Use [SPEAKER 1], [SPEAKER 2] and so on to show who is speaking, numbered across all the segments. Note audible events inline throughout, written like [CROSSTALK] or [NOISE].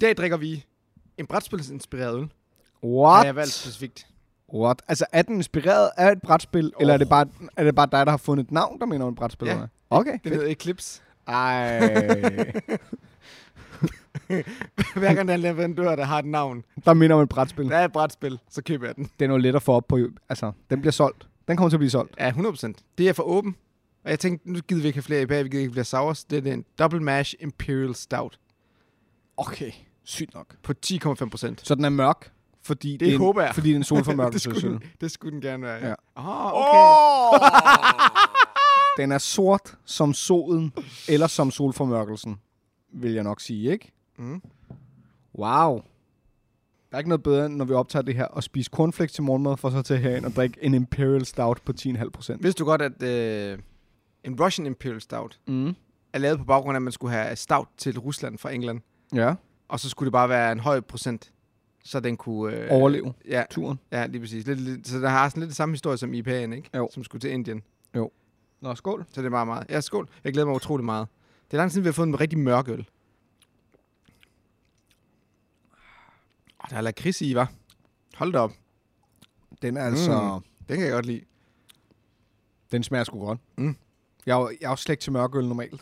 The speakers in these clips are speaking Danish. [SPEAKER 1] dag drikker vi en brætspilsinspireret øl.
[SPEAKER 2] What?
[SPEAKER 1] Har jeg valgt specifikt.
[SPEAKER 2] What? Altså, er den inspireret af et brætspil, oh. eller er det, bare, er det bare dig, der har fundet et navn, der minder om et brætspil?
[SPEAKER 1] Ja.
[SPEAKER 2] eller hvad? Okay,
[SPEAKER 1] Den
[SPEAKER 2] fedt.
[SPEAKER 1] hedder Eclipse. [LAUGHS]
[SPEAKER 2] Ej.
[SPEAKER 1] Hver gang der er en leverandør, der har et navn,
[SPEAKER 2] [LAUGHS] der minder om et brætspil.
[SPEAKER 1] der er et brætspil, så køber jeg den.
[SPEAKER 2] Den er jo let at få op på. Altså, den bliver solgt. Den kommer til at blive solgt.
[SPEAKER 1] Ja, 100%. Det er for åben. Og jeg tænkte, nu gider vi ikke have flere i bag, vi gider ikke flere sours. Det er en Double Mash Imperial Stout
[SPEAKER 2] Okay, sygt nok.
[SPEAKER 1] på 10,5%.
[SPEAKER 2] Så den er mørk, fordi det,
[SPEAKER 1] Det
[SPEAKER 2] er en,
[SPEAKER 1] håber jeg.
[SPEAKER 2] Fordi det er en
[SPEAKER 1] [LAUGHS] det,
[SPEAKER 2] solformørkelse.
[SPEAKER 1] skulle den, det skulle den gerne være.
[SPEAKER 2] Ja.
[SPEAKER 1] Ja. Ah, okay. [LAUGHS]
[SPEAKER 2] den er sort som solen, eller som solformørkelsen, vil jeg nok sige, ikke?
[SPEAKER 1] Mm.
[SPEAKER 2] Wow. Der er ikke noget bedre, end når vi optager det her, og spise cornflakes til morgenmad, for så til herind og drikke en Imperial Stout på 10,5 procent.
[SPEAKER 1] Vidste du godt, at øh, en Russian Imperial Stout
[SPEAKER 2] Mm.
[SPEAKER 1] er lavet på baggrund af, at man skulle have stout til Rusland fra England,
[SPEAKER 2] Ja,
[SPEAKER 1] og så skulle det bare være en høj procent, så den kunne... Øh,
[SPEAKER 2] overleve
[SPEAKER 1] Ja,
[SPEAKER 2] turen.
[SPEAKER 1] ja, lige præcis. Lidt, lidt, så der har sådan lidt den samme historie som IPA'en, ikke?
[SPEAKER 2] Jo.
[SPEAKER 1] Som skulle til Indien.
[SPEAKER 2] Nå, skål.
[SPEAKER 1] Så det er meget, meget. Ja, skål. Jeg glæder mig utrolig meget. Det er lang tid, siden, vi har fået en rigtig mørk øl. Og der er lakrids i, var. Hold da op.
[SPEAKER 2] Den er altså... Mm.
[SPEAKER 1] Den kan jeg godt lide.
[SPEAKER 2] Den smager sgu godt.
[SPEAKER 1] Mm.
[SPEAKER 2] Jeg er, jo, jeg er jo slet ikke til mørkøl normalt.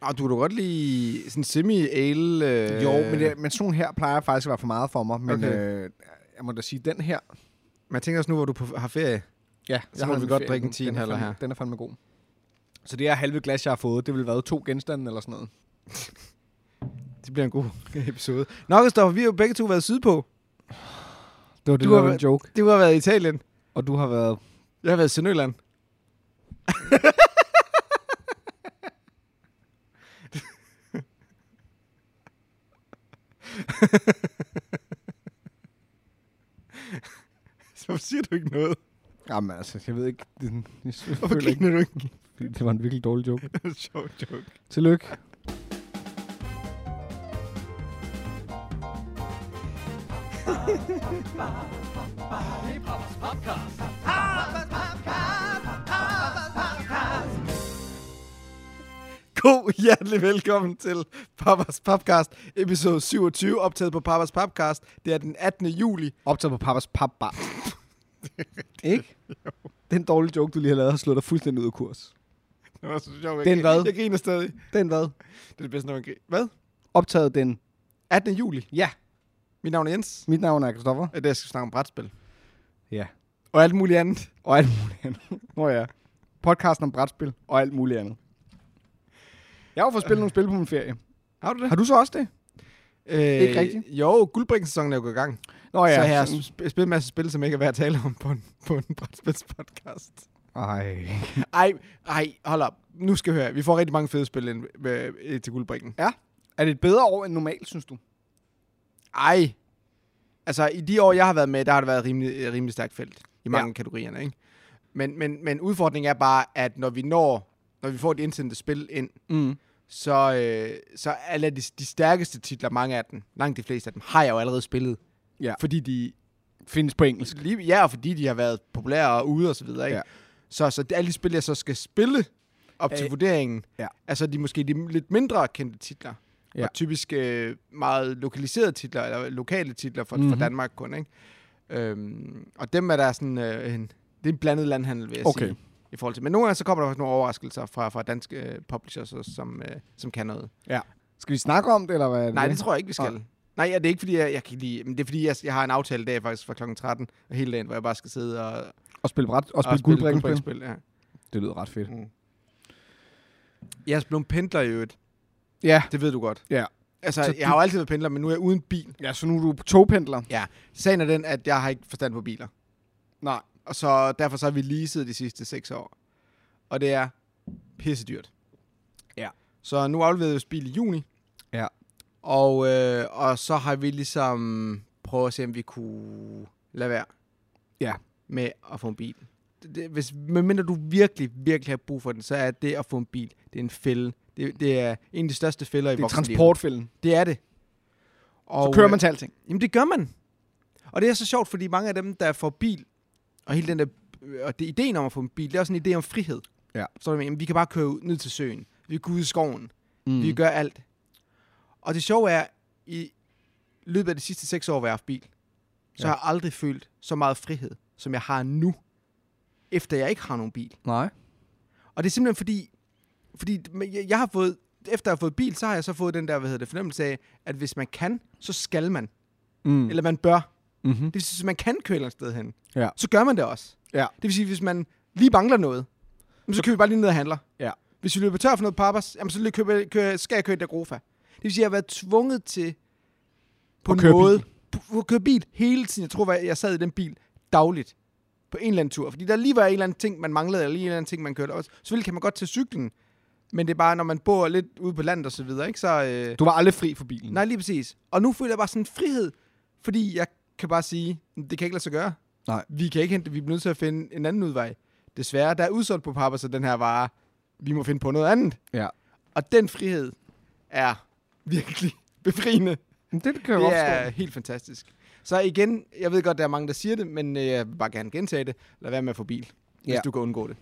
[SPEAKER 1] Og du kan da godt lide sådan semi-ale... Øh...
[SPEAKER 2] Jo, men, det, men sådan nogle her plejer faktisk at være for meget for mig. Men
[SPEAKER 1] Okay.
[SPEAKER 2] okay. øh, jeg må da sige, den her...
[SPEAKER 1] Men jeg tænker også nu, hvor du på, har ferie.
[SPEAKER 2] Ja,
[SPEAKER 1] så må vi godt drikke en 10,5 her.
[SPEAKER 2] Den er fandme god. Så det er halve glas, jeg har fået. Det ville være to genstande eller sådan noget.
[SPEAKER 1] Det bliver en god [LAUGHS] episode. Nå, Kristoffer, vi har jo begge to været sydpå.
[SPEAKER 2] Det var det,
[SPEAKER 1] Du
[SPEAKER 2] du der
[SPEAKER 1] har
[SPEAKER 2] var en
[SPEAKER 1] været-
[SPEAKER 2] joke.
[SPEAKER 1] Du har været i Italien.
[SPEAKER 2] Og du har været...
[SPEAKER 1] Jeg har været i Sønderjylland. [LAUGHS] Så hvorfor siger du ikke noget?
[SPEAKER 2] Jamen altså, jeg ved ikke... Det, jeg, jeg
[SPEAKER 1] Hvorfor
[SPEAKER 2] føler ikke,
[SPEAKER 1] griner du ikke?
[SPEAKER 2] det var en virkelig dårlig joke.
[SPEAKER 1] Det er en sjov joke.
[SPEAKER 2] Tillykke.
[SPEAKER 1] God hjertelig velkommen til Papas Podcast, episode 27, optaget på Papas Podcast. Det er den 18. juli.
[SPEAKER 2] Optaget på pappas [LAUGHS] papbar. ikke? Den dårlige joke, du lige har lavet, har slået dig fuldstændig ud af kurs.
[SPEAKER 1] Det var så sjovt.
[SPEAKER 2] Den
[SPEAKER 1] Jeg,
[SPEAKER 2] hvad?
[SPEAKER 1] griner- jeg griner stadig.
[SPEAKER 2] Den hvad?
[SPEAKER 1] Det er det bedste, når man griner. Hvad?
[SPEAKER 2] Optaget den...
[SPEAKER 1] 18. juli.
[SPEAKER 2] Ja.
[SPEAKER 1] Mit navn er Jens.
[SPEAKER 2] Mit navn er Kristoffer.
[SPEAKER 1] Og i dag skal vi snakke om brætspil.
[SPEAKER 2] Ja.
[SPEAKER 1] Og alt muligt andet.
[SPEAKER 2] Og alt muligt andet. Nå ja. Podcasten om brætspil og alt muligt andet. Jeg har jo fået spillet nogle spil på min ferie.
[SPEAKER 1] Har du det?
[SPEAKER 2] Har du så også det?
[SPEAKER 1] Øh,
[SPEAKER 2] Ikke rigtigt?
[SPEAKER 1] Jo, guldbrinksæsonen er jo gået i gang.
[SPEAKER 2] Nå
[SPEAKER 1] Oh, ja, så jeg har
[SPEAKER 2] sådan-
[SPEAKER 1] sp- spillet en masse spil, som ikke er værd at tale om på en, på en brætspilspodcast.
[SPEAKER 2] Ej.
[SPEAKER 1] Ej, ej, hold op. Nu skal jeg høre. Vi får rigtig mange fede spil ind, øh, øh, til guldbrinken.
[SPEAKER 2] Ja. Er det et bedre år end normalt, synes du?
[SPEAKER 1] Ej. Altså, i de år, jeg har været med, der har det været rimelig, øh, rimelig stærkt felt. I mange ja. kategorierne, ikke? Men, men, men udfordringen er bare, at når vi når, når vi får de indsendte spil ind,
[SPEAKER 2] Mm.
[SPEAKER 1] så, øh, så alle de, de stærkeste titler, mange af dem, langt de fleste af dem, har jeg jo allerede spillet.
[SPEAKER 2] Ja.
[SPEAKER 1] Fordi de,
[SPEAKER 2] Findes på engelsk.
[SPEAKER 1] lige, ja, og fordi de har været populære og ude og så videre, ikke?
[SPEAKER 2] Ja.
[SPEAKER 1] Ja. Så, så det- alle de spil, jeg så skal spille op til
[SPEAKER 2] Øh,
[SPEAKER 1] vurderingen,
[SPEAKER 2] ja.
[SPEAKER 1] altså de måske de lidt mindre kendte titler,
[SPEAKER 2] Ja.
[SPEAKER 1] ja. og typisk øh, meget lokaliserede titler, eller lokale titler fra, mm-hmm.
[SPEAKER 2] Mhm.
[SPEAKER 1] fra Danmark kun, ikke? Øhm, og dem er der sådan øh, en, det er en blandet landhandel, vil jeg
[SPEAKER 2] Okay.
[SPEAKER 1] sige. I forhold til. Men nogle gange så kommer der faktisk nogle overraskelser fra, fra danske øh, publishers, også, som, øh, som kan noget.
[SPEAKER 2] Skal vi snakke om det, eller hvad? er
[SPEAKER 1] Nej, det tror jeg ikke, vi skal.
[SPEAKER 2] Nej.
[SPEAKER 1] Nej, Nej ja, det er ikke, fordi jeg, jeg kan ikke lide... Men det er, fordi jeg, jeg har en aftale i dag faktisk fra kl. 13, og hele dagen, hvor jeg bare skal sidde og,
[SPEAKER 2] Og spille bræt, og spille guldbrækken.
[SPEAKER 1] guldbrækspil, ja.
[SPEAKER 2] Det lyder ret fedt.
[SPEAKER 1] Mm. Jeg er blevet pendler i øvrigt.
[SPEAKER 2] Ja.
[SPEAKER 1] Det ved du godt.
[SPEAKER 2] Ja.
[SPEAKER 1] Altså,
[SPEAKER 2] Så
[SPEAKER 1] så jeg har jo altid været pendler, men nu er jeg uden bil.
[SPEAKER 2] Ja, så nu er du togpendler.
[SPEAKER 1] Ja. Sagen er den, at jeg har ikke forstand på biler.
[SPEAKER 2] Nej.
[SPEAKER 1] Og så derfor så har vi leaset de sidste seks år. Og det er pissedyrt.
[SPEAKER 2] Ja.
[SPEAKER 1] Så nu afleverede vi vores bil i juni.
[SPEAKER 2] Ja.
[SPEAKER 1] Og, øh, og så har vi ligesom prøvet at se, om vi kunne lade være
[SPEAKER 2] Ja.
[SPEAKER 1] med at få en bil. Det, det, hvis, medmindre du virkelig, virkelig har brug for den, så er det at få en bil, det er en fælde. Det, det er en af de største fælder i
[SPEAKER 2] Det er
[SPEAKER 1] voksenlivet.
[SPEAKER 2] transportfælden.
[SPEAKER 1] Det er det. Og,
[SPEAKER 2] Så kører
[SPEAKER 1] øh,
[SPEAKER 2] man til alting.
[SPEAKER 1] Jamen, det gør man. Og det er så sjovt, fordi mange af dem, der får bil, og hele den der, øh, og det ideen om at få en bil, det er også en idé om frihed.
[SPEAKER 2] Ja.
[SPEAKER 1] Så du mener, vi kan bare køre ud, ned til søen, vi kan gå ud i skoven,
[SPEAKER 2] Mm.
[SPEAKER 1] mm. vi gør alt. Og det sjove er, i, løbet af de sidste seks år, hvor jeg har haft bil, så ja. har jeg aldrig følt så meget frihed, som jeg har nu, efter jeg ikke har nogen bil.
[SPEAKER 2] Nej.
[SPEAKER 1] Og det er simpelthen fordi, fordi men jeg- jeg har fået, efter jeg har fået bil, så har jeg så fået den der, hvad hedder det, fornemmelse af, at hvis man kan, så skal man.
[SPEAKER 2] Mm.
[SPEAKER 1] Eller man bør.
[SPEAKER 2] Mm-hmm.
[SPEAKER 1] Det vil sige, hvis man kan køre et eller andet sted hen,
[SPEAKER 2] Ja.
[SPEAKER 1] så gør man det også.
[SPEAKER 2] Ja.
[SPEAKER 1] Det vil sige, hvis man lige mangler noget, jamen, så kører vi bare lige ned og handler.
[SPEAKER 2] Ja.
[SPEAKER 1] Hvis vi løber tør for noget papas, jamen, så lige køber, kører, skal jeg køre i Dagrofa. Det vil sige, at jeg har været tvunget til på
[SPEAKER 2] At
[SPEAKER 1] en
[SPEAKER 2] køre
[SPEAKER 1] måde bil. at køre bil hele tiden. Jeg tror, jeg sad i den bil dagligt på en eller anden tur. Fordi der lige var en eller anden ting, man manglede, eller lige en eller anden ting, man kørte. Og selvfølgelig kan man godt tage cyklen, men det er bare, når man bor lidt ude på landet og så videre, ikke? så... Øh,
[SPEAKER 2] Du var aldrig fri for bilen.
[SPEAKER 1] Nej, lige præcis. Og nu føler jeg bare sådan en frihed, fordi jeg kan bare sige, det kan ikke lade sig gøre.
[SPEAKER 2] Nej.
[SPEAKER 1] Vi kan ikke hente, vi bliver nødt til at finde en anden udvej. Desværre, der er udsolgt på papper, så den her vare, vi må finde på noget andet.
[SPEAKER 2] Ja.
[SPEAKER 1] Og den frihed er virkelig [LAUGHS] befriende.
[SPEAKER 2] Men det kan jeg
[SPEAKER 1] Det
[SPEAKER 2] godt
[SPEAKER 1] er
[SPEAKER 2] forstå.
[SPEAKER 1] helt fantastisk. Så igen, jeg ved godt, der er mange, der siger det, men øh, jeg vil bare gerne gentage det. Lad være med at få bil, ja. hvis
[SPEAKER 2] Ja.
[SPEAKER 1] du kan undgå det.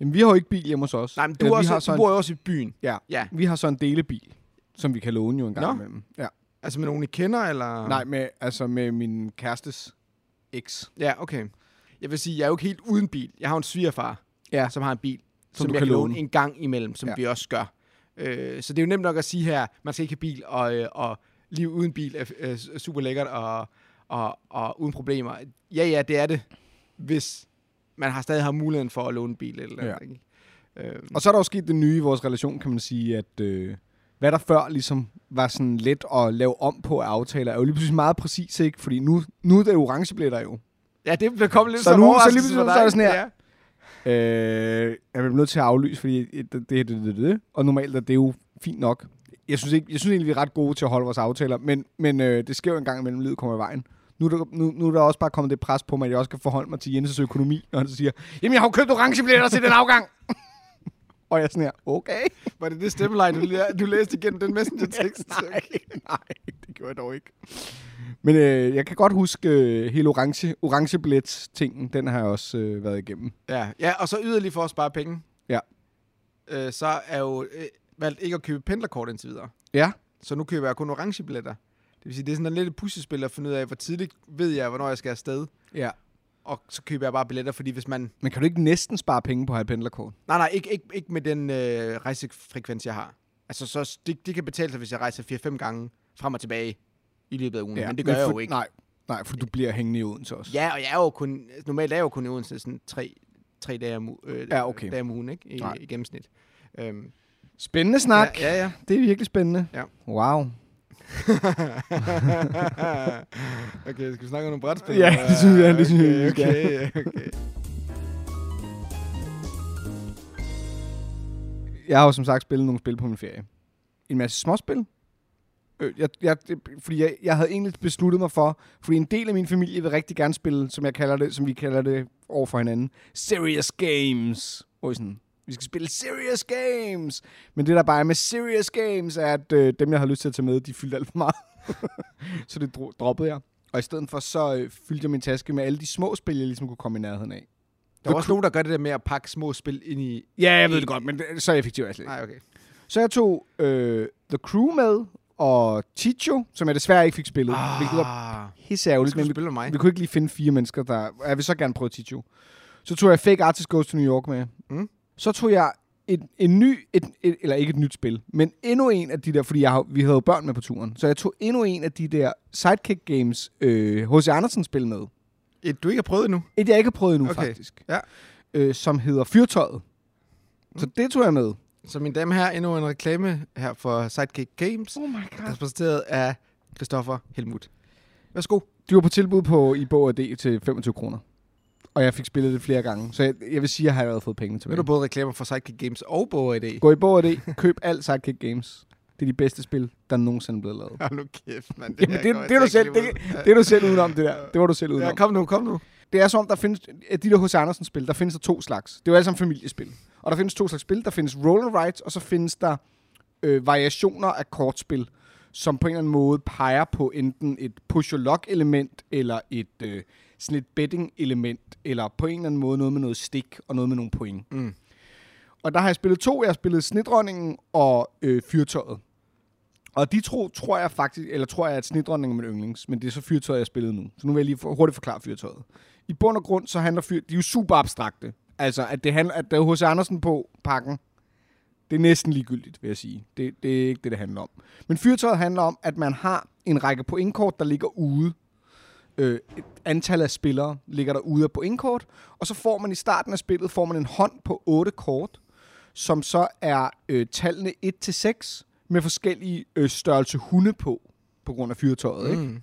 [SPEAKER 2] Jamen, vi har jo ikke bil hjemme hos os.
[SPEAKER 1] Nej, men du,
[SPEAKER 2] Eller,
[SPEAKER 1] er
[SPEAKER 2] vi
[SPEAKER 1] også,
[SPEAKER 2] har
[SPEAKER 1] du
[SPEAKER 2] sådan,
[SPEAKER 1] bor jo også i byen.
[SPEAKER 2] Ja.
[SPEAKER 1] Ja,
[SPEAKER 2] Vi har så en delebil, som vi kan låne jo en gang
[SPEAKER 1] Nå.
[SPEAKER 2] imellem. Ja.
[SPEAKER 1] altså med nogen, I kender, eller?
[SPEAKER 2] Nej, med, altså med min kærestes eks.
[SPEAKER 1] Ja, okay. Jeg vil sige, jeg er jo ikke helt uden bil. Jeg har jo en svigerfar,
[SPEAKER 2] Ja.
[SPEAKER 1] som har en bil, som,
[SPEAKER 2] du
[SPEAKER 1] som jeg
[SPEAKER 2] kan
[SPEAKER 1] kan låne
[SPEAKER 2] låne.
[SPEAKER 1] en gang imellem, som ja.
[SPEAKER 2] Ja.
[SPEAKER 1] vi også gør. Øh, så det er jo nemt nok at sige her, man skal ikke have bil, og, øh, og liv uden bil er øh, s- super lækkert og, og, og uden problemer. Ja, ja, det er det, hvis man har stadig har muligheden for at låne en bil. Eller
[SPEAKER 2] Ja.
[SPEAKER 1] ja. ikke? Øh,
[SPEAKER 2] Mm. Og så er der jo sket det nye i vores relation, kan man sige, at øh, hvad der før ligesom var sådan let at lave om på af aftaler, er jo lige pludselig meget præcis, ikke? Fordi nu, nu er det orangebilletter jo.
[SPEAKER 1] ja, det blev kommet lidt
[SPEAKER 2] Så
[SPEAKER 1] som
[SPEAKER 2] nu- så
[SPEAKER 1] overraskelse
[SPEAKER 2] lige
[SPEAKER 1] for
[SPEAKER 2] pludselig så er
[SPEAKER 1] dig.
[SPEAKER 2] det sådan her.
[SPEAKER 1] Ja.
[SPEAKER 2] Øh, jeg bliver nødt til at aflyse, fordi det, det, det, det, det. Og normalt er det jo fint nok. Jeg synes, ikke, jeg synes egentlig, vi er ret gode til at holde vores aftaler, men, men øh, det sker jo en gang imellem, livet kommer i vejen. Nu er, der, nu, nu er der også bare kommet det pres på mig, at jeg også skal forholde mig til Jenses økonomi, når han så siger, jamen jeg har jo købt orangebilletter til den afgang. [LAUGHS] og jeg er sådan her, okay.
[SPEAKER 1] Var det det stemmeleje, du, læ- du læste igennem den messenger-tekst?
[SPEAKER 2] nej, [LAUGHS] nej, det gjorde jeg dog ikke. Men øh, jeg kan godt huske øh, hele orange, orangebillet-tingen, den har jeg også øh, været igennem.
[SPEAKER 1] Ja, ja og så yderligere for at spare penge.
[SPEAKER 2] Ja.
[SPEAKER 1] Øh, så er jeg jo øh, valgt ikke at købe pendlerkort indtil videre.
[SPEAKER 2] Ja.
[SPEAKER 1] Så nu køber jeg kun orangebilletter. Det vil sige, det er sådan en lidt et puslespil at finde ud af, hvor tidligt ved jeg, hvornår jeg skal afsted.
[SPEAKER 2] ja.
[SPEAKER 1] Og så køber jeg bare billetter, fordi hvis man...
[SPEAKER 2] Men kan du ikke næsten spare penge på at have et pendlerkort?
[SPEAKER 1] Nej, nej, ikke, ikke, ikke med den øh, rejsefrekvens, jeg har. Altså, så det, det kan betale sig, hvis jeg rejser 4-5 gange frem og tilbage i løbet af ugen. Ja, Mm, men det gør men jeg
[SPEAKER 2] for,
[SPEAKER 1] jo ikke.
[SPEAKER 2] Nej, nej, for du bliver hængende i Odense også.
[SPEAKER 1] Ja, og jeg er jo kun... Normalt er jeg jo kun i Odense sådan tre, tre dage, om, u- øh,
[SPEAKER 2] Ja, okay.
[SPEAKER 1] dage om ugen, ikke? I,
[SPEAKER 2] Nej.
[SPEAKER 1] i gennemsnit. Øhm,
[SPEAKER 2] Spændende snak.
[SPEAKER 1] Ja, ja. ja.
[SPEAKER 2] Det er virkelig spændende.
[SPEAKER 1] Ja.
[SPEAKER 2] Wow.
[SPEAKER 1] [LAUGHS] okay, skal vi snakke om nogle brætspil?
[SPEAKER 2] Ja, det synes jeg, det synes jeg, vi
[SPEAKER 1] okay,
[SPEAKER 2] skal.
[SPEAKER 1] okay, okay.
[SPEAKER 2] Jeg har jo som sagt spillet nogle spil på min ferie. En masse småspil. Øh, Jeg, jeg, det- fordi jeg, jeg havde egentlig besluttet mig for, fordi en del af min familie vil rigtig gerne spille, som jeg kalder det, som vi kalder det over for hinanden, serious games. Hvor I sådan, vi skal spille serious games. Men det der bare er med serious games, er at øh, dem jeg havde lyst til at tage med, de fyldte alt for meget. [LAUGHS] så det dro- droppede jeg. Og i stedet for, så øh, fyldte jeg min taske med alle de små spil, jeg ligesom kunne komme i nærheden af.
[SPEAKER 1] Der er også nogen, der gør det der med at pakke små spil ind i...
[SPEAKER 2] Ja, jeg ved det godt, men det, så effektivt er jeg slet ikke.
[SPEAKER 1] Nej, okay.
[SPEAKER 2] Så jeg tog øh, The Crew med, og Chicho, som jeg desværre ikke fik spillet, ah, hvilket var
[SPEAKER 1] Skulle
[SPEAKER 2] pissærgerligt,
[SPEAKER 1] du
[SPEAKER 2] men vi,
[SPEAKER 1] spille med mig?
[SPEAKER 2] vi kunne ikke lige finde fire mennesker, der... og Jeg vil så gerne prøve Chicho. Så tog jeg Fake Artist Goes to New York med.
[SPEAKER 1] Mm.
[SPEAKER 2] Så tog jeg et, en ny, et, et, eller ikke et nyt spil, men endnu en af de der, fordi jeg har, vi havde jo børn med på turen, så jeg tog endnu en af de der Sidekick Games H.C. Øh, H.C. Andersen spil med.
[SPEAKER 1] Et, du ikke har prøvet endnu?
[SPEAKER 2] Et, jeg ikke har prøvet endnu,
[SPEAKER 1] Okay,
[SPEAKER 2] faktisk.
[SPEAKER 1] ja. Mm.
[SPEAKER 2] Øh, som hedder Fyrtøjet. Så det tog jeg med.
[SPEAKER 1] Så min dame her, endnu en reklame her for Sidekick Games,
[SPEAKER 2] Oh my god.
[SPEAKER 1] repræsenteret af Christoffer Helmut. Værsgo.
[SPEAKER 2] De var på tilbud på i Bog og D til 25 kroner. Og jeg fik spillet det flere gange. Så jeg, jeg vil sige, at jeg har allerede fået pengene
[SPEAKER 1] Nu er
[SPEAKER 2] tilbage.
[SPEAKER 1] der både reklamer for Sidekick Games og Boa i dag.
[SPEAKER 2] Gå i Bog og D, køb alt Sidekick Games. Det er de bedste spil, der nogensinde er blevet lavet.
[SPEAKER 1] Hold nu kæft, mand.
[SPEAKER 2] Jamen,
[SPEAKER 1] her
[SPEAKER 2] det-
[SPEAKER 1] går jeg
[SPEAKER 2] det er du
[SPEAKER 1] altså ikke
[SPEAKER 2] selv-
[SPEAKER 1] lige ud.
[SPEAKER 2] Det er du selv udenom, det der. Det var du selv
[SPEAKER 1] Ja,
[SPEAKER 2] udenom.
[SPEAKER 1] kom nu, kom nu.
[SPEAKER 2] Det er som om, der findes, at de der hos Andersen spil, der findes der to slags. Det er jo alle sammen familiespil. Og der findes to slags spil. Der findes roller rights, og så findes der øh, variationer af kortspil, som på en eller anden måde peger på enten et push-or-lock-element, eller et øh, sådan et betting-element, eller på en eller anden måde noget med noget stik, og noget med nogle point.
[SPEAKER 1] Mm.
[SPEAKER 2] Og der har jeg spillet to. Jeg har spillet Snedronningen og øh, Fyrtøjet. Og de to tror jeg faktisk, eller tror jeg, at snedronningen er min yndlings, men det er så fyrtøjet, jeg spillede nu. Så nu vil jeg lige for, hurtigt forklare fyrtøjet. I bund og grund, så handler fyr, de er jo super abstrakte. Altså, at det handler, at der er H.C. Andersen på pakken, det er næsten ligegyldigt, vil jeg sige. Det, det er ikke det, det handler om. Men fyrtøjet handler om, at man har en række pointkort, der ligger ude. Øh, et antal af spillere ligger der ude af pointkort, og så får man i starten af spillet, får man en hånd på otte kort, som så er øh, tallene 1-6 med forskellige øh, størrelse hunde på, på grund af fyrtøjet. Ikke?
[SPEAKER 1] Mm.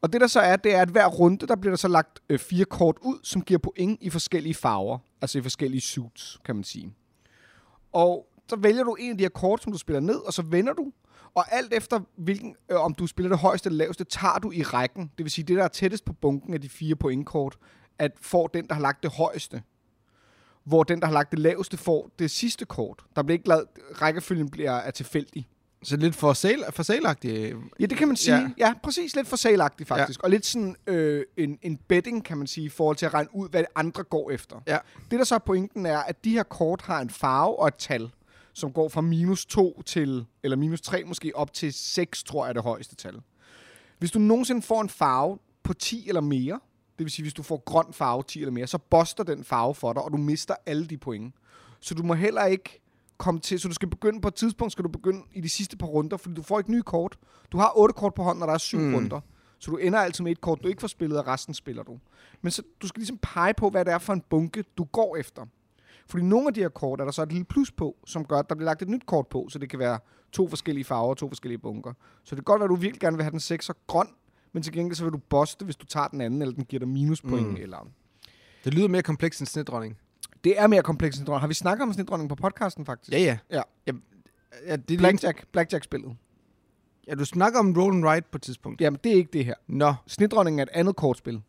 [SPEAKER 2] Og det der så er, det er, at hver runde, der bliver der så lagt øh, fire kort ud, som giver point i forskellige farver. Altså i forskellige suits, kan man sige. Og så vælger du en af de her kort, som du spiller ned, og så vender du. Og alt efter, hvilken, øh, om du spiller det højeste eller laveste, tager du i rækken. Det vil sige, det der er tættest på bunken af de fire pointkort, at får den, der har lagt det højeste. Hvor den, der har lagt det laveste, får det sidste kort. Der bliver ikke lavet, rækkefølgen bliver er tilfældig.
[SPEAKER 1] Så lidt for, sale, for sale-agtigt.
[SPEAKER 2] Ja, det kan man sige.
[SPEAKER 1] Ja.
[SPEAKER 2] Ja, ja præcis. Lidt for salagtigt, faktisk. Ja. Og lidt sådan øh, en, en betting, kan man sige, i forhold til at regne ud, hvad andre går efter.
[SPEAKER 1] Ja.
[SPEAKER 2] Det, der så er pointen, er, at de her kort har en farve og et tal, som går fra minus 2 til, eller minus 3 måske, op til 6, tror jeg er det højeste tal. Hvis du nogensinde får en farve på 10 eller mere, det vil sige, hvis du får grøn farve 10 eller mere, så boster den farve for dig, og du mister alle de point. Så du må heller ikke komme til, så du skal begynde på et tidspunkt, skal du begynde i de sidste par runder, fordi du får ikke nye kort. Du har otte kort på hånden, og der er syv
[SPEAKER 1] Mm.
[SPEAKER 2] mm. runder. Så du ender altid med et kort, du ikke får spillet, og resten spiller du. Men så, du skal ligesom pege på, hvad det er for en bunke, du går efter. Fordi nogle af de her kort er der så et lille plus på, som gør, at der bliver lagt et nyt kort på, så det kan være to forskellige farver og to forskellige bunker. Så det kan godt være, at du virkelig gerne vil have den 6 grøn, men til gengæld så vil du boste, hvis du tager den anden, eller den giver dig minuspoint.
[SPEAKER 1] Mm.
[SPEAKER 2] Mm. Eller...
[SPEAKER 1] Det lyder mere komplekst end snedronning.
[SPEAKER 2] Det er mere komplekst end dronning. Har vi snakket om snedronning på podcasten faktisk?
[SPEAKER 1] Ja, ja.
[SPEAKER 2] Ja.
[SPEAKER 1] Jamen, ja, det er lige...
[SPEAKER 2] Blackjack, Blackjack-spillet.
[SPEAKER 1] ja, du snakker om roll and ride på et tidspunkt.
[SPEAKER 2] Jamen, det er ikke det her.
[SPEAKER 1] Nå.
[SPEAKER 2] Snedronningen er et andet kortspil.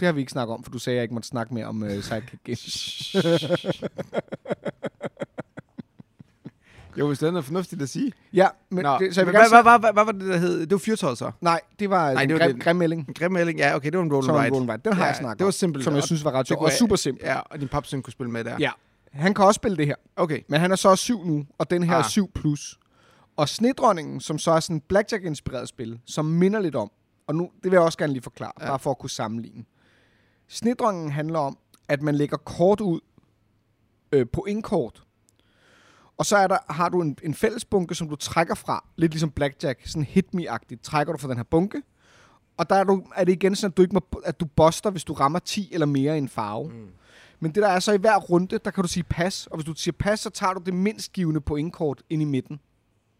[SPEAKER 2] Det har vi ikke snakket om, for du sagde, at jeg ikke måtte snakke mere om uh,
[SPEAKER 1] [LAUGHS]
[SPEAKER 2] Sidekick Games.
[SPEAKER 1] Jo, hvis det er noget fornuftigt at sige.
[SPEAKER 2] ja, men
[SPEAKER 1] Nå.
[SPEAKER 2] det, så jeg
[SPEAKER 1] hvad,
[SPEAKER 2] vil gerne
[SPEAKER 1] hvad,
[SPEAKER 2] sige...
[SPEAKER 1] hvad, hvad, hvad, var det, der hed? Det var fyrtøjet så.
[SPEAKER 2] Nej, det var
[SPEAKER 1] Nej,
[SPEAKER 2] Nej, en
[SPEAKER 1] det var
[SPEAKER 2] grim,
[SPEAKER 1] den.
[SPEAKER 2] grim melding.
[SPEAKER 1] En grim melding, ja, okay, det var en roll
[SPEAKER 2] Som
[SPEAKER 1] and
[SPEAKER 2] var
[SPEAKER 1] ride.
[SPEAKER 2] Roll and Ride. Den har
[SPEAKER 1] ja,
[SPEAKER 2] jeg snakket
[SPEAKER 1] det var
[SPEAKER 2] om,
[SPEAKER 1] simpelt.
[SPEAKER 2] som jeg
[SPEAKER 1] Og-
[SPEAKER 2] synes var ret sjovt.
[SPEAKER 1] kunne
[SPEAKER 2] Og
[SPEAKER 1] jeg-
[SPEAKER 2] super simpelt.
[SPEAKER 1] Ja, og din papsøn kunne spille med der.
[SPEAKER 2] Ja. Han kan også spille det her,
[SPEAKER 1] Okay.
[SPEAKER 2] men han er så 7 nu, og den her
[SPEAKER 1] Ah.
[SPEAKER 2] er 7 plus. Og Snedronningen, som så er sådan en blackjack-inspireret spil, som minder lidt om, og nu, det vil jeg også gerne lige forklare,
[SPEAKER 1] Ja.
[SPEAKER 2] ja. bare for at kunne sammenligne. Snedronningen handler om, at man lægger kort ud øh, på indkort, og så er der, har du en, en fælles bunke, som du trækker fra, lidt ligesom blackjack, sådan hit me-agtigt, trækker du fra den her bunke, og der er, du, er det igen sådan, at du, ikke må, at du buster, hvis du rammer 10 eller mere i en farve. Mm. Men det der er så i hver runde, der kan du sige pas, og hvis du siger pas, så tager du det mindst givende pointkort ind i midten.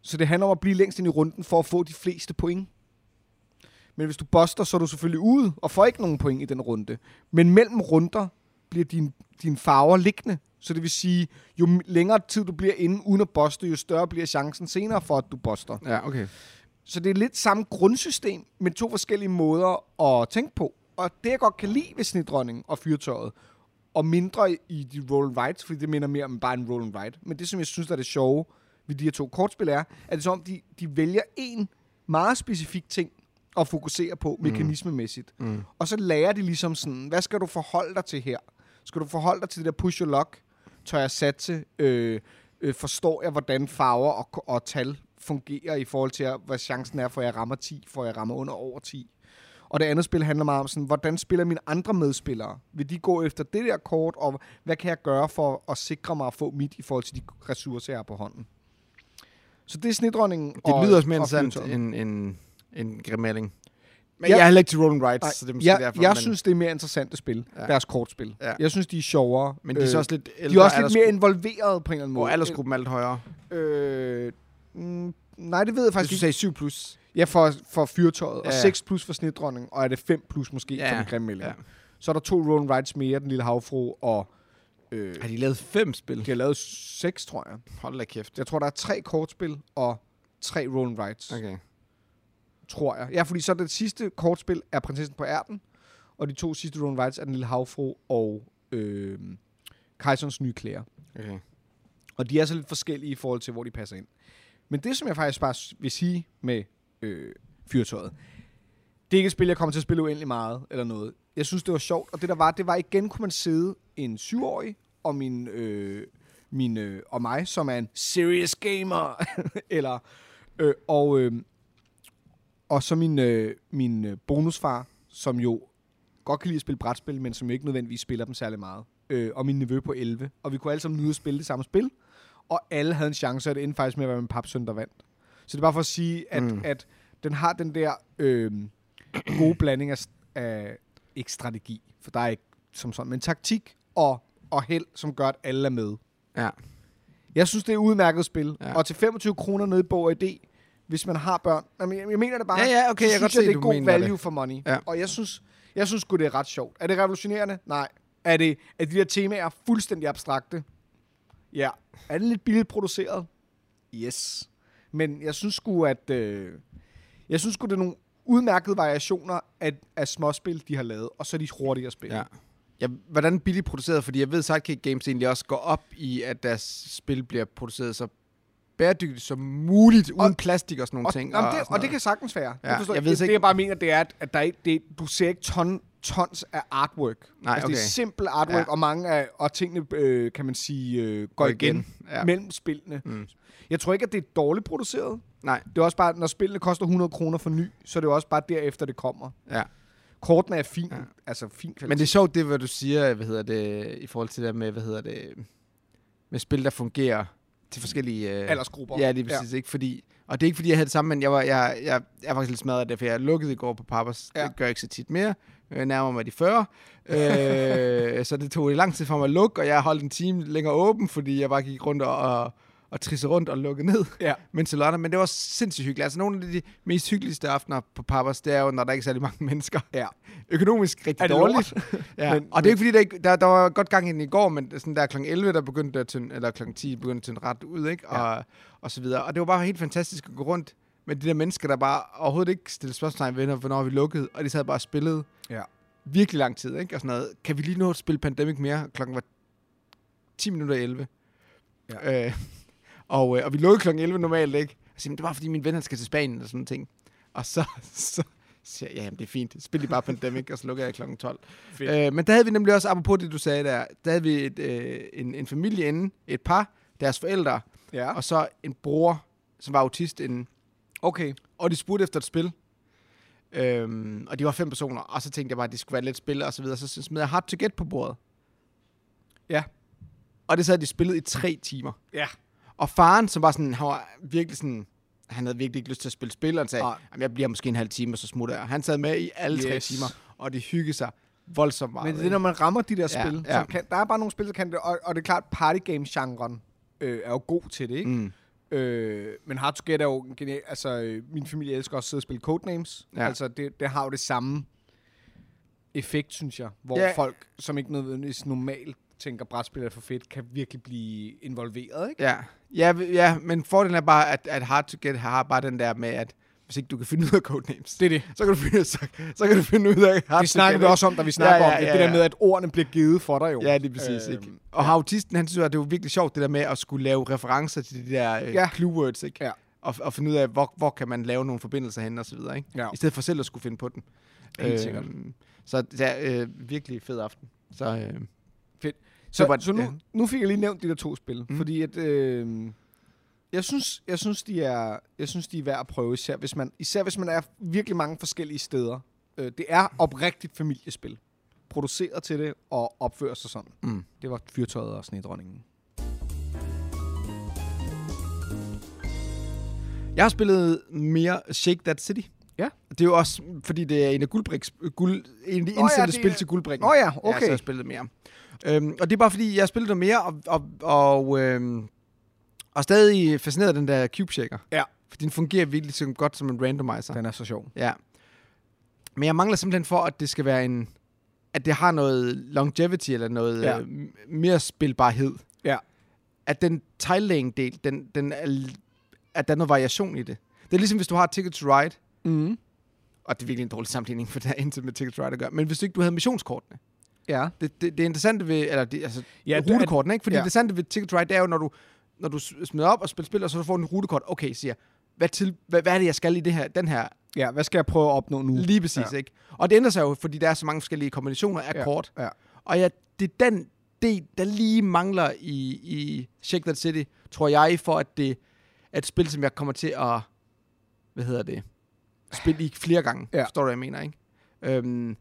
[SPEAKER 2] Så det handler om at blive længst ind i runden for at få de fleste point. Men hvis du buster, så er du selvfølgelig ude og får ikke nogen point i den runde. Men mellem runder bliver dine din farver liggende. Så det vil sige, jo m- længere tid du bliver inde uden at buste, jo større bliver chancen senere for, at du buster.
[SPEAKER 1] Ja, okay.
[SPEAKER 2] Så det er lidt samme grundsystem, men to forskellige måder at tænke på. Og det, jeg godt kan lide ved snedronningen og fyrtøjet, og mindre i de roll and rides, fordi det minder mere om bare en roll and ride. Men det, som jeg synes, der er det sjove ved de her to kortspil, er, at det er som om, de, de vælger en meget specifik ting at fokusere på mekanismemæssigt.
[SPEAKER 1] Mm.
[SPEAKER 2] Og så lærer de ligesom sådan, hvad skal du forholde dig til her? Skal du forholde dig til det der push your luck? Tør jeg satse? Øh, øh, forstår jeg, hvordan farver og, og tal fungerer i forhold til, hvad chancen er for, at jeg rammer 10, for at jeg rammer under over 10? Og det andet spil handler meget om sådan, hvordan spiller mine andre medspillere? Vil de gå efter det der kort, og hvad kan jeg gøre for at sikre mig at få mit i forhold til de ressourcer, jeg har på hånden? Så det er snedronningen.
[SPEAKER 1] Det
[SPEAKER 2] og-
[SPEAKER 1] lyder også mere
[SPEAKER 2] og
[SPEAKER 1] interessant
[SPEAKER 2] fyrtøjet.
[SPEAKER 1] end en, en grim melding. Men
[SPEAKER 2] Ja.
[SPEAKER 1] jeg er heller ikke til roll and rides,
[SPEAKER 2] Nej,
[SPEAKER 1] så det er måske
[SPEAKER 2] jeg,
[SPEAKER 1] derfor.
[SPEAKER 2] jeg
[SPEAKER 1] men,
[SPEAKER 2] synes, det er mere interessante spil.
[SPEAKER 1] Ja.
[SPEAKER 2] Ja. Deres kortspil.
[SPEAKER 1] Ja.
[SPEAKER 2] Ja. Jeg synes, de er sjovere.
[SPEAKER 1] men de er så også lidt
[SPEAKER 2] øh,
[SPEAKER 1] ældre,
[SPEAKER 2] de er også lidt
[SPEAKER 1] alders-
[SPEAKER 2] mere involveret på en eller anden måde.
[SPEAKER 1] og aldersgruppen er lidt højere.
[SPEAKER 2] Øh, mm, nej, det ved jeg
[SPEAKER 1] Hvis
[SPEAKER 2] faktisk
[SPEAKER 1] du
[SPEAKER 2] ikke.
[SPEAKER 1] sagde 7 plus.
[SPEAKER 2] Ja, for, for fyrtøjet. Ja. Og
[SPEAKER 1] Ja.
[SPEAKER 2] 6 plus for snedronning. Og er det 5 plus måske
[SPEAKER 1] Ja,
[SPEAKER 2] ja. for den grimme melding.
[SPEAKER 1] ja.
[SPEAKER 2] Ja. Så er der to roll and rides mere, den lille havfru. Og øh,
[SPEAKER 1] Har de lavet fem spil?
[SPEAKER 2] de har lavet 6, tror jeg.
[SPEAKER 1] Hold da kæft.
[SPEAKER 2] Jeg tror, der er tre kortspil og tre roll and rides.
[SPEAKER 1] Okay.
[SPEAKER 2] tror jeg. Ja, fordi så det sidste kortspil er Prinsessen på Ærten, og de to sidste Roland Whites er Den Lille Havfru og øh, Kejserens Nye Klæder.
[SPEAKER 1] okay.
[SPEAKER 2] Og de er så lidt forskellige i forhold til, hvor de passer ind. Men det, som jeg faktisk bare s- vil sige med øh, fyrtøjet, det er ikke et spil, jeg kommer til at spille uendelig meget eller noget. Jeg synes, det var sjovt, og det der var, det var igen, kunne man sidde en syvårig og min, øh, min øh, og mig, som er en serious gamer, [LAUGHS] eller Øh, og, øh, og så min, øh, min øh, bonusfar, som jo godt kan lide at spille brætspil, men som jo ikke nødvendigvis spiller dem særlig meget. Øh, og min nevø på 11. Og vi kunne alle sammen nyde at spille det samme spil. Og alle havde en chance, og det endte faktisk med at være min papsøn, der vandt. Så det er bare for at sige, at, mm. at den har den der øh, gode blanding af, af ikke strategi, for der er ikke som sådan, men taktik og, og held, som gør, at alle er med.
[SPEAKER 1] Ja.
[SPEAKER 2] Jeg synes, det er et udmærket spil.
[SPEAKER 1] Ja.
[SPEAKER 2] Ja. Og til 25 kroner nede i Bog ID, hvis man har børn. Jamen, jeg, jeg mener det bare.
[SPEAKER 1] Ja, ja, okay,
[SPEAKER 2] så
[SPEAKER 1] jeg kan godt
[SPEAKER 2] synes
[SPEAKER 1] se,
[SPEAKER 2] jeg, det
[SPEAKER 1] du
[SPEAKER 2] er god
[SPEAKER 1] mener det.
[SPEAKER 2] value for money.
[SPEAKER 1] Ja.
[SPEAKER 2] Og jeg synes, jeg synes sgu, det er ret sjovt. Er det revolutionerende? Nej. Er, det, er de der temaer fuldstændig abstrakte? Ja. Er det lidt billigt produceret? Yes. Men jeg synes sgu, at... Øh, jeg synes sgu, det er nogle udmærkede variationer af, af småspil, de har lavet. Og så er de hurtigere spil.
[SPEAKER 1] Ja. ja. Hvordan billigt produceret? Fordi jeg ved, Sidekick Games egentlig også går op i, at deres spil bliver produceret så bæredygtigt som muligt, uden plastik og sådan nogle
[SPEAKER 2] Og,
[SPEAKER 1] ting.
[SPEAKER 2] jamen, det,
[SPEAKER 1] sådan
[SPEAKER 2] og det
[SPEAKER 1] noget.
[SPEAKER 2] kan sagtens være.
[SPEAKER 1] Ja,
[SPEAKER 2] Ja, forstår,
[SPEAKER 1] jeg
[SPEAKER 2] jeg
[SPEAKER 1] ved
[SPEAKER 2] ved det,
[SPEAKER 1] ikke-
[SPEAKER 2] det, jeg bare mener, det er, at- at der ikke, det, du ser ikke ton, tons af artwork.
[SPEAKER 1] Nej,
[SPEAKER 2] altså, Det
[SPEAKER 1] okay.
[SPEAKER 2] er simpel artwork,
[SPEAKER 1] Ja.
[SPEAKER 2] ja. og mange af og tingene, øh, kan man sige, øh, går
[SPEAKER 1] Går igen.
[SPEAKER 2] igen,
[SPEAKER 1] Ja.
[SPEAKER 2] ja. mellem spillene.
[SPEAKER 1] Mm.
[SPEAKER 2] Mm. Jeg tror ikke, at det er dårligt produceret.
[SPEAKER 1] Nej,
[SPEAKER 2] Det er også bare, når spillene koster 100 kroner for ny, så er det jo også bare derefter, det kommer.
[SPEAKER 1] ja.
[SPEAKER 2] Kortene er fint, ja. altså fint
[SPEAKER 1] Men det er sjovt, det hvad du siger, hvad hedder det, i forhold til det der med, hvad hedder det, med spil, der fungerer til forskellige... Øh,
[SPEAKER 2] aldersgrupper.
[SPEAKER 1] Ja, det er præcis ja. ikke, fordi... Og det er ikke, fordi jeg havde det samme, men jeg var, jeg, jeg, jeg er faktisk lidt smadret af det, for jeg lukkede i går på Pappers. Ja.
[SPEAKER 2] Ja.
[SPEAKER 1] Det gør jeg ikke så tit mere. Jeg nærmer mig de 40. øh, [LAUGHS] så det tog lidt lang tid for mig at lukke, og jeg holdt en time længere åben, fordi jeg bare gik rundt og, og, og trissede rundt og lukkede ned. [LAUGHS]
[SPEAKER 2] Ja.
[SPEAKER 1] Men til lørdag, men det var sindssygt hyggeligt. Altså nogle af de mest hyggeligste aftener på Pappers, det er jo, når der ikke er særlig mange mennesker.
[SPEAKER 2] Ja.
[SPEAKER 1] [LAUGHS] Økonomisk rigtig
[SPEAKER 2] Er det
[SPEAKER 1] dårligt. ja. men,
[SPEAKER 2] Men-
[SPEAKER 1] og det er ikke fordi, der, ikke, der, der var godt gang ind i går, men sådan der kl. 11, der begyndte der til, eller kl. 10 begyndte til ret ud, ikke? Og, ja. og så videre. Og det var bare helt fantastisk at gå rundt med de der mennesker, der bare overhovedet ikke stillede spørgsmålstegn ved, hvornår vi lukkede, og de sad bare og spillede
[SPEAKER 2] Ja.
[SPEAKER 1] virkelig lang tid, ikke? Og sådan noget. Kan vi lige nå at spille Pandemic mere? Klokken var 10 minutter i 11. Ja. Øh, [LAUGHS] og, øh, og vi lukkede klokken 11 normalt, ikke? Og så siger, "Men det var fordi min ven, han skal til Spanien og sådan ting. Og så, [LAUGHS] så siger jeg, jamen det er fint. Spil lige bare Pandemic, og så lukker jeg klokken 12.
[SPEAKER 2] Fedt.
[SPEAKER 1] Øh, men der havde vi nemlig også, apropos det, du sagde der, der havde vi et, øh, en, en familie inde, et par, deres forældre,
[SPEAKER 2] ja.
[SPEAKER 1] og så en bror, som var autist inden.
[SPEAKER 2] Okay.
[SPEAKER 1] Og de spurgte efter et spil. Øhm, og de var fem personer, og så tænkte jeg bare, at det skulle være lidt spil og så videre. Så smed jeg Hard to Get på bordet.
[SPEAKER 2] Ja.
[SPEAKER 1] Og det sad de spillet i tre timer.
[SPEAKER 2] Ja.
[SPEAKER 1] Og faren, som var sådan, han var virkelig sådan, han havde virkelig ikke lyst til at spille spil, og han sagde,
[SPEAKER 2] Nej.
[SPEAKER 1] "Jamen, jeg bliver måske en halv time, og så smutter jeg. Han sad med i alle yes. tre
[SPEAKER 2] Yes.
[SPEAKER 1] timer, og det hyggede sig voldsomt meget.
[SPEAKER 2] Men det er,
[SPEAKER 1] ikke?
[SPEAKER 2] når man rammer de der
[SPEAKER 1] Ja,
[SPEAKER 2] ja, spil.
[SPEAKER 1] ja.
[SPEAKER 2] Ja. Kan, der er bare nogle spil, der kan det. Og, og det er klart, partygame-genren øh, er jo god til det, ikke?
[SPEAKER 1] Mm.
[SPEAKER 2] Øh, men Hard to Get er jo genial. Altså, øh, min familie elsker også at sidde og spille Codenames.
[SPEAKER 1] Ja.
[SPEAKER 2] Ja. Altså, det, det har jo det samme effekt, synes jeg. Hvor
[SPEAKER 1] Ja.
[SPEAKER 2] ja. folk, som ikke nødvendigvis normalt tænker, brætspil er for fedt, kan virkelig blive involveret, ikke?
[SPEAKER 1] Ja. Ja, vi- ja, men fordelen er bare, at, at Hard to Get har bare den der med, at hvis ikke du kan finde ud af codenames,
[SPEAKER 2] Det er det.
[SPEAKER 1] så kan du finde, så, så kan du finde ud af Hard
[SPEAKER 2] Det snakker vi også om, da vi snakker ja, ja, ja, om det. Det der med, at ordene bliver givet for dig jo.
[SPEAKER 1] Ja, det er præcis,
[SPEAKER 2] Øhm,
[SPEAKER 1] øh, ikke? Og ja. autisten, han synes, at det var virkelig sjovt, det der med at skulle lave referencer til de der øh, ja.
[SPEAKER 2] Ja.
[SPEAKER 1] clue words, ikke?
[SPEAKER 2] Ja.
[SPEAKER 1] Og, og finde ud af, hvor, hvor kan man lave nogle forbindelser hen og så videre, ikke?
[SPEAKER 2] Ja.
[SPEAKER 1] I stedet for selv at skulle finde på den. Øhm,
[SPEAKER 2] Helt sikkert.
[SPEAKER 1] Så det er øh, virkelig fed aften. Så øh,
[SPEAKER 2] Fedt.
[SPEAKER 1] Det
[SPEAKER 2] Så,
[SPEAKER 1] var-
[SPEAKER 2] så, så nu,
[SPEAKER 1] ja.
[SPEAKER 2] nu fik jeg lige nævnt de der to spil, mm. fordi at øh, jeg synes jeg synes de er jeg synes de er værd at prøve især hvis man især hvis man er virkelig mange forskellige steder. Øh, det er oprigtigt familiespil. Produceret til det og opfører sig sådan.
[SPEAKER 1] Mm.
[SPEAKER 2] Det var fyrtøjet og snedronningen.
[SPEAKER 1] Jeg har spillet mere Shake That City.
[SPEAKER 2] Ja.
[SPEAKER 1] Det er jo også, fordi det er en af Guldbriks, guld, en af de
[SPEAKER 2] Nå ja,
[SPEAKER 1] indsendte ja,
[SPEAKER 2] det
[SPEAKER 1] spil
[SPEAKER 2] er-
[SPEAKER 1] til Guldbrikken.
[SPEAKER 2] Nå ja,
[SPEAKER 1] Ja, så har
[SPEAKER 2] okay.
[SPEAKER 1] jeg spillet mere. Øhm, og det er bare fordi, jeg har spillet noget mere, og, og, og, øhm, og stadig fascineret af den der Cube Shaker.
[SPEAKER 2] Ja.
[SPEAKER 1] Fordi den fungerer virkelig så godt som en randomizer.
[SPEAKER 2] Den er så sjov.
[SPEAKER 1] Ja. Men jeg mangler simpelthen for, at det skal være en... At det har noget longevity, eller noget ja.
[SPEAKER 2] Ja.
[SPEAKER 1] øh, m- mere spilbarhed.
[SPEAKER 2] Ja.
[SPEAKER 1] At den tile-laying-del, den, den er, l- at der er noget variation i det. Det er ligesom, hvis du har Ticket to Ride,
[SPEAKER 2] Mm.
[SPEAKER 1] og det er virkelig en dårlig sammenligning, for der er intet med Ticket to Ride at gøre, men hvis du ikke du havde missionskortene.
[SPEAKER 2] Ja.
[SPEAKER 1] Det, det, det interessante ved, eller det, altså, ja,
[SPEAKER 2] Ja, det er-
[SPEAKER 1] rutekortene, ikke? Fordi ja.
[SPEAKER 2] ja.
[SPEAKER 1] det interessante ved Ticket to Ride, det er jo, når du, når du s- smider op og spiller spil, og så får du en rutekort. Okay, siger jeg, hvad, til, hvad, hvad er det, jeg skal i det her, den her
[SPEAKER 2] Ja, hvad skal jeg prøve at opnå nu?
[SPEAKER 1] Lige præcis, ja.
[SPEAKER 2] Ja.
[SPEAKER 1] ikke? Og det ændrer sig jo, fordi der er så mange forskellige kombinationer af ja.
[SPEAKER 2] Ja,
[SPEAKER 1] kort.
[SPEAKER 2] ja.
[SPEAKER 1] Og ja, det er den del, der lige mangler i, i Shake That City, tror jeg, for at det er et spil, som jeg kommer til at hvad hedder det, spil i flere gange,
[SPEAKER 2] Ja.
[SPEAKER 1] ja. forstår du, hvad jeg mener, ikke? Øhm,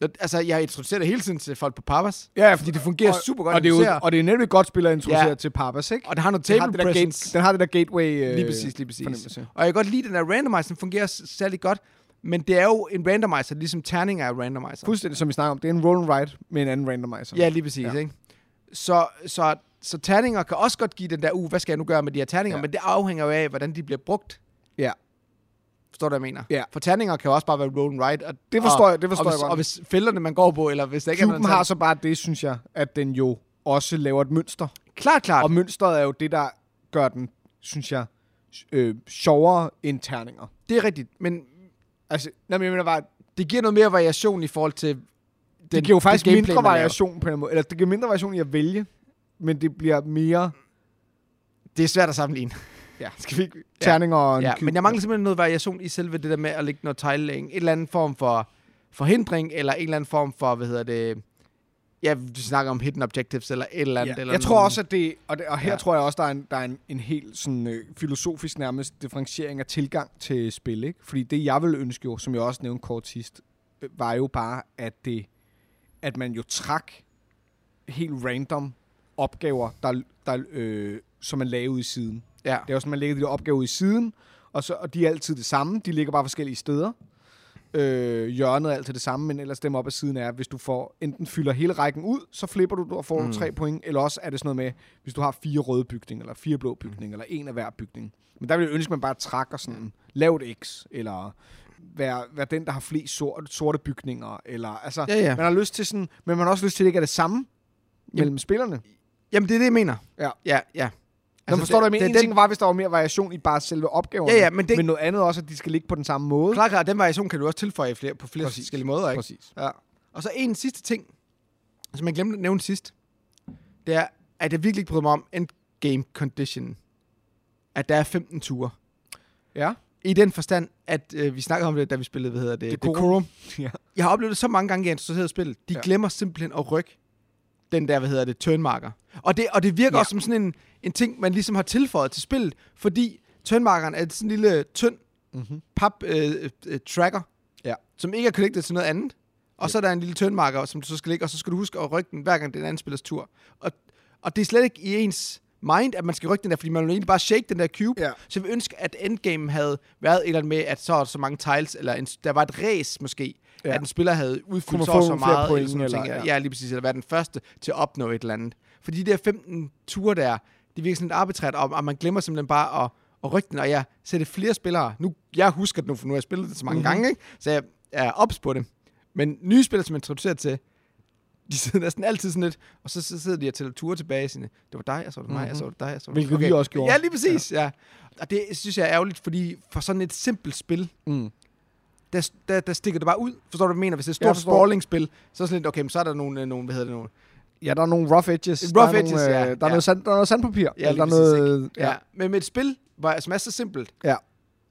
[SPEAKER 1] jeg- altså, jeg introducerer det hele tiden til folk på Papas,
[SPEAKER 2] Ja,
[SPEAKER 1] fordi det fungerer
[SPEAKER 2] og,
[SPEAKER 1] super godt.
[SPEAKER 2] Og det, er jo,
[SPEAKER 1] og,
[SPEAKER 2] og det er nemlig et godt spil at introducere
[SPEAKER 1] Ja.
[SPEAKER 2] til Papas, ikke?
[SPEAKER 1] og det har noget
[SPEAKER 2] Den har
[SPEAKER 1] table
[SPEAKER 2] det der
[SPEAKER 1] presence.
[SPEAKER 2] gate, den har det der gateway øh,
[SPEAKER 1] Lige præcis, lige præcis.
[SPEAKER 2] fornemmelse.
[SPEAKER 1] Og jeg kan godt lide den der randomizer, den fungerer s- særlig godt, men det er jo en randomizer, ligesom terninger er randomizer.
[SPEAKER 2] Fuldstændig som vi snakker om, det er en roll and ride med en anden randomizer.
[SPEAKER 1] Ja, lige præcis,
[SPEAKER 2] Ja.
[SPEAKER 1] ja. ikke? Så, så, så terninger kan også godt give den der, uh, hvad skal jeg nu gøre med de her terninger?
[SPEAKER 2] Ja.
[SPEAKER 1] Ja. Men det afhænger jo af, hvordan de bliver brugt.
[SPEAKER 2] Ja.
[SPEAKER 1] Forstår du, hvad jeg mener?
[SPEAKER 2] Ja.
[SPEAKER 1] For terninger kan jo også bare være roll and ride. Og,
[SPEAKER 2] Det forstår
[SPEAKER 1] og,
[SPEAKER 2] jeg- det forstår
[SPEAKER 1] og
[SPEAKER 2] jeg
[SPEAKER 1] hvis,
[SPEAKER 2] godt.
[SPEAKER 1] Og hvis fælderne, man går på, eller hvis der ikke er
[SPEAKER 2] Cuben
[SPEAKER 1] noget
[SPEAKER 2] har så bare det, synes jeg, at den jo også laver et mønster.
[SPEAKER 1] Klart, klart.
[SPEAKER 2] Og mønstret er jo det, der gør den, synes jeg, øh, sjovere end terninger.
[SPEAKER 1] det er rigtigt. Men
[SPEAKER 2] Altså, nej, men jeg mener bare,
[SPEAKER 1] det giver noget mere variation i forhold til... Den,
[SPEAKER 2] det giver jo faktisk
[SPEAKER 1] gameplay,
[SPEAKER 2] mindre
[SPEAKER 1] man laver.
[SPEAKER 2] variation på en eller anden måde. Eller det giver mindre variation i at vælge, men det bliver mere
[SPEAKER 1] Det er svært at sammenligne.
[SPEAKER 2] Ja.
[SPEAKER 1] Skal vi ikke... Ja.
[SPEAKER 2] terninger og en
[SPEAKER 1] Ja,
[SPEAKER 2] cube.
[SPEAKER 1] men jeg mangler simpelthen noget variation i selve det der med at lægge noget tegling. Et eller anden form for forhindring, eller en eller anden form for, hvad hedder det... Ja, du snakker om hidden objectives, eller et eller andet.
[SPEAKER 2] Ja,
[SPEAKER 1] Eller
[SPEAKER 2] jeg tror også, at det, og, det, og her ja.
[SPEAKER 1] Ja.
[SPEAKER 2] tror jeg også, der er en, der er en, en helt sådan, øh, filosofisk nærmest differentiering af tilgang til spil. Ikke? Fordi det, jeg ville ønske jo, som jeg også nævnte kort sidst, øh, var jo bare, at, det, at man jo trak helt random opgaver, der, der, øh, som man lagde ud i siden.
[SPEAKER 1] Ja.
[SPEAKER 2] Det er jo sådan, man lægger de der opgaver ud i siden, og, så, og de er altid det samme. De ligger bare forskellige steder. Øh, hjørnet er altid det samme, men ellers dem op ad siden er, at hvis du får, enten fylder hele rækken ud, så flipper du og får mm.
[SPEAKER 1] Mm.
[SPEAKER 2] tre point, eller også er det sådan noget med, hvis du har fire røde bygninger, eller fire blå bygninger, mm. eller en af hver bygning. Men der vil jeg ønske, at man bare trækker sådan, lav et X, eller vær, vær den, der har flest sorte, sorte bygninger, eller altså,
[SPEAKER 1] Ja, ja.
[SPEAKER 2] man har lyst til sådan, men man har også lyst til, at det ikke er det samme mellem spillerne.
[SPEAKER 1] Jamen, det er det, jeg mener.
[SPEAKER 2] Ja.
[SPEAKER 1] Ja, ja.
[SPEAKER 2] Altså, forstår du,
[SPEAKER 1] det-
[SPEAKER 2] hvad jeg mener?
[SPEAKER 1] det
[SPEAKER 2] En
[SPEAKER 1] er
[SPEAKER 2] ting var, hvis der var mere variation i bare selve opgaverne.
[SPEAKER 1] Ja, ja, men det-
[SPEAKER 2] men noget andet også, at de skal ligge på den samme måde.
[SPEAKER 1] den, klart, klart, den variation kan du også tilføje flere, på flere
[SPEAKER 2] Præcis.
[SPEAKER 1] Præcis. forskellige måder, ikke?
[SPEAKER 2] Præcis.
[SPEAKER 1] Ja. Og så en sidste ting, som jeg glemte at nævne sidst, det er, at jeg virkelig ikke bryder mig om endgame condition. At der er 15 ture.
[SPEAKER 2] Ja.
[SPEAKER 1] I den forstand, at øh, vi snakkede om det, da vi spillede, hvad hedder det?
[SPEAKER 2] Det
[SPEAKER 1] Decorum.
[SPEAKER 2] [LAUGHS] Ja.
[SPEAKER 1] Jeg har oplevet det så mange gange, jeg er interesseret i spillet. De
[SPEAKER 2] Ja.
[SPEAKER 1] ja. glemmer simpelthen at rykke den der, hvad hedder det, turnmarker. Og det, og det virker
[SPEAKER 2] Ja.
[SPEAKER 1] ja. også som sådan en, en ting, man ligesom har tilføjet til spillet, fordi turnmarkeren er sådan en lille tynd
[SPEAKER 2] Mm-hmm.
[SPEAKER 1] pap øh, øh, tracker,
[SPEAKER 2] Ja.
[SPEAKER 1] som ikke er connected til noget andet. Og
[SPEAKER 2] Yep.
[SPEAKER 1] så er der en lille tønmarker, som du så skal lægge, og så skal du huske at rykke den, hver gang den anden spillers tur. Og, og det er slet ikke i ens mind, at man skal rykke den der, fordi man vil egentlig bare shake den der cube.
[SPEAKER 2] Ja.
[SPEAKER 1] Så vi ønsker, at endgame havde været et eller andet med, at så er der så mange tiles, eller en, der var et race måske,
[SPEAKER 2] Ja.
[SPEAKER 1] ja. at en spiller havde udfyldt
[SPEAKER 2] man
[SPEAKER 1] så
[SPEAKER 2] få
[SPEAKER 1] og så
[SPEAKER 2] nogle flere
[SPEAKER 1] meget,
[SPEAKER 2] point,
[SPEAKER 1] sådan nogle
[SPEAKER 2] eller-
[SPEAKER 1] ting, ja. ja, lige præcis, eller være den første til at opnå et eller andet. Fordi de der 15 ture der, det virker sådan lidt arbitrært, og, og man glemmer simpelthen bare at, at rykke den, og jeg sætter flere spillere. Nu, jeg husker det nu, for nu har jeg spillet det så mange
[SPEAKER 2] Mhm.
[SPEAKER 1] mm-hmm. gange, ikke? så jeg er ops på det. Men nye spillere, som jeg introducerer til, de sidder [LAUGHS] næsten altid sådan lidt, og så, så sidder de og tæller ture tilbage, sådan, det var dig, og så var det mig,
[SPEAKER 2] Mhm.
[SPEAKER 1] og så var det dig, og så var det
[SPEAKER 2] Hvilket vi også gjorde.
[SPEAKER 1] Ja, lige præcis, ja. ja. Og det synes jeg er ærgerligt, fordi for sådan et simpelt spil,
[SPEAKER 2] Mm.
[SPEAKER 1] der, der, der stikker det bare ud. Forstår du, hvad jeg mener? Hvis det er
[SPEAKER 2] Ja,
[SPEAKER 1] et stort
[SPEAKER 2] jeg forstår.
[SPEAKER 1] sprawling-spil, så er det sådan lidt, okay, men så er der nogle, øh, nogle hvad hedder det, nogle...
[SPEAKER 2] Ja, der er nogle rough edges.
[SPEAKER 1] Rough
[SPEAKER 2] der er
[SPEAKER 1] edges,
[SPEAKER 2] nogle, øh,
[SPEAKER 1] ja.
[SPEAKER 2] Der er,
[SPEAKER 1] Ja.
[SPEAKER 2] noget sand, der er noget sandpapir.
[SPEAKER 1] Ja,
[SPEAKER 2] Eller der
[SPEAKER 1] lige
[SPEAKER 2] er
[SPEAKER 1] præcis,
[SPEAKER 2] noget...
[SPEAKER 1] Ja. ja. Men med et spil, hvor, som er så simpelt,
[SPEAKER 2] Ja.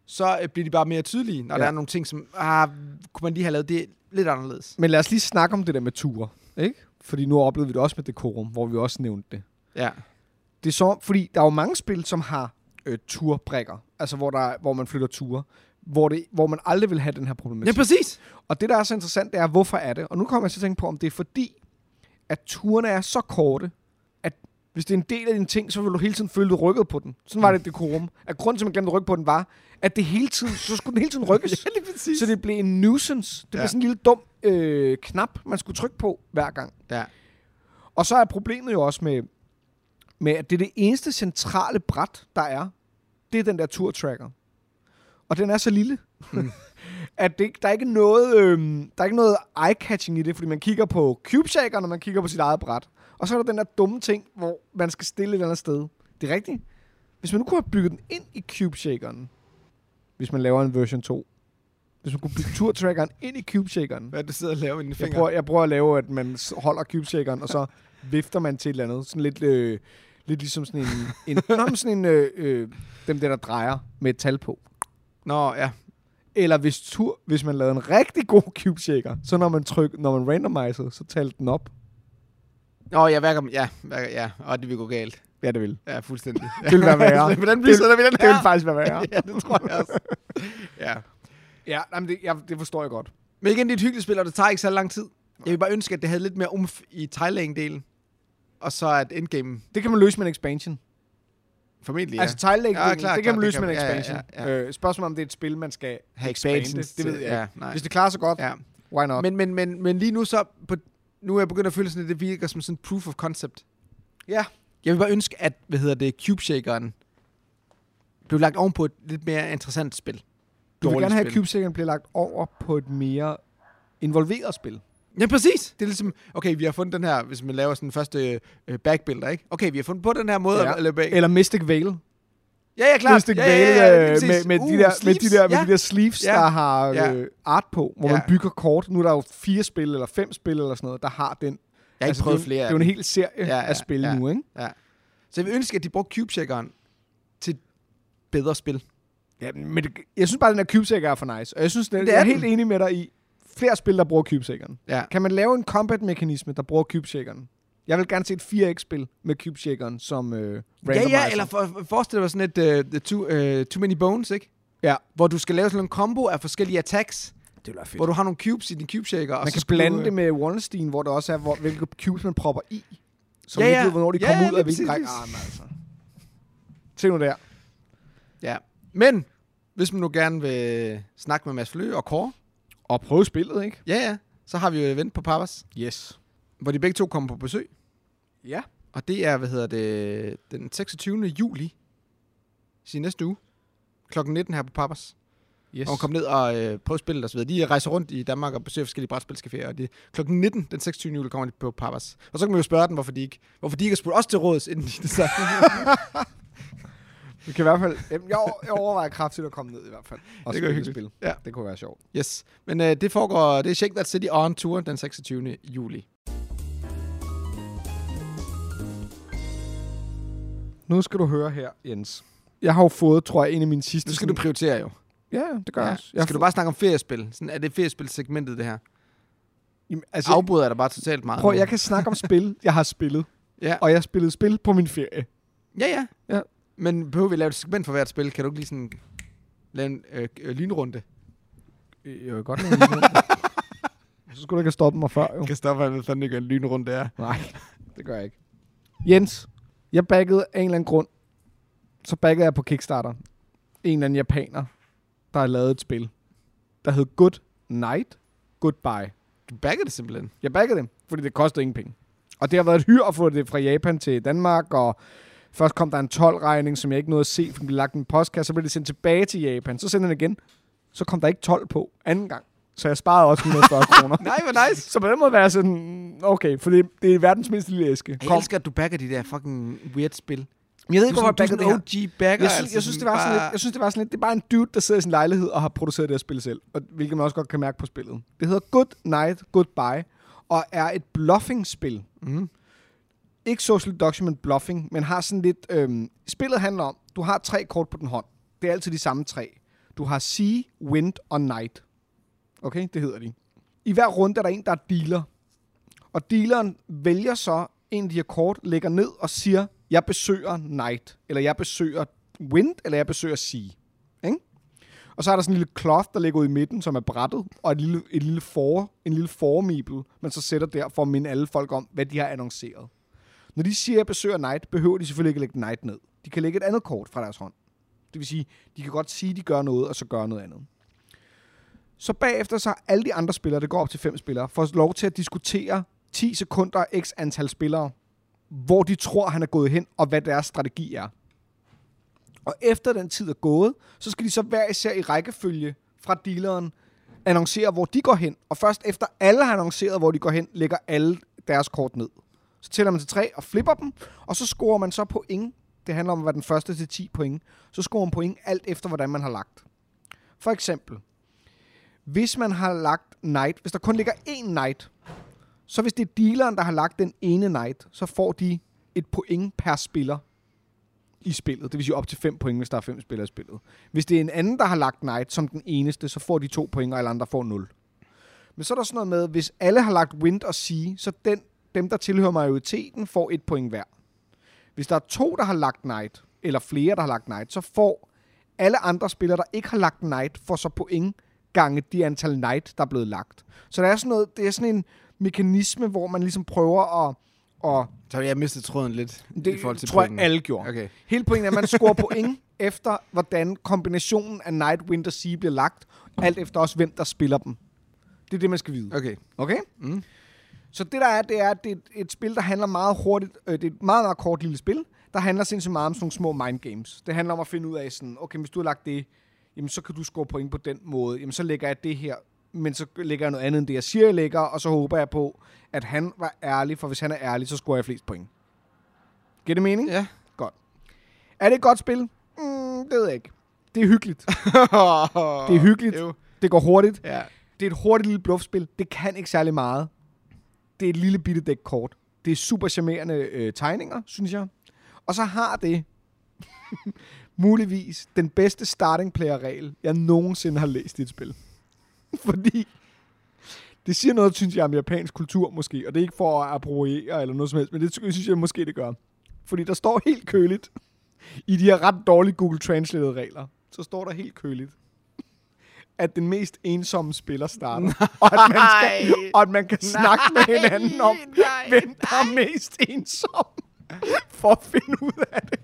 [SPEAKER 1] så øh, bliver de bare mere tydelige, når
[SPEAKER 2] Ja.
[SPEAKER 1] ja. der er nogle ting, som, ah, kunne man lige have lavet det lidt anderledes.
[SPEAKER 2] Men lad os lige snakke om det der med ture. Ikke? Fordi nu oplevede vi det også med dekorum, hvor vi også nævnte det.
[SPEAKER 1] Ja.
[SPEAKER 2] Det er så, fordi der er jo mange spil, som har øh, turbrikker. Altså, hvor, der, hvor man flytter ture. Hvor, det, hvor man aldrig vil have den her problematik.
[SPEAKER 1] Ja, præcis.
[SPEAKER 2] Og det, der er så interessant, det er, hvorfor er det? Og nu kommer jeg til at tænke på, om det er fordi, at turene er så korte, at hvis det er en del af dine ting, så vil du hele tiden føle, at du rykkede på den. Sådan
[SPEAKER 1] Mm.
[SPEAKER 2] var det i dekorum. At grunden til, at man glemte at rykke på den, var, at det hele tiden, så skulle den hele tiden rykkes.
[SPEAKER 1] Ja, lige [LAUGHS] præcis.
[SPEAKER 2] så det blev en nuisance. Det blev
[SPEAKER 1] Ja.
[SPEAKER 2] sådan en lille dum øh, knap, man skulle trykke på hver gang.
[SPEAKER 1] Ja.
[SPEAKER 2] Og så er problemet jo også med, med at det er det eneste centrale bræt, der er, det er den der turtracker. Og den er så lille, [LAUGHS] at det, ikke- der er ikke noget, øhm, der er ikke noget eye-catching i det, fordi man kigger på cubeshaker, når man kigger på sit eget bræt. Og så er der den der dumme ting, hvor man skal stille et eller andet sted. Det er rigtigt. Hvis man nu kunne have bygget den ind i cubeshakeren, hvis man laver en version 2, hvis man kunne bygge turtrackeren ind i cubeshakeren,
[SPEAKER 1] Hvad er det, du sidder og laver med dine
[SPEAKER 2] jeg
[SPEAKER 1] fingre?
[SPEAKER 2] prøver, jeg prøver at lave, at man s- holder cubeshakeren, og
[SPEAKER 1] [LAUGHS]
[SPEAKER 2] så vifter man til et eller andet. Sådan lidt, øh, lidt ligesom sådan en... en
[SPEAKER 1] [LAUGHS]
[SPEAKER 2] nå, men sådan en øh, øh, dem der, der drejer med et tal på.
[SPEAKER 1] Nå, ja.
[SPEAKER 2] Eller hvis, tur, hvis man lavede en rigtig god cubeshaker, så når man, tryk, når man randomiser, så talte den op.
[SPEAKER 1] Nå, ja, hver gang, ja, hver gang, ja. Og det vil gå galt.
[SPEAKER 2] Ja, det vil.
[SPEAKER 1] [LAUGHS] Ja, fuldstændig.
[SPEAKER 2] Det vil være værre.
[SPEAKER 1] Hvordan bliver
[SPEAKER 2] Det-
[SPEAKER 1] sådan, vi den
[SPEAKER 2] Det
[SPEAKER 1] her?
[SPEAKER 2] vil faktisk være
[SPEAKER 1] [LAUGHS]
[SPEAKER 2] værre.
[SPEAKER 1] Ja, det tror jeg også. ja.
[SPEAKER 2] ja, nej, men det, ja, det forstår jeg godt.
[SPEAKER 1] Men igen, det er et hyggeligt spil, og det tager ikke så lang tid. Jeg vil bare ønske, at det havde lidt mere umf i tilelæging-delen. Og så at endgame
[SPEAKER 2] Det kan man løse med en expansion.
[SPEAKER 1] formentlig
[SPEAKER 2] Ja.
[SPEAKER 1] er
[SPEAKER 2] Altså tile ja,
[SPEAKER 1] klar,
[SPEAKER 2] det
[SPEAKER 1] klar,
[SPEAKER 2] kan
[SPEAKER 1] det
[SPEAKER 2] man løse
[SPEAKER 1] kan
[SPEAKER 2] med en
[SPEAKER 1] man- ja, ja,
[SPEAKER 2] expansion. Ja, ja,
[SPEAKER 1] ja.
[SPEAKER 2] ja. Øh, spørgsmålet om det er et spil, man skal
[SPEAKER 1] have
[SPEAKER 2] expande,
[SPEAKER 1] expansions
[SPEAKER 2] det ved
[SPEAKER 1] til-
[SPEAKER 2] jeg
[SPEAKER 1] Ja, nej.
[SPEAKER 2] Hvis det klarer sig godt, ja.
[SPEAKER 1] ja.
[SPEAKER 2] why not? Men,
[SPEAKER 1] men, men, men, men lige nu så, på, nu er jeg begyndt at føle sådan, at det virker som sådan proof of concept.
[SPEAKER 2] Ja.
[SPEAKER 1] Jeg vil bare ønske, at, hvad hedder det, Cube Shakeren blev lagt ovenpå et lidt mere interessant spil.
[SPEAKER 2] du vil
[SPEAKER 1] Dårligt
[SPEAKER 2] gerne have, at
[SPEAKER 1] spil.
[SPEAKER 2] CubeSagan bliver lagt over på et mere involveret spil.
[SPEAKER 1] Ja, præcis. Det er ligesom, okay, vi har fundet den her, hvis man laver sådan en første øh, backbuilder, ikke? Okay, vi har fundet på den her måde
[SPEAKER 2] Ja.
[SPEAKER 1] at lave bag.
[SPEAKER 2] Eller Mystic Vale.
[SPEAKER 1] Ja, ja, klart.
[SPEAKER 2] Mystic
[SPEAKER 1] ja,
[SPEAKER 2] Vale
[SPEAKER 1] ja, ja, lige
[SPEAKER 2] øh,
[SPEAKER 1] præcis.
[SPEAKER 2] med, med, de
[SPEAKER 1] Uh,
[SPEAKER 2] der, med, de
[SPEAKER 1] sleeves.
[SPEAKER 2] der, med
[SPEAKER 1] ja.
[SPEAKER 2] de der sleeves,
[SPEAKER 1] Ja.
[SPEAKER 2] der har
[SPEAKER 1] Ja.
[SPEAKER 2] øh, art på, hvor
[SPEAKER 1] Ja.
[SPEAKER 2] man bygger kort. Nu er der jo fire spil, eller fem spil, eller sådan noget, der har den. altså,
[SPEAKER 1] Jeg har ikke prøvet flere.
[SPEAKER 2] det er
[SPEAKER 1] af
[SPEAKER 2] jo en
[SPEAKER 1] dem.
[SPEAKER 2] hel serie
[SPEAKER 1] Ja,
[SPEAKER 2] ja,
[SPEAKER 1] ja,
[SPEAKER 2] ja, af spil
[SPEAKER 1] ja.
[SPEAKER 2] ja. nu, ikke?
[SPEAKER 1] Så jeg vil ønske, at de brugte Cube-checkeren til bedre spil.
[SPEAKER 2] Ja, men det, jeg synes bare, at den her cubesækker er for nice. Og jeg synes, det,
[SPEAKER 1] Det
[SPEAKER 2] det er
[SPEAKER 1] er
[SPEAKER 2] jeg er
[SPEAKER 1] den.
[SPEAKER 2] helt enig med dig i flere spil, der bruger cubesækkeren.
[SPEAKER 1] Ja.
[SPEAKER 2] Kan man lave en combat-mekanisme, der bruger cubesækkeren? Jeg vil gerne se et 4X-spil med cubesækkeren som øh,
[SPEAKER 1] Ja,
[SPEAKER 2] randomizer.
[SPEAKER 1] ja, eller for, for- forestil dig sådan et uh, the too, uh, too Many Bones, ikke?
[SPEAKER 2] Ja.
[SPEAKER 1] Hvor du skal lave sådan en combo af forskellige attacks,
[SPEAKER 2] Det ville være fedt.
[SPEAKER 1] hvor du har nogle cubes i din cube shaker. og
[SPEAKER 2] Man
[SPEAKER 1] så
[SPEAKER 2] kan
[SPEAKER 1] skal
[SPEAKER 2] blande
[SPEAKER 1] du, øh,
[SPEAKER 2] det med Wallenstein, hvor der også er, hvor, hvilke cubes man propper i. Så
[SPEAKER 1] Ja,
[SPEAKER 2] man ikke
[SPEAKER 1] ja.
[SPEAKER 2] ved, hvornår de
[SPEAKER 1] Ja,
[SPEAKER 2] kommer
[SPEAKER 1] ja,
[SPEAKER 2] ud
[SPEAKER 1] lige
[SPEAKER 2] af hvilken
[SPEAKER 1] præcis.
[SPEAKER 2] række. Ah, men altså. Se nu der.
[SPEAKER 1] Ja. Men, hvis man nu gerne vil snakke med Mads Flø og Kåre,
[SPEAKER 2] Og prøve spillet, ikke?
[SPEAKER 1] ja, ja, så har vi jo event på Papas,
[SPEAKER 2] Yes.
[SPEAKER 1] hvor de begge to kommer på besøg.
[SPEAKER 2] Ja.
[SPEAKER 1] Og det er, hvad hedder det, den 26. juli, sin næste uge, klokken 19 her på Papas.
[SPEAKER 2] Yes.
[SPEAKER 1] Og hun kom ned og øh, prøvede spillet og så videre. De rejser rundt i Danmark og besøger forskellige brætspilscaféer. Og det, klokken 19, den 26. juli, kommer de på Papas. Og så kan man jo spørge dem, hvorfor de ikke, hvorfor de ikke har spurgt os til råds, inden de så.
[SPEAKER 2] [LAUGHS] Vi kan i hvert fald... Jamen, jeg, over- jeg overvejer kraftigt at komme ned i hvert fald.
[SPEAKER 1] [LAUGHS]
[SPEAKER 2] Og
[SPEAKER 1] Det
[SPEAKER 2] det
[SPEAKER 1] kunne være
[SPEAKER 2] spille et
[SPEAKER 1] hyggeligt.
[SPEAKER 2] spil.
[SPEAKER 1] Ja.
[SPEAKER 2] Det kunne være sjovt.
[SPEAKER 1] yes. Men øh, det foregår, det er Shake That City on Tour den 26. juli.
[SPEAKER 2] Nu skal du høre her, Jens. Jeg har jo fået, tror jeg, en af mine sidste...
[SPEAKER 1] Nu skal du prioritere jo.
[SPEAKER 2] Ja, ja, det gør jeg
[SPEAKER 1] Ja.
[SPEAKER 2] også. Jeg har
[SPEAKER 1] Skal du
[SPEAKER 2] fået-
[SPEAKER 1] bare snakke om feriespil? Sådan, er det feriespilsegmentet, det her?
[SPEAKER 2] Jamen, altså,
[SPEAKER 1] Så afbryder jeg dig bare totalt meget.
[SPEAKER 2] prøv,
[SPEAKER 1] nu.
[SPEAKER 2] jeg kan snakke om spil, jeg har spillet.
[SPEAKER 1] Ja.
[SPEAKER 2] Og jeg spillede spil på min ferie.
[SPEAKER 1] Ja, ja.
[SPEAKER 2] Ja.
[SPEAKER 1] Men behøver vi at lave et segment for hvert spil? Kan du ikke lige sådan lave en øh, øh, lynrunde? Øh,
[SPEAKER 2] Jeg vil godt lide [LAUGHS] Så skulle du ikke have stoppet mig før, jo.
[SPEAKER 1] Kristoffer, jeg ved fandme ikke, hvad en lynrunde er.
[SPEAKER 2] Nej, det gør jeg ikke. Jens, jeg baggede af en eller anden grund. Så baggede jeg på Kickstarter. En eller anden japaner, der har lavet et spil, der hed Good Night, Goodbye.
[SPEAKER 1] Du bagger det simpelthen.
[SPEAKER 2] Jeg baggede dem, fordi det kostede ingen penge. Og det har været et hyr at få det fra Japan til Danmark, og først kom der en 12-regning, som jeg ikke nåede at se, for den blev lagt i en postkasse, så blev det sendt tilbage til Japan. Så sendte den igen. Så kom der ikke 12 på anden gang. Så jeg sparede også 140 kroner.
[SPEAKER 1] [LAUGHS] Nej, hvor nice.
[SPEAKER 2] Så på den måde var jeg sådan, okay, for det, det er verdens mindste lille æske.
[SPEAKER 1] Jeg
[SPEAKER 2] Kom.
[SPEAKER 1] elsker, at du backer de der fucking weird spil.
[SPEAKER 2] Jeg ved
[SPEAKER 1] Du
[SPEAKER 2] ikke, hvorfor jeg baggede det her.
[SPEAKER 1] OG bagger.
[SPEAKER 2] Jeg, synes, jeg, synes, det var altså, sådan lidt, jeg synes, det var sådan lidt, det er bare en dude, der sidder i sin lejlighed og har produceret det her spil selv, og, hvilket man også godt kan mærke på spillet. Det hedder Good Night, Goodbye, og er et bluffing-spil.
[SPEAKER 1] Mhm.
[SPEAKER 2] Ikke social deduction, men bluffing, men har sådan lidt... Øhm, spillet handler om, du har tre kort på den hånd. Det er altid de samme tre. Du har Sea, Wind og Night. Okay, det hedder de. I hver runde er der en, der er dealer. Og dealeren vælger så en af de her kort, lægger ned og siger, jeg besøger Knight, eller jeg besøger Wind, eller jeg besøger Sea. Ikke? Og så er der sådan en lille cloth, der ligger ude i midten, som er brættet, og et lille, et lille for, en lille formibel, man så sætter der for at minde alle folk om, hvad de har annonceret. Når de siger, at jeg besøger Knight, behøver de selvfølgelig ikke at lægge Knight ned. De kan lægge et andet kort fra deres hånd. Det vil sige, de kan godt sige, at de gør noget, og så gør noget andet. Så bagefter så har alle de andre spillere, det går op til fem spillere, får lov til at diskutere 10 sekunder x antal spillere, hvor de tror, han er gået hen, og hvad deres strategi er. Og efter den tid er gået, så skal de så hver især i rækkefølge fra dealeren annoncere, hvor de går hen. Og først efter alle har annonceret, hvor de går hen, lægger alle deres kort ned. Så tæller man til tre og flipper dem, og så scorer man så point. Det handler om at være den første til 10 point. Så scorer man point alt efter, hvordan man har lagt. For eksempel, hvis man har lagt knight, hvis der kun ligger én knight, så hvis det er dealeren, der har lagt den ene knight, så får de et point per spiller i spillet. Det vil sige op til 5 point, hvis der er fem spillere i spillet. Hvis det er en anden, der har lagt knight som den eneste, så får de to point, og alle andre får 0. Men så er der sådan noget med, hvis alle har lagt wind og sea, så den, dem, der tilhører majoriteten, får et point hver. Hvis der er to, der har lagt Knight, eller flere, der har lagt Knight, så får alle andre spillere, der ikke har lagt Knight, får så point gange de antal Knight, der er blevet lagt. Så der er sådan, noget, det er sådan en mekanisme, hvor man ligesom prøver at... at
[SPEAKER 1] Så jeg mistede tråden lidt
[SPEAKER 2] det
[SPEAKER 1] i forhold til
[SPEAKER 2] tror
[SPEAKER 1] pointene.
[SPEAKER 2] jeg, alle gjorde.
[SPEAKER 1] Okay.
[SPEAKER 2] Hele pointen er, at man scorer point [LAUGHS] efter, hvordan kombinationen af Night, Winter, Sea bliver lagt. Alt efter også, hvem der spiller dem. Det er det, man skal vide.
[SPEAKER 1] Okay.
[SPEAKER 2] Okay?
[SPEAKER 1] Mm.
[SPEAKER 2] Så det der er, det er, at det er et- et spil, der handler meget hurtigt. Øh, det er et meget, meget kort lille spil, der handler sindssygt meget om sådan nogle små mind games. Det handler om at finde ud af sådan, okay, hvis du har lagt det, jamen så kan du score point på den måde. Jamen så lægger jeg det her, men så lægger jeg noget andet end det, jeg siger, jeg lægger, og så håber jeg på, at han var ærlig, for hvis han er ærlig, så scorer jeg flest point. Giver det mening?
[SPEAKER 1] Ja.
[SPEAKER 2] Godt. Er det et godt spil? Mm, det ved jeg ikke. Det er hyggeligt. [LAUGHS] Det er hyggeligt.
[SPEAKER 1] Jo.
[SPEAKER 2] Det går hurtigt.
[SPEAKER 1] Ja.
[SPEAKER 2] Det er et hurtigt lille bluffspil. Det kan ikke særlig meget. Det er et lille bitte dæk kort. Det er super charmerende øh, tegninger, synes jeg. Og så har det [LAUGHS] muligvis den bedste starting player regel, jeg nogensinde har læst i et spil. [LAUGHS] Fordi det siger noget, synes jeg, om japansk kultur måske. Og det er ikke for at appropriere eller noget som helst, men det synes jeg måske, det gør. Fordi der står helt køligt i de her ret dårlige Google Translate regler. Så står der helt køligt at den mest ensomme spiller starter. Og at man, skal,
[SPEAKER 1] Nej.
[SPEAKER 2] og at man kan snakke med hinanden om,
[SPEAKER 1] nej,
[SPEAKER 2] hvem der er mest ensom, for at finde ud af det.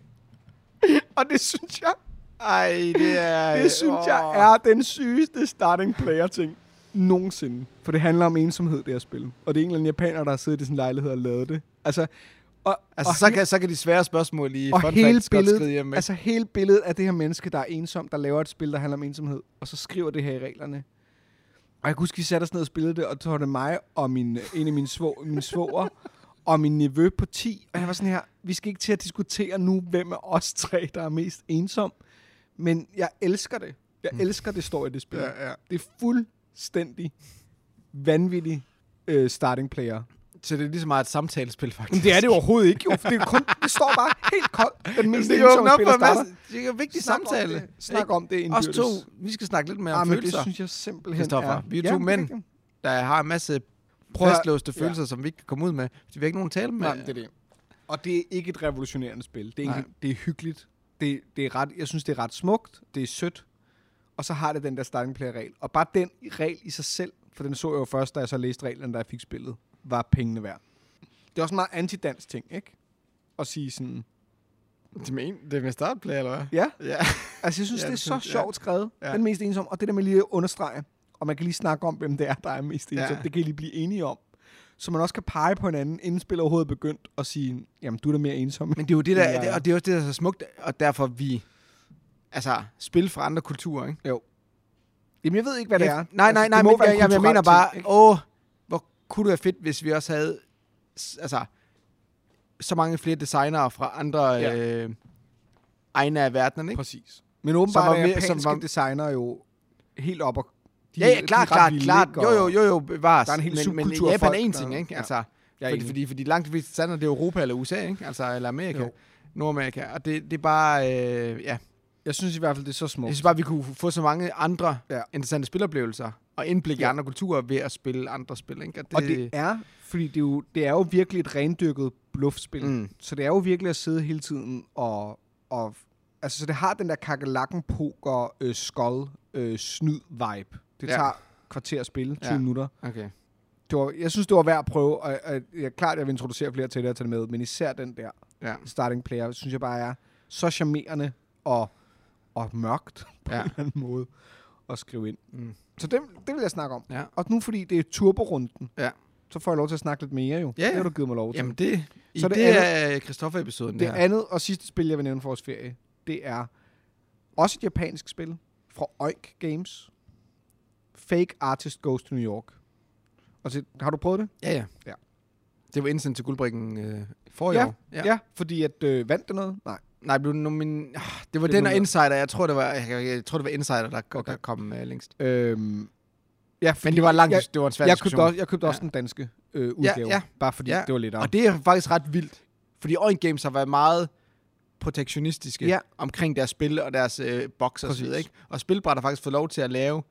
[SPEAKER 2] Og det synes jeg,
[SPEAKER 1] Ej, det er...
[SPEAKER 2] [LAUGHS] det synes jeg er den sygeste starting player ting nogensinde. For det handler om ensomhed, det her spil. Og det er en eller anden japaner, der har siddet i sin lejlighed og lavet det. Altså, og,
[SPEAKER 1] Altså,
[SPEAKER 2] og
[SPEAKER 1] så kan, så kan de svære spørgsmål lige
[SPEAKER 2] og
[SPEAKER 1] fun
[SPEAKER 2] hele
[SPEAKER 1] facts godt skride hjem
[SPEAKER 2] billedet,
[SPEAKER 1] med.
[SPEAKER 2] altså hele billedet af det her menneske, der er ensom, der laver et spil, der handler om ensomhed, og så skriver det her i reglerne. Og jeg kan huske, vi satte os ned og spillede det, og så var det mig og min, en af mine, svog, mine svoger og min nevø på 10. Og jeg var sådan her, vi skal ikke til at diskutere nu, hvem af os tre, der er mest ensom. Men jeg elsker det. Jeg elsker, det står i det spil.
[SPEAKER 1] Ja, ja.
[SPEAKER 2] Det er fuldstændig vanvittig øh, starting player.
[SPEAKER 1] Så det er lige så meget et samtalespil, faktisk.
[SPEAKER 2] Det er det overhovedet ikke, jo. For det, er kun, det står bare helt koldt. Den mest
[SPEAKER 1] Det åbner
[SPEAKER 2] ensomme
[SPEAKER 1] op
[SPEAKER 2] spiller
[SPEAKER 1] for en
[SPEAKER 2] ligesom, starter.
[SPEAKER 1] masse. Det er en vigtig
[SPEAKER 2] Snak om
[SPEAKER 1] samtale.
[SPEAKER 2] det. Snak
[SPEAKER 1] Ikke?
[SPEAKER 2] om det
[SPEAKER 1] Os
[SPEAKER 2] indbyrdes.
[SPEAKER 1] to, vi skal snakke lidt mere om
[SPEAKER 2] Ah, men det
[SPEAKER 1] følelser,
[SPEAKER 2] synes jeg simpelthen
[SPEAKER 1] Christoffer.
[SPEAKER 2] er...
[SPEAKER 1] Vi er
[SPEAKER 2] Ja,
[SPEAKER 1] to
[SPEAKER 2] men det
[SPEAKER 1] mænd,
[SPEAKER 2] rigtigt.
[SPEAKER 1] der har en masse
[SPEAKER 2] Prøv at-
[SPEAKER 1] fastlåste
[SPEAKER 2] Ja.
[SPEAKER 1] følelser, som vi ikke kan komme ud med. fordi vi har ikke nogen at tale med.
[SPEAKER 2] Nej, men det er det. Og det er ikke et revolutionerende spil. Det er,
[SPEAKER 1] Nej.
[SPEAKER 2] ikke, det er hyggeligt. Det, det er ret, jeg synes, det er ret smukt. Det er sødt. Og så har det den der starting player regel. Og bare den regel i sig selv, for den så jeg jo først, da jeg så læste reglerne, da jeg fik spillet, var pengene værd. Det er også en meget antidansk ting, ikke? At sige sådan,
[SPEAKER 1] det, men, det er med startplay, eller hvad?
[SPEAKER 2] ja,
[SPEAKER 1] Ja.
[SPEAKER 2] Altså, jeg synes,
[SPEAKER 1] Ja,
[SPEAKER 2] ja, det er
[SPEAKER 1] det
[SPEAKER 2] så
[SPEAKER 1] synes- ja.
[SPEAKER 2] sjovt skrevet.
[SPEAKER 1] Ja.
[SPEAKER 2] Ja. Den mest ensom. Og det der med lige at understrege, og man kan lige snakke om, hvem det er, der er mest
[SPEAKER 1] Ja.
[SPEAKER 2] ensom. Ja. Det kan I lige blive enige om. Så man også kan pege på hinanden, inden spillet overhovedet er begyndt, og sige, jamen, du er da mere ensom.
[SPEAKER 1] Men det er jo det, der,
[SPEAKER 2] Ja, ja.
[SPEAKER 1] og det er også det, der er så smukt, og derfor vi... Altså, spil fra andre kulturer, ikke?
[SPEAKER 2] Jo. Jamen, jeg ved ikke, hvad det
[SPEAKER 1] Ja,
[SPEAKER 2] er.
[SPEAKER 1] Nej, nej,
[SPEAKER 2] Altså,
[SPEAKER 1] nej,
[SPEAKER 2] det må
[SPEAKER 1] men
[SPEAKER 2] være
[SPEAKER 1] jeg,
[SPEAKER 2] en
[SPEAKER 1] jeg, jeg
[SPEAKER 2] kulturel
[SPEAKER 1] mener
[SPEAKER 2] ting,
[SPEAKER 1] bare,
[SPEAKER 2] ikke?
[SPEAKER 1] åh, hvor kunne det være fedt, hvis vi også havde s- altså, så mange flere designere fra andre ja.
[SPEAKER 2] Ja.
[SPEAKER 1] øh, egne af verdenen, ikke?
[SPEAKER 2] Præcis. Men åbenbart
[SPEAKER 1] var
[SPEAKER 2] er
[SPEAKER 1] vi-
[SPEAKER 2] japanske
[SPEAKER 1] som var-
[SPEAKER 2] designer jo helt op og... De,
[SPEAKER 1] ja, ja, klart,
[SPEAKER 2] de er ret
[SPEAKER 1] klart,
[SPEAKER 2] vilde,
[SPEAKER 1] klart.
[SPEAKER 2] ikke?
[SPEAKER 1] Jo, jo, jo, jo, bevares.
[SPEAKER 2] Der er en hel
[SPEAKER 1] men, men
[SPEAKER 2] subkultur af
[SPEAKER 1] Japan er
[SPEAKER 2] folk,
[SPEAKER 1] en
[SPEAKER 2] der-
[SPEAKER 1] ting, ikke?
[SPEAKER 2] ja.
[SPEAKER 1] Altså,
[SPEAKER 2] Jeg er
[SPEAKER 1] fordi,
[SPEAKER 2] enig.
[SPEAKER 1] fordi, fordi langt de fleste standard, det er Europa eller USA, ikke? Altså, eller Amerika, jo.
[SPEAKER 2] Jo.
[SPEAKER 1] Nordamerika. Og det, det er bare, øh, ja,
[SPEAKER 2] Jeg synes i hvert fald, det er så
[SPEAKER 1] jeg
[SPEAKER 2] smukt.
[SPEAKER 1] synes bare, vi kunne få så mange andre ja.
[SPEAKER 2] Ja.
[SPEAKER 1] interessante spiloplevelser og indblik ja. i
[SPEAKER 2] Ja.
[SPEAKER 1] andre kulturer ved at spille andre spil, ikke?
[SPEAKER 2] Og det er, fordi det er jo, det er jo virkelig et rendyrket bluffspil.
[SPEAKER 1] Mm.
[SPEAKER 2] Mm. Så det er jo virkelig at sidde hele tiden og... og altså, så det har den der kakelakken poker øh, skål øh, snyd vibe. Det
[SPEAKER 1] Ja.
[SPEAKER 2] ja. tager et kvarter at spille, 20
[SPEAKER 1] Ja.
[SPEAKER 2] ja. minutter.
[SPEAKER 1] Okay.
[SPEAKER 2] Det var, jeg synes, det var værd at prøve, og, og jeg er klart, jeg vil introducere flere til det og tage det med, men især den der
[SPEAKER 1] Ja.
[SPEAKER 2] starting player, synes jeg bare er så charmerende og, og mørkt [LAUGHS] på
[SPEAKER 1] Ja.
[SPEAKER 2] ja. en eller anden måde at skrive ind.
[SPEAKER 1] Mm.
[SPEAKER 2] Mm. Så det, det vil jeg snakke om.
[SPEAKER 1] Ja.
[SPEAKER 2] Og nu fordi det er turborunden,
[SPEAKER 1] Ja.
[SPEAKER 2] så får jeg lov til at snakke lidt mere jo.
[SPEAKER 1] Ja,
[SPEAKER 2] Det
[SPEAKER 1] ja.
[SPEAKER 2] har du givet mig lov til.
[SPEAKER 1] Jamen det, i
[SPEAKER 2] Så
[SPEAKER 1] det,
[SPEAKER 2] det
[SPEAKER 1] det er Christoffer-episoden,
[SPEAKER 2] det
[SPEAKER 1] det, her.
[SPEAKER 2] andet og sidste spil, jeg vil nævne for vores ferie, det er også et japansk spil fra Oink Games. Fake Artist Goes to New York. Og så, har du prøvet det?
[SPEAKER 1] Ja, ja.
[SPEAKER 2] Ja.
[SPEAKER 1] Det var indsendt til guldbrikken øh, for i år.
[SPEAKER 2] ja fordi at øh, vandt det noget? Nej.
[SPEAKER 1] Nej, blev nu min... Ah, Det var
[SPEAKER 2] Det er
[SPEAKER 1] den og
[SPEAKER 2] nu-
[SPEAKER 1] Insider. Jeg tror, det var, jeg, jeg, jeg tror, det var Insider, der, okay.
[SPEAKER 2] Okay.
[SPEAKER 1] der kom øh, længst.
[SPEAKER 2] Øhm, ja,
[SPEAKER 1] Men det var en lang,
[SPEAKER 2] jeg,
[SPEAKER 1] dis- det var en svær
[SPEAKER 2] jeg, købte
[SPEAKER 1] diskussion.
[SPEAKER 2] også, jeg købte også den danske øh, udgave.
[SPEAKER 1] ja.
[SPEAKER 2] Bare fordi
[SPEAKER 1] Ja,
[SPEAKER 2] det var lidt af.
[SPEAKER 1] Og det er faktisk ret vildt. Fordi Orient Games har været meget protektionistiske
[SPEAKER 2] Ja.
[SPEAKER 1] omkring deres spil og deres øh, bokser og så videre.
[SPEAKER 2] Præcis.
[SPEAKER 1] Ikke? Og spilbræt har faktisk fået lov til at lave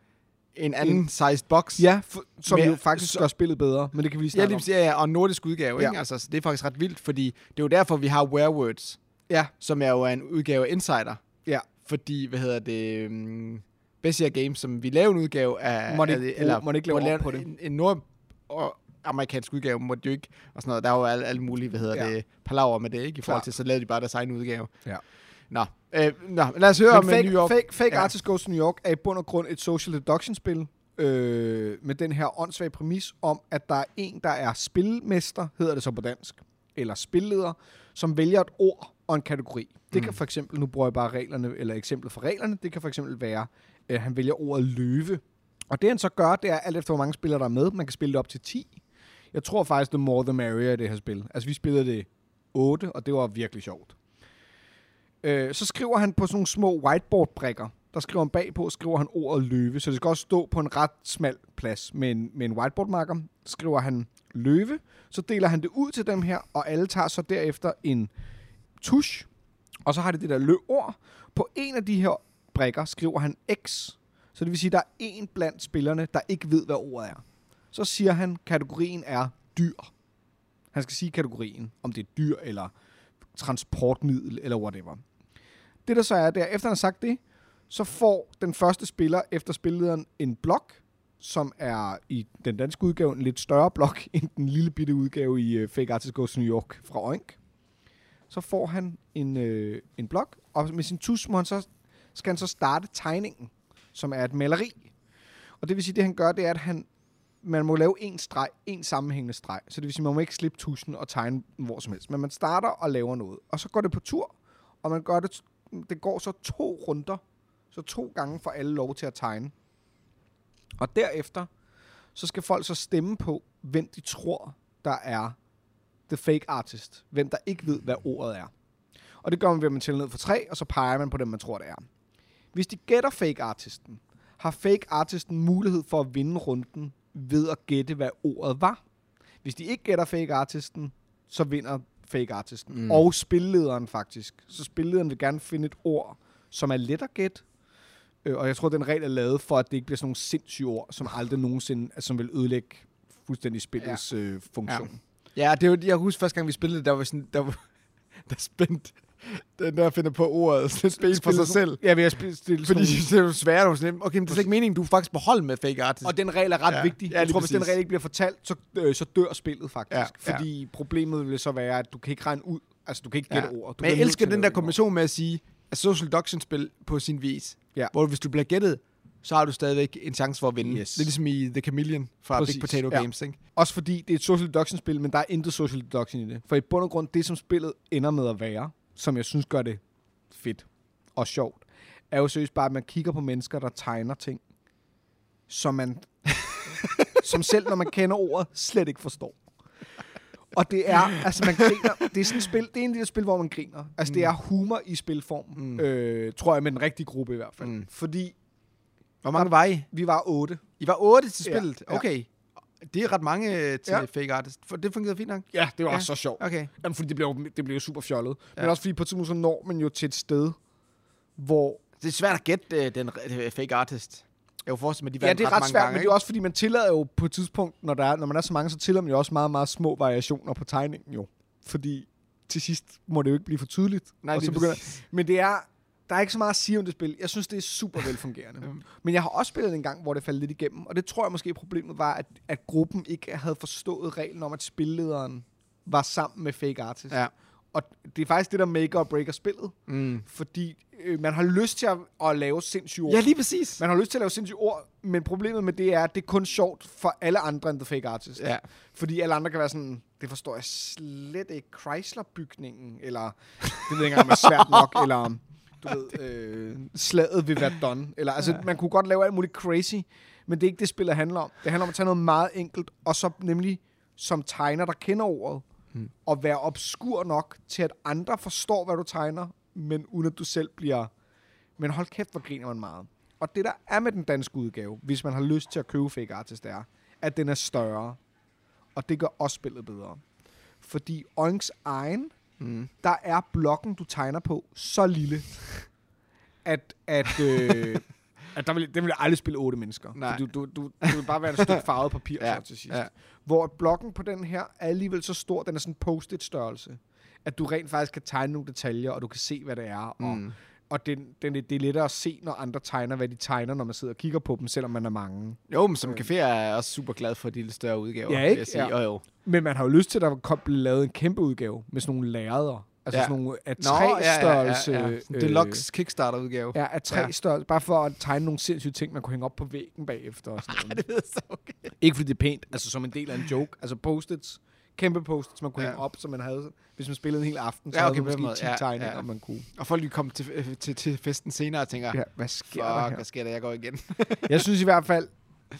[SPEAKER 1] en anden en, sized box.
[SPEAKER 2] Ja, for, som
[SPEAKER 1] Med-
[SPEAKER 2] jo faktisk
[SPEAKER 1] så-
[SPEAKER 2] gør spillet bedre, men det kan vi lige
[SPEAKER 1] Ja,
[SPEAKER 2] snakke
[SPEAKER 1] lige
[SPEAKER 2] om.
[SPEAKER 1] præcis, ja, ja, og en nordisk udgave, ja. ikke?
[SPEAKER 2] Ja.
[SPEAKER 1] Altså, så det er faktisk ret vildt, fordi det er jo derfor, vi har Where Words,
[SPEAKER 2] Ja.
[SPEAKER 1] som er jo er en udgave af Insider.
[SPEAKER 2] Ja.
[SPEAKER 1] Fordi, hvad hedder det, um, Bessier Games, som vi laver en udgave af...
[SPEAKER 2] Må det
[SPEAKER 1] af,
[SPEAKER 2] ikke bruge- må det ikke lave
[SPEAKER 1] må
[SPEAKER 2] om på det?
[SPEAKER 1] En, en nord- og amerikansk udgave må det jo ikke, og sådan noget. Der er jo alt, alt muligt, hvad hedder
[SPEAKER 2] Ja.
[SPEAKER 1] ja. det, palaver med det, ikke? I forhold
[SPEAKER 2] Klart.
[SPEAKER 1] til, så lavede de bare deres egen udgave.
[SPEAKER 2] Ja.
[SPEAKER 1] Nå, øh, nå lad os høre om
[SPEAKER 2] Men
[SPEAKER 1] øh,
[SPEAKER 2] fake,
[SPEAKER 1] New York.
[SPEAKER 2] fake, fake
[SPEAKER 1] Ja.
[SPEAKER 2] Artist Goes to New York er i bund og grund et social deduction-spil, øh, med den her åndssvage præmis om, at der er en, der er spilmester, hedder det så på dansk, eller spilleder, som vælger et ord og en kategori. Det
[SPEAKER 1] Mm.
[SPEAKER 2] kan for eksempel, nu bruger jeg bare reglerne, eller eksemplet for reglerne, det kan for eksempel være, at han vælger ordet løve. Og det han så gør, det er alt efter, hvor mange spillere der er med. Man kan spille det op til 10. Jeg tror faktisk, the more the merrier i det her spil. Altså, vi spillede det 8, og det var virkelig sjovt. Øh, så skriver han på sådan nogle små whiteboard-brikker. Der skriver han bagpå, skriver han ordet løve. Så det skal også stå på en ret smal plads med en, med en whiteboard-marker. Skriver han løve, så deler han det ud til dem her, og alle tager så derefter en tusch. Og så har det det der lø-ord. På en af de her brikker skriver han X. Så det vil sige, at der er en blandt spillerne, der ikke ved, hvad ordet er. Så siger han, at kategorien er dyr. Han skal sige kategorien, om det er dyr eller transportmiddel eller whatever. Det der så er, det er, efter han har sagt det, så får den første spiller efter spillederen en blok, som er i den danske udgave en lidt større blok [LAUGHS] end den lille bitte udgave i øh, Fake Artist Goes to New York fra Oink. Så får han en, øh, en blok, og med sin tus må han så, skal han så starte tegningen, som er et maleri. Og det vil sige, det han gør, det er, at han, man må lave en streg, en sammenhængende streg. Så det vil sige, man må ikke slippe tusen og tegne hvor som helst. Men man starter og laver noget. Og så går det på tur, og man gør det, det går så to runder. Så to gange får alle lov til at tegne. Og derefter, så skal folk så stemme på, hvem de tror, der er the fake artist. Hvem der ikke ved, hvad ordet er. Og det gør man ved, at man tæller ned for tre, og så peger man på dem, man tror, det er. Hvis de gætter fake artisten, har fake artisten mulighed for at vinde runden ved at gætte, hvad ordet var. Hvis de ikke gætter fake artisten, så vinder fake artisten. Mm. Og spillederen faktisk. Så spillederen vil gerne finde et ord, som er let at gætte. Øh, og jeg tror, den regel er lavet for, at det ikke bliver sådan nogle sindssyge ord, som aldrig nogensinde, altså, som vil ødelægge fuldstændig spillets ja. øh, funktion. Ja.
[SPEAKER 1] Ja, det er jo, jeg husker første gang, vi spillede det, der var sådan, der, var- [LAUGHS] der spændt den der finder på ordet, så spændt for sig selv.
[SPEAKER 2] Ja, vi har spillet stille
[SPEAKER 1] Fordi det er jo svært, og sådan, okay, men det er slet ikke meningen, du er faktisk på hold med fake artist.
[SPEAKER 2] Og den regel er ret ja,
[SPEAKER 1] Ja,
[SPEAKER 2] vigtig.
[SPEAKER 1] ja,
[SPEAKER 2] jeg
[SPEAKER 1] lige
[SPEAKER 2] tror, hvis den
[SPEAKER 1] præcis.
[SPEAKER 2] regel ikke bliver fortalt, så, øh, så dør spillet faktisk. Ja,
[SPEAKER 1] Ja, ja.
[SPEAKER 2] fordi problemet vil så være, at du kan ikke regne ud. Altså, du kan ikke gætte ord. Du
[SPEAKER 1] men
[SPEAKER 2] bliver
[SPEAKER 1] jeg
[SPEAKER 2] nødt
[SPEAKER 1] elsker
[SPEAKER 2] til at
[SPEAKER 1] den
[SPEAKER 2] lave
[SPEAKER 1] der
[SPEAKER 2] et ord.
[SPEAKER 1] kombination med at sige, at social deduction spil på sin vis,
[SPEAKER 2] Ja.
[SPEAKER 1] hvor hvis du bliver gættet, så har du stadigvæk en chance for at vinde.
[SPEAKER 2] Yes.
[SPEAKER 1] Det er ligesom i The Chameleon fra
[SPEAKER 2] Præcis,
[SPEAKER 1] Big Potato
[SPEAKER 2] ja.
[SPEAKER 1] Games, ikke?
[SPEAKER 2] Også fordi det er et social deduction-spil, men der er intet social deduction i det. For i bund og grund, det som spillet ender med at være, som jeg synes gør det fedt og sjovt, er jo seriøst bare, at man kigger på mennesker, der tegner ting, som man [LAUGHS] som selv, når man kender ordet, slet ikke forstår. Og det er, altså man griner, det er sådan et spil, det er en lille spil, hvor man griner. Altså mm. det er humor i spilform, mm. øh, tror jeg, med den rigtige gruppe i hvert fald. Mm. Fordi
[SPEAKER 1] Hvor mange var I?
[SPEAKER 2] vi var otte.
[SPEAKER 1] I var otte til
[SPEAKER 2] Ja,
[SPEAKER 1] spillet?
[SPEAKER 2] ja.
[SPEAKER 1] Okay. Det er ret mange øh, til
[SPEAKER 2] Ja.
[SPEAKER 1] fake artist. For det fungerede fint nok.
[SPEAKER 2] Ja, det var
[SPEAKER 1] Ja.
[SPEAKER 2] også så sjovt.
[SPEAKER 1] Okay.
[SPEAKER 2] Jamen, fordi det bliver, jo- det bliver jo super fjollet. Ja. Men
[SPEAKER 1] Ja.
[SPEAKER 2] også fordi på et tidspunkt, så når man jo til et sted, hvor...
[SPEAKER 1] Det er svært at gætte øh, den øh, fake artist. Jeg kunne forestille mig, at de
[SPEAKER 2] Ja,
[SPEAKER 1] vandt
[SPEAKER 2] det er ret
[SPEAKER 1] mange
[SPEAKER 2] svært,
[SPEAKER 1] gange,
[SPEAKER 2] men det
[SPEAKER 1] ikke?
[SPEAKER 2] er også fordi, man tillader jo på et tidspunkt, når, der er, når man er så mange, så tillader man jo også meget, meget små variationer på tegningen jo. Fordi til sidst må det jo ikke blive for tydeligt.
[SPEAKER 1] Nej,
[SPEAKER 2] og
[SPEAKER 1] lige
[SPEAKER 2] så begynder,
[SPEAKER 1] præcis.
[SPEAKER 2] men det er, der er ikke så meget at sige om det spil. Jeg synes, det er super velfungerende.
[SPEAKER 1] Øhm.
[SPEAKER 2] men jeg har også spillet en gang, hvor det faldt lidt igennem, og det tror jeg måske problemet var, at, at gruppen ikke havde forstået reglen om, at spillederen var sammen med fake artist.
[SPEAKER 1] Ja.
[SPEAKER 2] Og det er faktisk det, der maker og breaker spillet. Mm. Fordi øh, man har lyst til at, at lave sindssyge ord.
[SPEAKER 1] Ja, lige præcis.
[SPEAKER 2] Man har lyst til at lave sindssyge ord, men problemet med det er, at det er kun sjovt for alle andre end The Fake Artist.
[SPEAKER 1] Ja.
[SPEAKER 2] Fordi alle andre kan være sådan, det forstår jeg slet ikke, Chrysler-bygningen, eller det ved jeg ikke engang, om er svært [LAUGHS] nok, eller du ved, øh, slaget ved Verdun. Eller, altså, ja. Man kunne godt lave alt muligt crazy, men det er ikke det, spillet handler om. Det handler om at tage noget meget enkelt, og så nemlig som tegner, der kender ordet, hmm. og være obskur nok til, at andre forstår, hvad du tegner, men uden at du selv bliver... Men hold kæft, hvor griner man meget. Og det, der er med den danske udgave, hvis man har lyst til at købe Fake Artist, er, at den er større. Og det gør også spillet bedre. Fordi Oinks egen, mm. der er blokken, du tegner på, så lille, at, at, øh, [LAUGHS] At der vil, den vil jeg aldrig spille otte mennesker.
[SPEAKER 1] Nej.
[SPEAKER 2] For Du, du, du, du vil bare være et [LAUGHS] stykke farvet papir
[SPEAKER 1] Ja,
[SPEAKER 2] ja. så til sidst.
[SPEAKER 1] ja.
[SPEAKER 2] Ja. Hvor blokken på den her er alligevel så stor, den er sådan post-it størrelse, at du rent faktisk kan tegne nogle detaljer, og du kan se, hvad det er. Og, mm. og den, den, det er lettere at se, når andre tegner, hvad de tegner, når man sidder og kigger på dem, selvom man er mange.
[SPEAKER 1] Jo, men som café er jeg også super glad for de lidt større udgaver.
[SPEAKER 2] Øh. Ja,
[SPEAKER 1] vil
[SPEAKER 2] ikke?
[SPEAKER 1] jeg sige.
[SPEAKER 2] Ja.
[SPEAKER 1] Jo, jo.
[SPEAKER 2] Men man har jo lyst til, at der kom- blev lavet en kæmpe udgave med sådan nogle lærreder. Altså
[SPEAKER 1] Ja.
[SPEAKER 2] ja. sådan nogle af
[SPEAKER 1] Nå,
[SPEAKER 2] tre størrelse. øh,
[SPEAKER 1] Ja, ja, ja. Sådan Deluxe Kickstarter-udgave.
[SPEAKER 2] Ja, af tre
[SPEAKER 1] øh, Ja.
[SPEAKER 2] ja. størrelse. Bare for at tegne nogle sindssyge ting, man kunne hænge op på væggen bagefter. Og [LAUGHS] sådan noget.
[SPEAKER 1] [LAUGHS] det lyder så okay.
[SPEAKER 2] Ikke fordi det er pænt, altså som en del af en joke. Altså post-its, kæmpe post-its, man kunne
[SPEAKER 1] Ja.
[SPEAKER 2] ja. hænge op, så man havde, hvis man spillede en hel aften, så
[SPEAKER 1] Ja,
[SPEAKER 2] ja,
[SPEAKER 1] okay, på
[SPEAKER 2] okay, havde
[SPEAKER 1] den
[SPEAKER 2] man
[SPEAKER 1] måde.
[SPEAKER 2] måske 10
[SPEAKER 1] Ja,
[SPEAKER 2] ja, tegninger,
[SPEAKER 1] ja.
[SPEAKER 2] ja. man kunne.
[SPEAKER 1] Og folk lige kommer til, til, til festen senere og tænker,
[SPEAKER 2] Ja, hvad sker der
[SPEAKER 1] fuck,
[SPEAKER 2] her?
[SPEAKER 1] hvad sker der? Jeg går igen.
[SPEAKER 2] Jeg synes i hvert fald,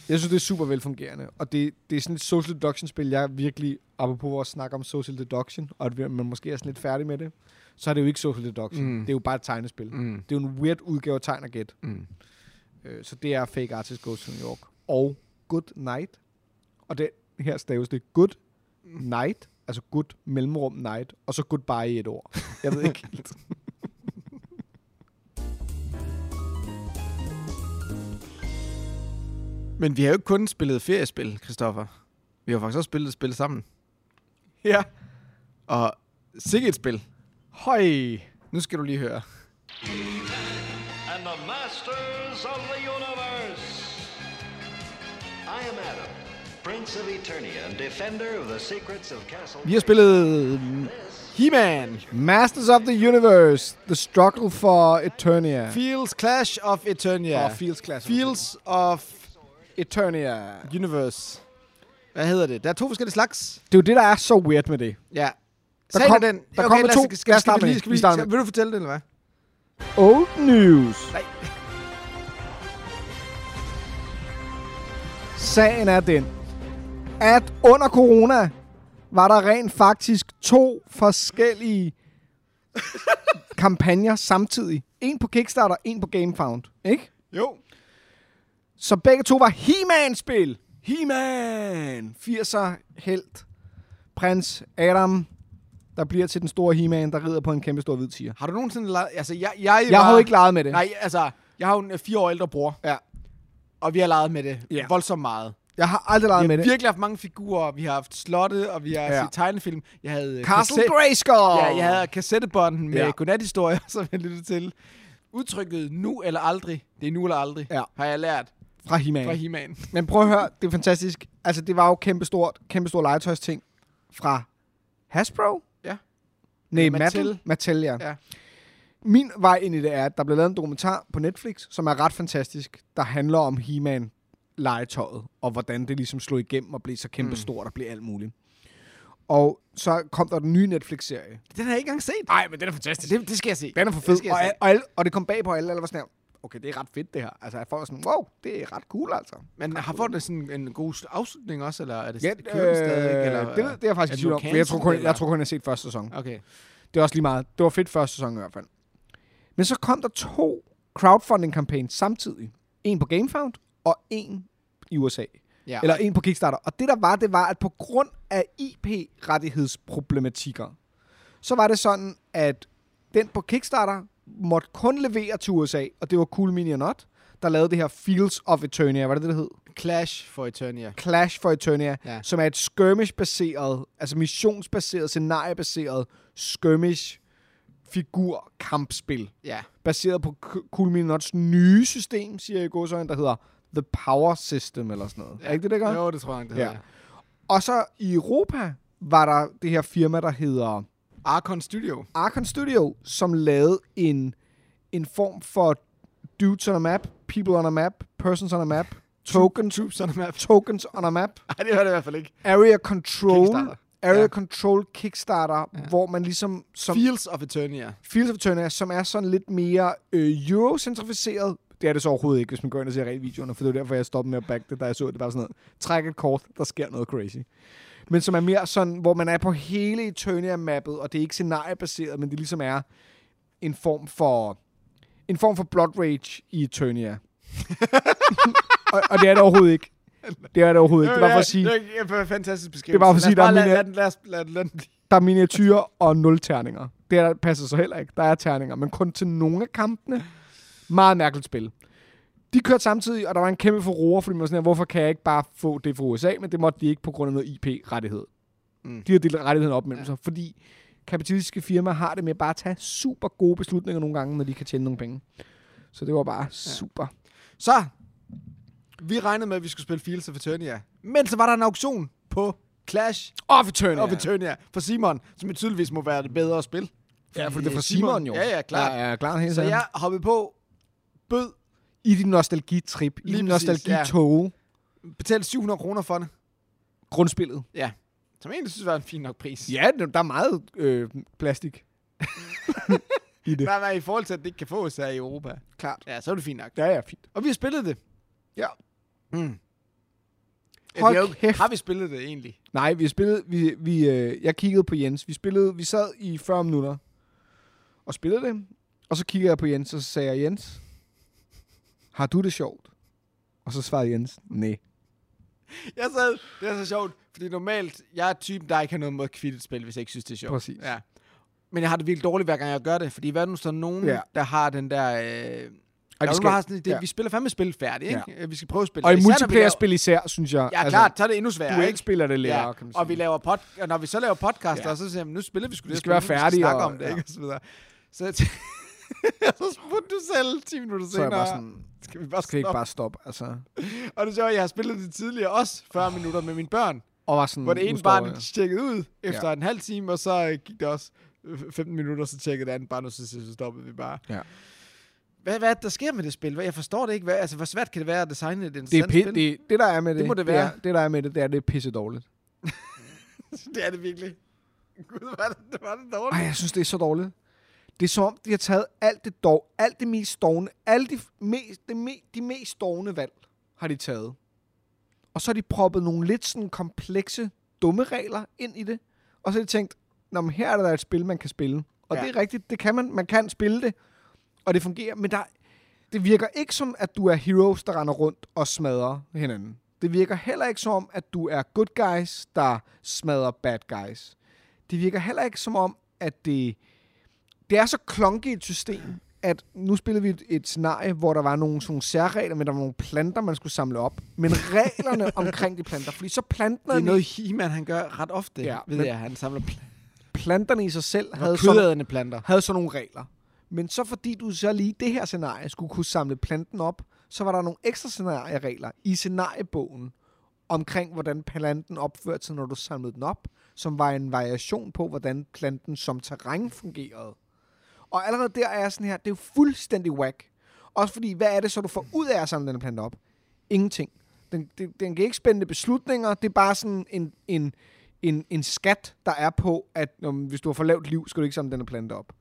[SPEAKER 2] jeg synes, det er super velfungerende. Og det, det er sådan et social deduction-spil, jeg virkelig, apropos vores snak om social deduction, og at vi- man måske er sådan lidt færdig med det, så er det jo ikke social deduction.
[SPEAKER 1] Mm.
[SPEAKER 2] Mm. Det er jo bare et tegnespil. Mm.
[SPEAKER 1] Mm.
[SPEAKER 2] Det er jo en weird udgave af tegn og gæt.
[SPEAKER 1] Mm.
[SPEAKER 2] Øh, Så det er Fake Artist Goes to New York. Og Good Night. Og det her staves det Good Night. Altså good mellemrum night. Og så goodbye i et ord. Jeg ved ikke [LAUGHS] helt.
[SPEAKER 1] Men vi har jo ikke kun spillet feriespil, Christoffer. Vi har faktisk også spillet et spil sammen.
[SPEAKER 2] ja.
[SPEAKER 1] Og sikkert et spil.
[SPEAKER 2] Høj.
[SPEAKER 1] Nu skal du lige høre.
[SPEAKER 3] and the masters of the universe. I am Adam, Prince of Eternia and defender of the secrets of Castle.
[SPEAKER 1] Vi har spillet mm, He-Man.
[SPEAKER 2] Masters of the Universe. The Struggle for Eternia.
[SPEAKER 1] Fields Clash of Eternia.
[SPEAKER 2] Og Fields Clash of
[SPEAKER 1] Fields of
[SPEAKER 2] Eternia.
[SPEAKER 1] Universe. Hvad hedder det? Der er to forskellige slags.
[SPEAKER 2] Det er jo det, der er så weird med det.
[SPEAKER 1] Ja.
[SPEAKER 2] Der
[SPEAKER 1] Sagen er
[SPEAKER 2] kom-
[SPEAKER 1] den.
[SPEAKER 2] der kommer
[SPEAKER 1] lad
[SPEAKER 2] to.
[SPEAKER 1] os- Skal,
[SPEAKER 2] Lad
[SPEAKER 1] skal,
[SPEAKER 2] os
[SPEAKER 1] skal,
[SPEAKER 2] starte
[SPEAKER 1] vi
[SPEAKER 2] med
[SPEAKER 1] lige,
[SPEAKER 2] det.
[SPEAKER 1] skal vi
[SPEAKER 2] Vi
[SPEAKER 1] lige,
[SPEAKER 2] starter med
[SPEAKER 1] skal, vil du fortælle det, eller hvad?
[SPEAKER 2] Old news.
[SPEAKER 1] Nej.
[SPEAKER 2] Sagen er den, at under corona var der rent faktisk to forskellige kampagner samtidig. En på Kickstarter, en på GameFound. Ikke?
[SPEAKER 1] Jo.
[SPEAKER 2] Så begge to var He-Man-spil. He-Man! 80'er helt. Prins Adam, der bliver til den store He-Man, der rider på en kæmpe stor hvid tiger.
[SPEAKER 1] Har du nogensinde leget... Altså, jeg, jeg,
[SPEAKER 2] Jeg
[SPEAKER 1] var,
[SPEAKER 2] har jo ikke leget med det.
[SPEAKER 1] Nej, altså, jeg har jo en øh, fire år ældre bror,
[SPEAKER 2] Ja.
[SPEAKER 1] og vi har leget med det
[SPEAKER 2] Ja.
[SPEAKER 1] voldsomt meget.
[SPEAKER 2] Jeg har aldrig leget med
[SPEAKER 1] Vi har
[SPEAKER 2] det.
[SPEAKER 1] virkelig haft mange figurer, vi har haft slotte, og vi har ja.
[SPEAKER 2] Ja.
[SPEAKER 1] set tegnefilm. Jeg havde øh,
[SPEAKER 2] Castle
[SPEAKER 1] kasset-
[SPEAKER 2] Grayskull!
[SPEAKER 1] Ja, jeg havde kassettebånden med ja.
[SPEAKER 2] Ja.
[SPEAKER 1] godnathistorier, [LAUGHS] som jeg lyttede til. Udtrykket nu eller aldrig, det er nu eller aldrig,
[SPEAKER 2] Ja.
[SPEAKER 1] har jeg lært
[SPEAKER 2] Fra He-Man.
[SPEAKER 1] fra He-Man.
[SPEAKER 2] Men prøv at høre, det er fantastisk. Altså, det var jo kæmpe stort, kæmpe stor legetøjsting fra Hasbro?
[SPEAKER 1] Ja.
[SPEAKER 2] Nej,
[SPEAKER 1] Eller
[SPEAKER 2] Mattel.
[SPEAKER 1] Mattel.
[SPEAKER 2] Mattel, Mattel ja.
[SPEAKER 1] Ja.
[SPEAKER 2] ja. Min vej ind i det er, at der blev lavet en dokumentar på Netflix, som er ret fantastisk, der handler om He-Man legetøjet, og hvordan det ligesom slog igennem og blev så kæmpe
[SPEAKER 1] Mm.
[SPEAKER 2] stort og blev alt muligt. Og så kom der den nye Netflix-serie.
[SPEAKER 1] Den har jeg ikke engang set.
[SPEAKER 2] Nej, men den er fantastisk.
[SPEAKER 1] Det, det skal jeg se.
[SPEAKER 2] Den er for
[SPEAKER 1] Det
[SPEAKER 2] fed.
[SPEAKER 1] skal jeg
[SPEAKER 2] Og,
[SPEAKER 1] se.
[SPEAKER 2] og, alle, og det kom bag på alle, alle var sådan her, okay, det er ret fedt det her. Altså, folk var sådan, wow, det er ret cool altså.
[SPEAKER 1] Men har fået sådan en god sl- afslutning også, eller er det
[SPEAKER 2] Ja,
[SPEAKER 1] ja,
[SPEAKER 2] øh,
[SPEAKER 1] kører den stadig? Eller, øh,
[SPEAKER 2] det, ved- det er jeg faktisk
[SPEAKER 1] er den
[SPEAKER 2] i tvivl
[SPEAKER 1] nu
[SPEAKER 2] om, for jeg tror, kun,
[SPEAKER 1] cancelled, eller?
[SPEAKER 2] jeg tror kun, jeg har set første sæson.
[SPEAKER 1] Okay.
[SPEAKER 2] Det er også lige meget. Det var fedt første sæson i hvert fald. Men så kom der to crowdfunding-kampagner samtidig. En på GameFound og en i USA.
[SPEAKER 1] Ja.
[SPEAKER 2] Eller en på Kickstarter. Og det der var, det var, at på grund af IP-rettighedsproblematikker, så var det sådan, at den på Kickstarter måtte kun levere til USA, og det var Cool Mini or Not, der lavede det her Fields of Eternia, var det det, det hed?
[SPEAKER 1] Clash for Eternia.
[SPEAKER 2] Clash for Eternia,
[SPEAKER 1] Ja.
[SPEAKER 2] ja. som er et skirmish-baseret, altså missionsbaseret, scenariebaseret skirmish figur kampspil
[SPEAKER 1] Ja.
[SPEAKER 2] baseret på K- Cool Mini Nuts nye system, siger jeg i godsøjne, der hedder The Power System eller sådan noget. Ja. Er ikke det, det gør?
[SPEAKER 1] Jo, det tror jeg, nok, det
[SPEAKER 2] Ja.
[SPEAKER 1] hedder. Ja.
[SPEAKER 2] Og så i Europa var der det her firma, der hedder
[SPEAKER 1] Arcon
[SPEAKER 2] [LAUGHS]
[SPEAKER 1] Studio.
[SPEAKER 2] Arkon Studio, som lavede en, en form for dudes on a map, people on a map, persons on a
[SPEAKER 1] [LAUGHS]
[SPEAKER 2] map, tokens,
[SPEAKER 1] Troops on a map.
[SPEAKER 2] tokens on a map,
[SPEAKER 1] Nej, det var det i hvert fald ikke.
[SPEAKER 2] Area Control,
[SPEAKER 1] Kickstarter.
[SPEAKER 2] Area
[SPEAKER 1] Ja.
[SPEAKER 2] ja. Control Kickstarter, ja. hvor man ligesom, som
[SPEAKER 1] Fields of Eternia.
[SPEAKER 2] Fields of Eternia, som er sådan lidt mere øh, eurocentrificeret. Det er det så overhovedet ikke, hvis man går ind og ser regelvideoerne, for det er derfor, jeg stoppede med at back det, da jeg så det. Det var sådan noget, træk et kort, der sker noget crazy. Men som er mere sådan, hvor man er på hele Eternia-mappet, og det er ikke scenariebaseret, men det ligesom er en form for en form for Blood Rage i Eternia. og, og, det er det overhovedet ikke. Det er det overhovedet ikke. Det var for at sige,
[SPEAKER 1] Det er en fantastisk beskrivelse.
[SPEAKER 2] Det er bare for
[SPEAKER 1] lad os
[SPEAKER 2] at sige, der
[SPEAKER 1] bare lad, lad,
[SPEAKER 2] er mine-
[SPEAKER 1] den- lad, os- lad, lad, den blive.
[SPEAKER 2] der er miniatyrer og nul terninger. Det er, passer så heller ikke. Der er terninger, men kun til nogle af kampene. Meget mærkeligt spil. De kørte samtidig, og der var en kæmpe furore, fordi man var sådan her, hvorfor kan jeg ikke bare få det fra USA, men det måtte de ikke på grund af noget IP-rettighed. Mm. De har delt rettigheden op mellem ja. sig, fordi kapitalistiske firmaer har det med bare at tage super gode beslutninger nogle gange, når de kan tjene nogle penge. Så det var bare ja. super.
[SPEAKER 1] Så, vi regnede med, at vi skulle spille Fields of Eternia. Men så var der en auktion på Clash
[SPEAKER 2] Og Eternia.
[SPEAKER 1] of Eternia for Simon, som jo tydeligvis må være det bedre spil.
[SPEAKER 2] Ja, for det
[SPEAKER 1] Fordi,
[SPEAKER 2] er fra
[SPEAKER 1] øh,
[SPEAKER 2] Simon jo.
[SPEAKER 1] Ja, ja, klart.
[SPEAKER 2] Ja, ja, klart. Helt
[SPEAKER 1] Så jeg hoppede på, bød,
[SPEAKER 2] I din nostalgitrip, i
[SPEAKER 1] Lige
[SPEAKER 2] din
[SPEAKER 1] præcis,
[SPEAKER 2] nostalgitog,
[SPEAKER 1] betalte 700 kroner for det.
[SPEAKER 2] grundspillet.
[SPEAKER 1] Ja. Som jeg egentlig synes var en fin nok pris.
[SPEAKER 2] Ja, der der er meget øh, plastik. I det.
[SPEAKER 1] Men, men i forhold til, at det ikke kan fås her i Europa.
[SPEAKER 2] Klart.
[SPEAKER 1] Ja, så er det fint nok.
[SPEAKER 2] Ja, ja, fint.
[SPEAKER 1] Og vi har spillet det.
[SPEAKER 2] Ja.
[SPEAKER 1] Mm.
[SPEAKER 2] Hold
[SPEAKER 1] Hold ja, kæft.
[SPEAKER 2] kæft.
[SPEAKER 1] Har vi spillet det egentlig?
[SPEAKER 2] Nej, vi spillede, vi, vi, øh, jeg kiggede på Jens. Vi spillede, vi sad i 40 minutter og spillede det. Og så kiggede jeg på Jens, og så sagde jeg, Jens, har du det sjovt? Og så svarede Jens, nej.
[SPEAKER 1] Jeg sad, det er så sjovt, fordi normalt, jeg er typen, der ikke har noget mod at kvitte et spil, hvis jeg ikke synes, det er sjovt.
[SPEAKER 2] Præcis.
[SPEAKER 1] Ja. Men jeg har det virkelig dårligt, hver gang jeg gør det, fordi hvad nu så er nogen,
[SPEAKER 2] Ja.
[SPEAKER 1] ja. der har den der... Øh, der er nogen,
[SPEAKER 2] skal-
[SPEAKER 1] der har sådan, det,
[SPEAKER 2] ja.
[SPEAKER 1] ja. vi spiller fandme spil færdigt, ikke? Ja. Vi skal prøve at spille.
[SPEAKER 2] Og i
[SPEAKER 1] Især, når vi
[SPEAKER 2] multiplayer-spil især, synes jeg. Altså,
[SPEAKER 1] laver- Ja, klart, så er det endnu sværere,
[SPEAKER 2] du
[SPEAKER 1] ikke?
[SPEAKER 2] ikke spiller det længere, kan man sige.
[SPEAKER 1] Og, vi laver pod, og når vi så laver podcaster,
[SPEAKER 2] Ja.
[SPEAKER 1] ja. så siger jeg, nu spiller vi sgu det.
[SPEAKER 2] skal
[SPEAKER 1] spil,
[SPEAKER 2] være
[SPEAKER 1] nu
[SPEAKER 2] færdige
[SPEAKER 1] snakke
[SPEAKER 2] og-
[SPEAKER 1] om det,
[SPEAKER 2] ja.
[SPEAKER 1] ikke? Og så videre. Så, jeg [LAUGHS] tæ- så spurgte du selv 10 minutter
[SPEAKER 2] så er jeg
[SPEAKER 1] senere.
[SPEAKER 2] bare sådan,
[SPEAKER 1] skal vi bare
[SPEAKER 2] skal vi ikke
[SPEAKER 1] stoppe?
[SPEAKER 2] bare stoppe, altså.
[SPEAKER 1] Og det er sjovt, at jeg har spillet det tidligere også, 40 minutter med mine børn.
[SPEAKER 2] Og var sådan,
[SPEAKER 1] Hvor det
[SPEAKER 2] nu
[SPEAKER 1] ene
[SPEAKER 2] stopper
[SPEAKER 1] barn
[SPEAKER 2] Ah. Mm, jeg.
[SPEAKER 1] tjekkede ud efter en halv time, og så øh, gik det også øh, 15 minutter, så tjekkede det andet barn, og så, så stoppede vi bare.
[SPEAKER 2] Ja.
[SPEAKER 1] Hvad, hvad er det, der sker med det spil? Hvad- Jeg forstår det ikke. Hvad, altså, hvor svært kan det være at designe et
[SPEAKER 2] Det, er
[SPEAKER 1] interessant
[SPEAKER 2] pi-
[SPEAKER 1] spil?
[SPEAKER 2] det, det, der er med det,
[SPEAKER 1] må det
[SPEAKER 2] Det,
[SPEAKER 1] være.
[SPEAKER 2] er, det der er med det, det er, det er pisse dårligt.
[SPEAKER 1] [LAUGHS] det er det virkelig. Gud, var det, var det dårligt.
[SPEAKER 2] Ej, jeg synes, det er så dårligt. Det er som om, de har taget alt det dog, alt det mest stovne, alle de, f- mest, de, me, de mest stovne valg, har de taget. Og så har de proppet nogle lidt sådan komplekse, dumme regler ind i det. Og så har de tænkt, Nå, men her er der et spil, man kan spille. Og ja.
[SPEAKER 1] Ja.
[SPEAKER 2] det er rigtigt, det kan man. Man kan spille det, og det fungerer. Men der, det virker ikke som, at du er heroes, der render rundt og smadrer hinanden. Det virker heller ikke som om, at du er good guys, der smadrer bad guys. Det virker heller ikke som om, at det... Det er så klonket et system, at nu spillede vi et, et scenarie, hvor der var nogle sådan nogle særregler, men der var nogle planter, man skulle samle op. Men
[SPEAKER 1] [LAUGHS]
[SPEAKER 2] reglerne omkring de planter, fordi så planterne,
[SPEAKER 1] Det er noget, He-Man han gør ret ofte,
[SPEAKER 2] Ja,
[SPEAKER 1] ja, ved
[SPEAKER 2] men-
[SPEAKER 1] jeg. Han samler pl-
[SPEAKER 2] planterne i sig selv havde
[SPEAKER 1] havde
[SPEAKER 2] sådan,
[SPEAKER 1] kødædende planter.
[SPEAKER 2] havde sådan nogle regler. Men så fordi du så lige i det her scenarie skulle kunne samle planten op, så var der nogle ekstra scenarieregler i scenariebogen omkring, hvordan planten opførte sig, når du samlede den op, som var en variation på, hvordan planten som terræn fungerede. Og allerede der er jeg sådan her, det er jo fuldstændig whack. Også fordi, hvad er det så, du får ud af at samle den her plante op? Ingenting. Den, den, den kan ikke spændende beslutninger, det er bare sådan en, en, en, en skat, der er på, at når, hvis du har for lavt liv, skal du ikke samle den her plante op.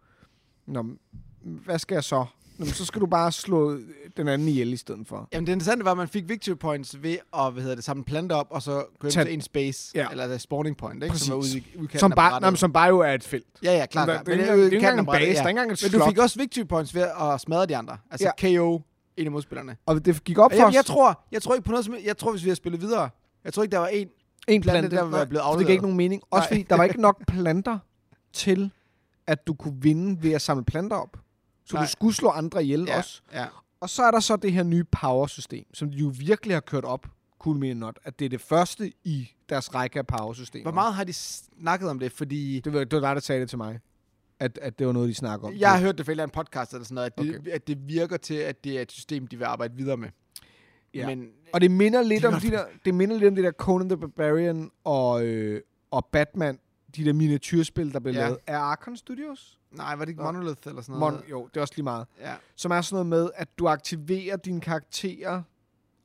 [SPEAKER 2] Nå, men hvad skal jeg så? Nå, men så skal du bare slå øh, den anden ihjel i stedet for.
[SPEAKER 1] Jamen det interessante var, at man fik victory points ved at hvad hedder det, samle planter op, og så gå hjem
[SPEAKER 2] Tag-
[SPEAKER 1] til en space,
[SPEAKER 2] Ja.
[SPEAKER 1] ja. eller der spawning point, ikke? som var ude i udkanten
[SPEAKER 2] som,
[SPEAKER 1] af
[SPEAKER 2] bare,
[SPEAKER 1] brættet.
[SPEAKER 2] nej, men som bare jo er et felt.
[SPEAKER 1] Ja, ja, klart.
[SPEAKER 2] Men der-
[SPEAKER 1] klart.
[SPEAKER 2] det
[SPEAKER 1] ude
[SPEAKER 2] er ikke engang-
[SPEAKER 1] i
[SPEAKER 2] det er
[SPEAKER 1] kanten
[SPEAKER 2] ikke
[SPEAKER 1] af
[SPEAKER 2] engang en
[SPEAKER 1] brættet,
[SPEAKER 2] base, der er ikke engang et
[SPEAKER 1] Men du
[SPEAKER 2] slot.
[SPEAKER 1] fik også victory points ved at smadre de andre. Altså ja. KO en af modspillerne.
[SPEAKER 2] Og det gik op
[SPEAKER 1] Og
[SPEAKER 2] for
[SPEAKER 1] Jeg,
[SPEAKER 2] os.
[SPEAKER 1] jeg, tror, jeg tror ikke på noget som Jeg tror, hvis vi havde spillet videre. Jeg tror ikke, der var en.
[SPEAKER 2] en
[SPEAKER 1] plante, der var
[SPEAKER 2] nej,
[SPEAKER 1] blevet
[SPEAKER 2] for Det
[SPEAKER 1] afleveret.
[SPEAKER 2] gav ikke nogen mening. Også
[SPEAKER 1] Nej.
[SPEAKER 2] fordi, der var ikke nok planter til, at du kunne vinde ved at samle planter op. Så Nej.
[SPEAKER 1] Nej.
[SPEAKER 2] du skulle slå andre ihjel ja. også.
[SPEAKER 1] ja.
[SPEAKER 2] Og så er der så det her nye power-system, som de jo virkelig har kørt op, cool me not, at det er det første i deres række af power-systemer.
[SPEAKER 1] Hvor meget har de snakket om det? Fordi
[SPEAKER 2] Det var, det var dig, der sagde det til mig. At, at det var noget, de snakker om.
[SPEAKER 1] jeg har hørt det fra en eller anden podcast eller sådan noget, at det,
[SPEAKER 2] Okay.
[SPEAKER 1] okay. at det virker til, at det er et system, de vil arbejde videre med.
[SPEAKER 2] Ja.
[SPEAKER 1] Men
[SPEAKER 2] Og det minder lidt
[SPEAKER 1] Det
[SPEAKER 2] om
[SPEAKER 1] er
[SPEAKER 2] de der, det minder lidt om det der Conan the Barbarian og, øh, og Batman, de der miniatyrspil, der blev ja.
[SPEAKER 1] Ja.
[SPEAKER 2] lavet af Arkon Studios.
[SPEAKER 1] nej, var det ikke
[SPEAKER 2] Nå.
[SPEAKER 1] Monolith eller sådan noget?
[SPEAKER 2] Mon, jo, det er også lige meget.
[SPEAKER 1] ja.
[SPEAKER 2] Som er sådan noget med, at du aktiverer dine karakterer,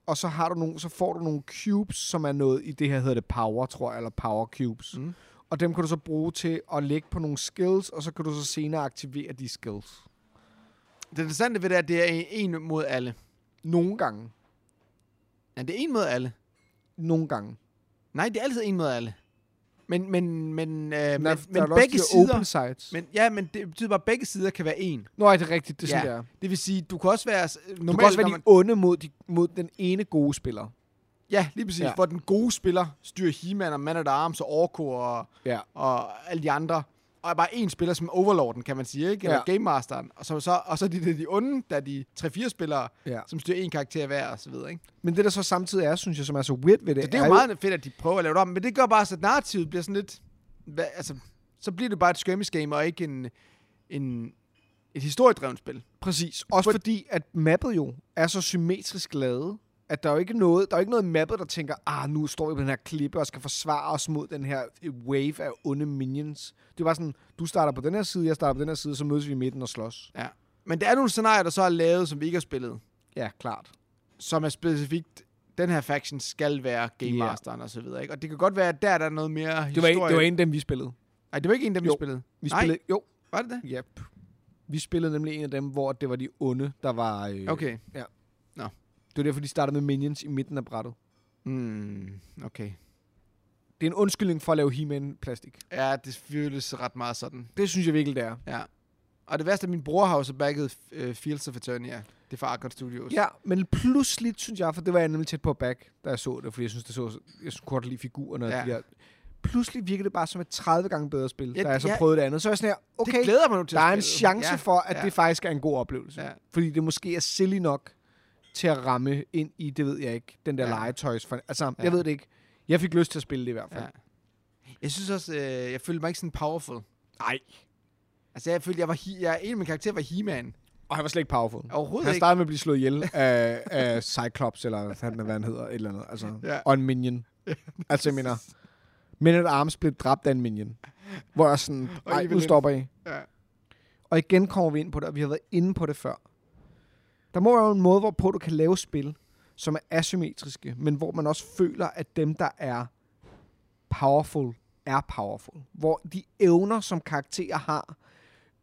[SPEAKER 2] og så, har du nogle, så får du nogle cubes, som er noget i det her hedder det power, tror jeg, eller power cubes. Mm.
[SPEAKER 1] Mm.
[SPEAKER 2] Og dem kan du så bruge til at lægge på nogle skills, og så kan du så senere aktivere de skills.
[SPEAKER 1] Det interessante ved det er, at det er en mod alle.
[SPEAKER 2] Nogle gange.
[SPEAKER 1] Ja, det er en mod alle.
[SPEAKER 2] Nogle gange.
[SPEAKER 1] Nej, det er altid en mod alle. Men, men, men, øh, men,
[SPEAKER 2] Der-
[SPEAKER 1] men,
[SPEAKER 2] der er da også
[SPEAKER 1] begge
[SPEAKER 2] de her
[SPEAKER 1] sider...
[SPEAKER 2] Open sites. Men,
[SPEAKER 1] Men, ja, men det betyder bare, at begge sider kan være en.
[SPEAKER 2] Nå, er det rigtigt? Det er sådan,
[SPEAKER 1] Ja.
[SPEAKER 2] det er.
[SPEAKER 1] Det vil sige, du kan også være... s-
[SPEAKER 2] Du
[SPEAKER 1] Normalt,
[SPEAKER 2] kan også være
[SPEAKER 1] når
[SPEAKER 2] de onde mod, de, mod den ene gode spiller.
[SPEAKER 1] Ja, lige præcis.
[SPEAKER 2] Ja.
[SPEAKER 1] Ja. Hvor den gode spiller styrer He-Man og Man at Arms og Orko og,
[SPEAKER 2] Ja.
[SPEAKER 1] og alle de andre. og er bare en spiller som overlorden, kan man sige, ikke? Eller ja.
[SPEAKER 2] Ja.
[SPEAKER 1] game masteren. Og så, så, og så er de, de onde, der er de 3-4 spillere,
[SPEAKER 2] Ja.
[SPEAKER 1] ja. som styrer en karakter hver, og så videre, ikke?
[SPEAKER 2] Men det, der så samtidig er, synes jeg, som er så weird ved det,
[SPEAKER 1] Så det er jo meget fedt, at de prøver at lave det om, men det gør bare, så at narrativet bliver sådan lidt... Hvad, altså, så bliver det bare et skirmish game, og ikke en, en, et historiedrevet spil.
[SPEAKER 2] Præcis. Også fordi, at mappet jo er så symmetrisk lavet, at der er jo ikke noget, der er jo ikke noget i mappet, der tænker, ah, nu står vi på den her klippe og skal forsvare os mod den her wave af onde minions. Det er bare sådan, du starter på den her side, jeg starter på den her side, så mødes vi i midten og slås.
[SPEAKER 1] Ja. Men der er nogle scenarier, der så er lavet, som vi ikke har spillet,
[SPEAKER 2] Ja, klart.
[SPEAKER 1] som er specifikt, den her faction skal være Game
[SPEAKER 2] Ja.
[SPEAKER 1] Masteren og så videre, ikke? Og det kan godt være, at der, der er noget mere
[SPEAKER 2] Det var,
[SPEAKER 1] historie.
[SPEAKER 2] en, det var en af dem, vi spillede.
[SPEAKER 1] Nej, det var ikke en, der vi
[SPEAKER 2] Jo.
[SPEAKER 1] spillede.
[SPEAKER 2] Vi
[SPEAKER 1] Nej.
[SPEAKER 2] spillede, jo,
[SPEAKER 1] Var det det?
[SPEAKER 2] yep. Vi spillede nemlig en af dem, hvor det var de onde, der var... Øh,
[SPEAKER 1] Okay.
[SPEAKER 2] Det var derfor, de startede med minions i midten af brættet.
[SPEAKER 1] Mm, okay.
[SPEAKER 2] Det er en undskyldning for at lave He-Man-plastik.
[SPEAKER 1] Ja, det føles ret meget sådan.
[SPEAKER 2] Det synes jeg virkelig, det er.
[SPEAKER 1] Ja. Og det værste er, at min bror har jo så bagget uh, Fields of Eternia. Det er fra Arcot Studios.
[SPEAKER 2] Ja, men pludselig synes jeg, for det var jeg nemlig tæt på back, da jeg så det, fordi jeg synes, det så, jeg synes godt lige figurerne. Ja.
[SPEAKER 1] Ja.
[SPEAKER 2] De her. Pludselig virkede det bare som et 30 gange bedre spil, ja,
[SPEAKER 1] Ja,
[SPEAKER 2] da jeg så
[SPEAKER 1] ja.
[SPEAKER 2] prøvede det andet. Så er jeg sådan her, okay,
[SPEAKER 1] Det glæder mig nu til
[SPEAKER 2] der
[SPEAKER 1] at
[SPEAKER 2] er en
[SPEAKER 1] spille.
[SPEAKER 2] chance ja, for, at ja. det faktisk er en god oplevelse. Ja.
[SPEAKER 1] Ja.
[SPEAKER 2] Fordi det måske er silly nok til at ramme ind i, det ved jeg ikke, den der ja.
[SPEAKER 1] Ja.
[SPEAKER 2] legetøjs. For, altså, ja.
[SPEAKER 1] Ja.
[SPEAKER 2] jeg ved det ikke. Jeg fik lyst til at spille det i hvert fald.
[SPEAKER 1] Ja.
[SPEAKER 2] Ja.
[SPEAKER 1] Jeg synes også, øh, jeg følte mig ikke sådan powerful. Nej. Altså, jeg følte, jeg var he- jeg, en af mine karakterer var He-Man.
[SPEAKER 2] Og han var slet ikke powerful.
[SPEAKER 1] Overhovedet
[SPEAKER 2] han
[SPEAKER 1] ikke.
[SPEAKER 2] startede med at blive slået ihjel af, af Cyclops, eller hvad fanden hvad han hedder, et eller andet. Altså, ja.
[SPEAKER 1] Ja.
[SPEAKER 2] Og en minion. altså, jeg mener, Men at Arms blev dræbt af en minion. Hvor jeg sådan,
[SPEAKER 1] Og
[SPEAKER 2] nej,
[SPEAKER 1] Evil
[SPEAKER 2] nu
[SPEAKER 1] Ed."
[SPEAKER 2] stopper I.
[SPEAKER 1] Ja.
[SPEAKER 2] Og igen kommer vi ind på det, og vi har været inde på det før. Der må være en måde, hvorpå du kan lave spil, som er asymmetriske, men hvor man også føler, at dem, der er powerful, er powerful. Hvor de evner, som karakterer har,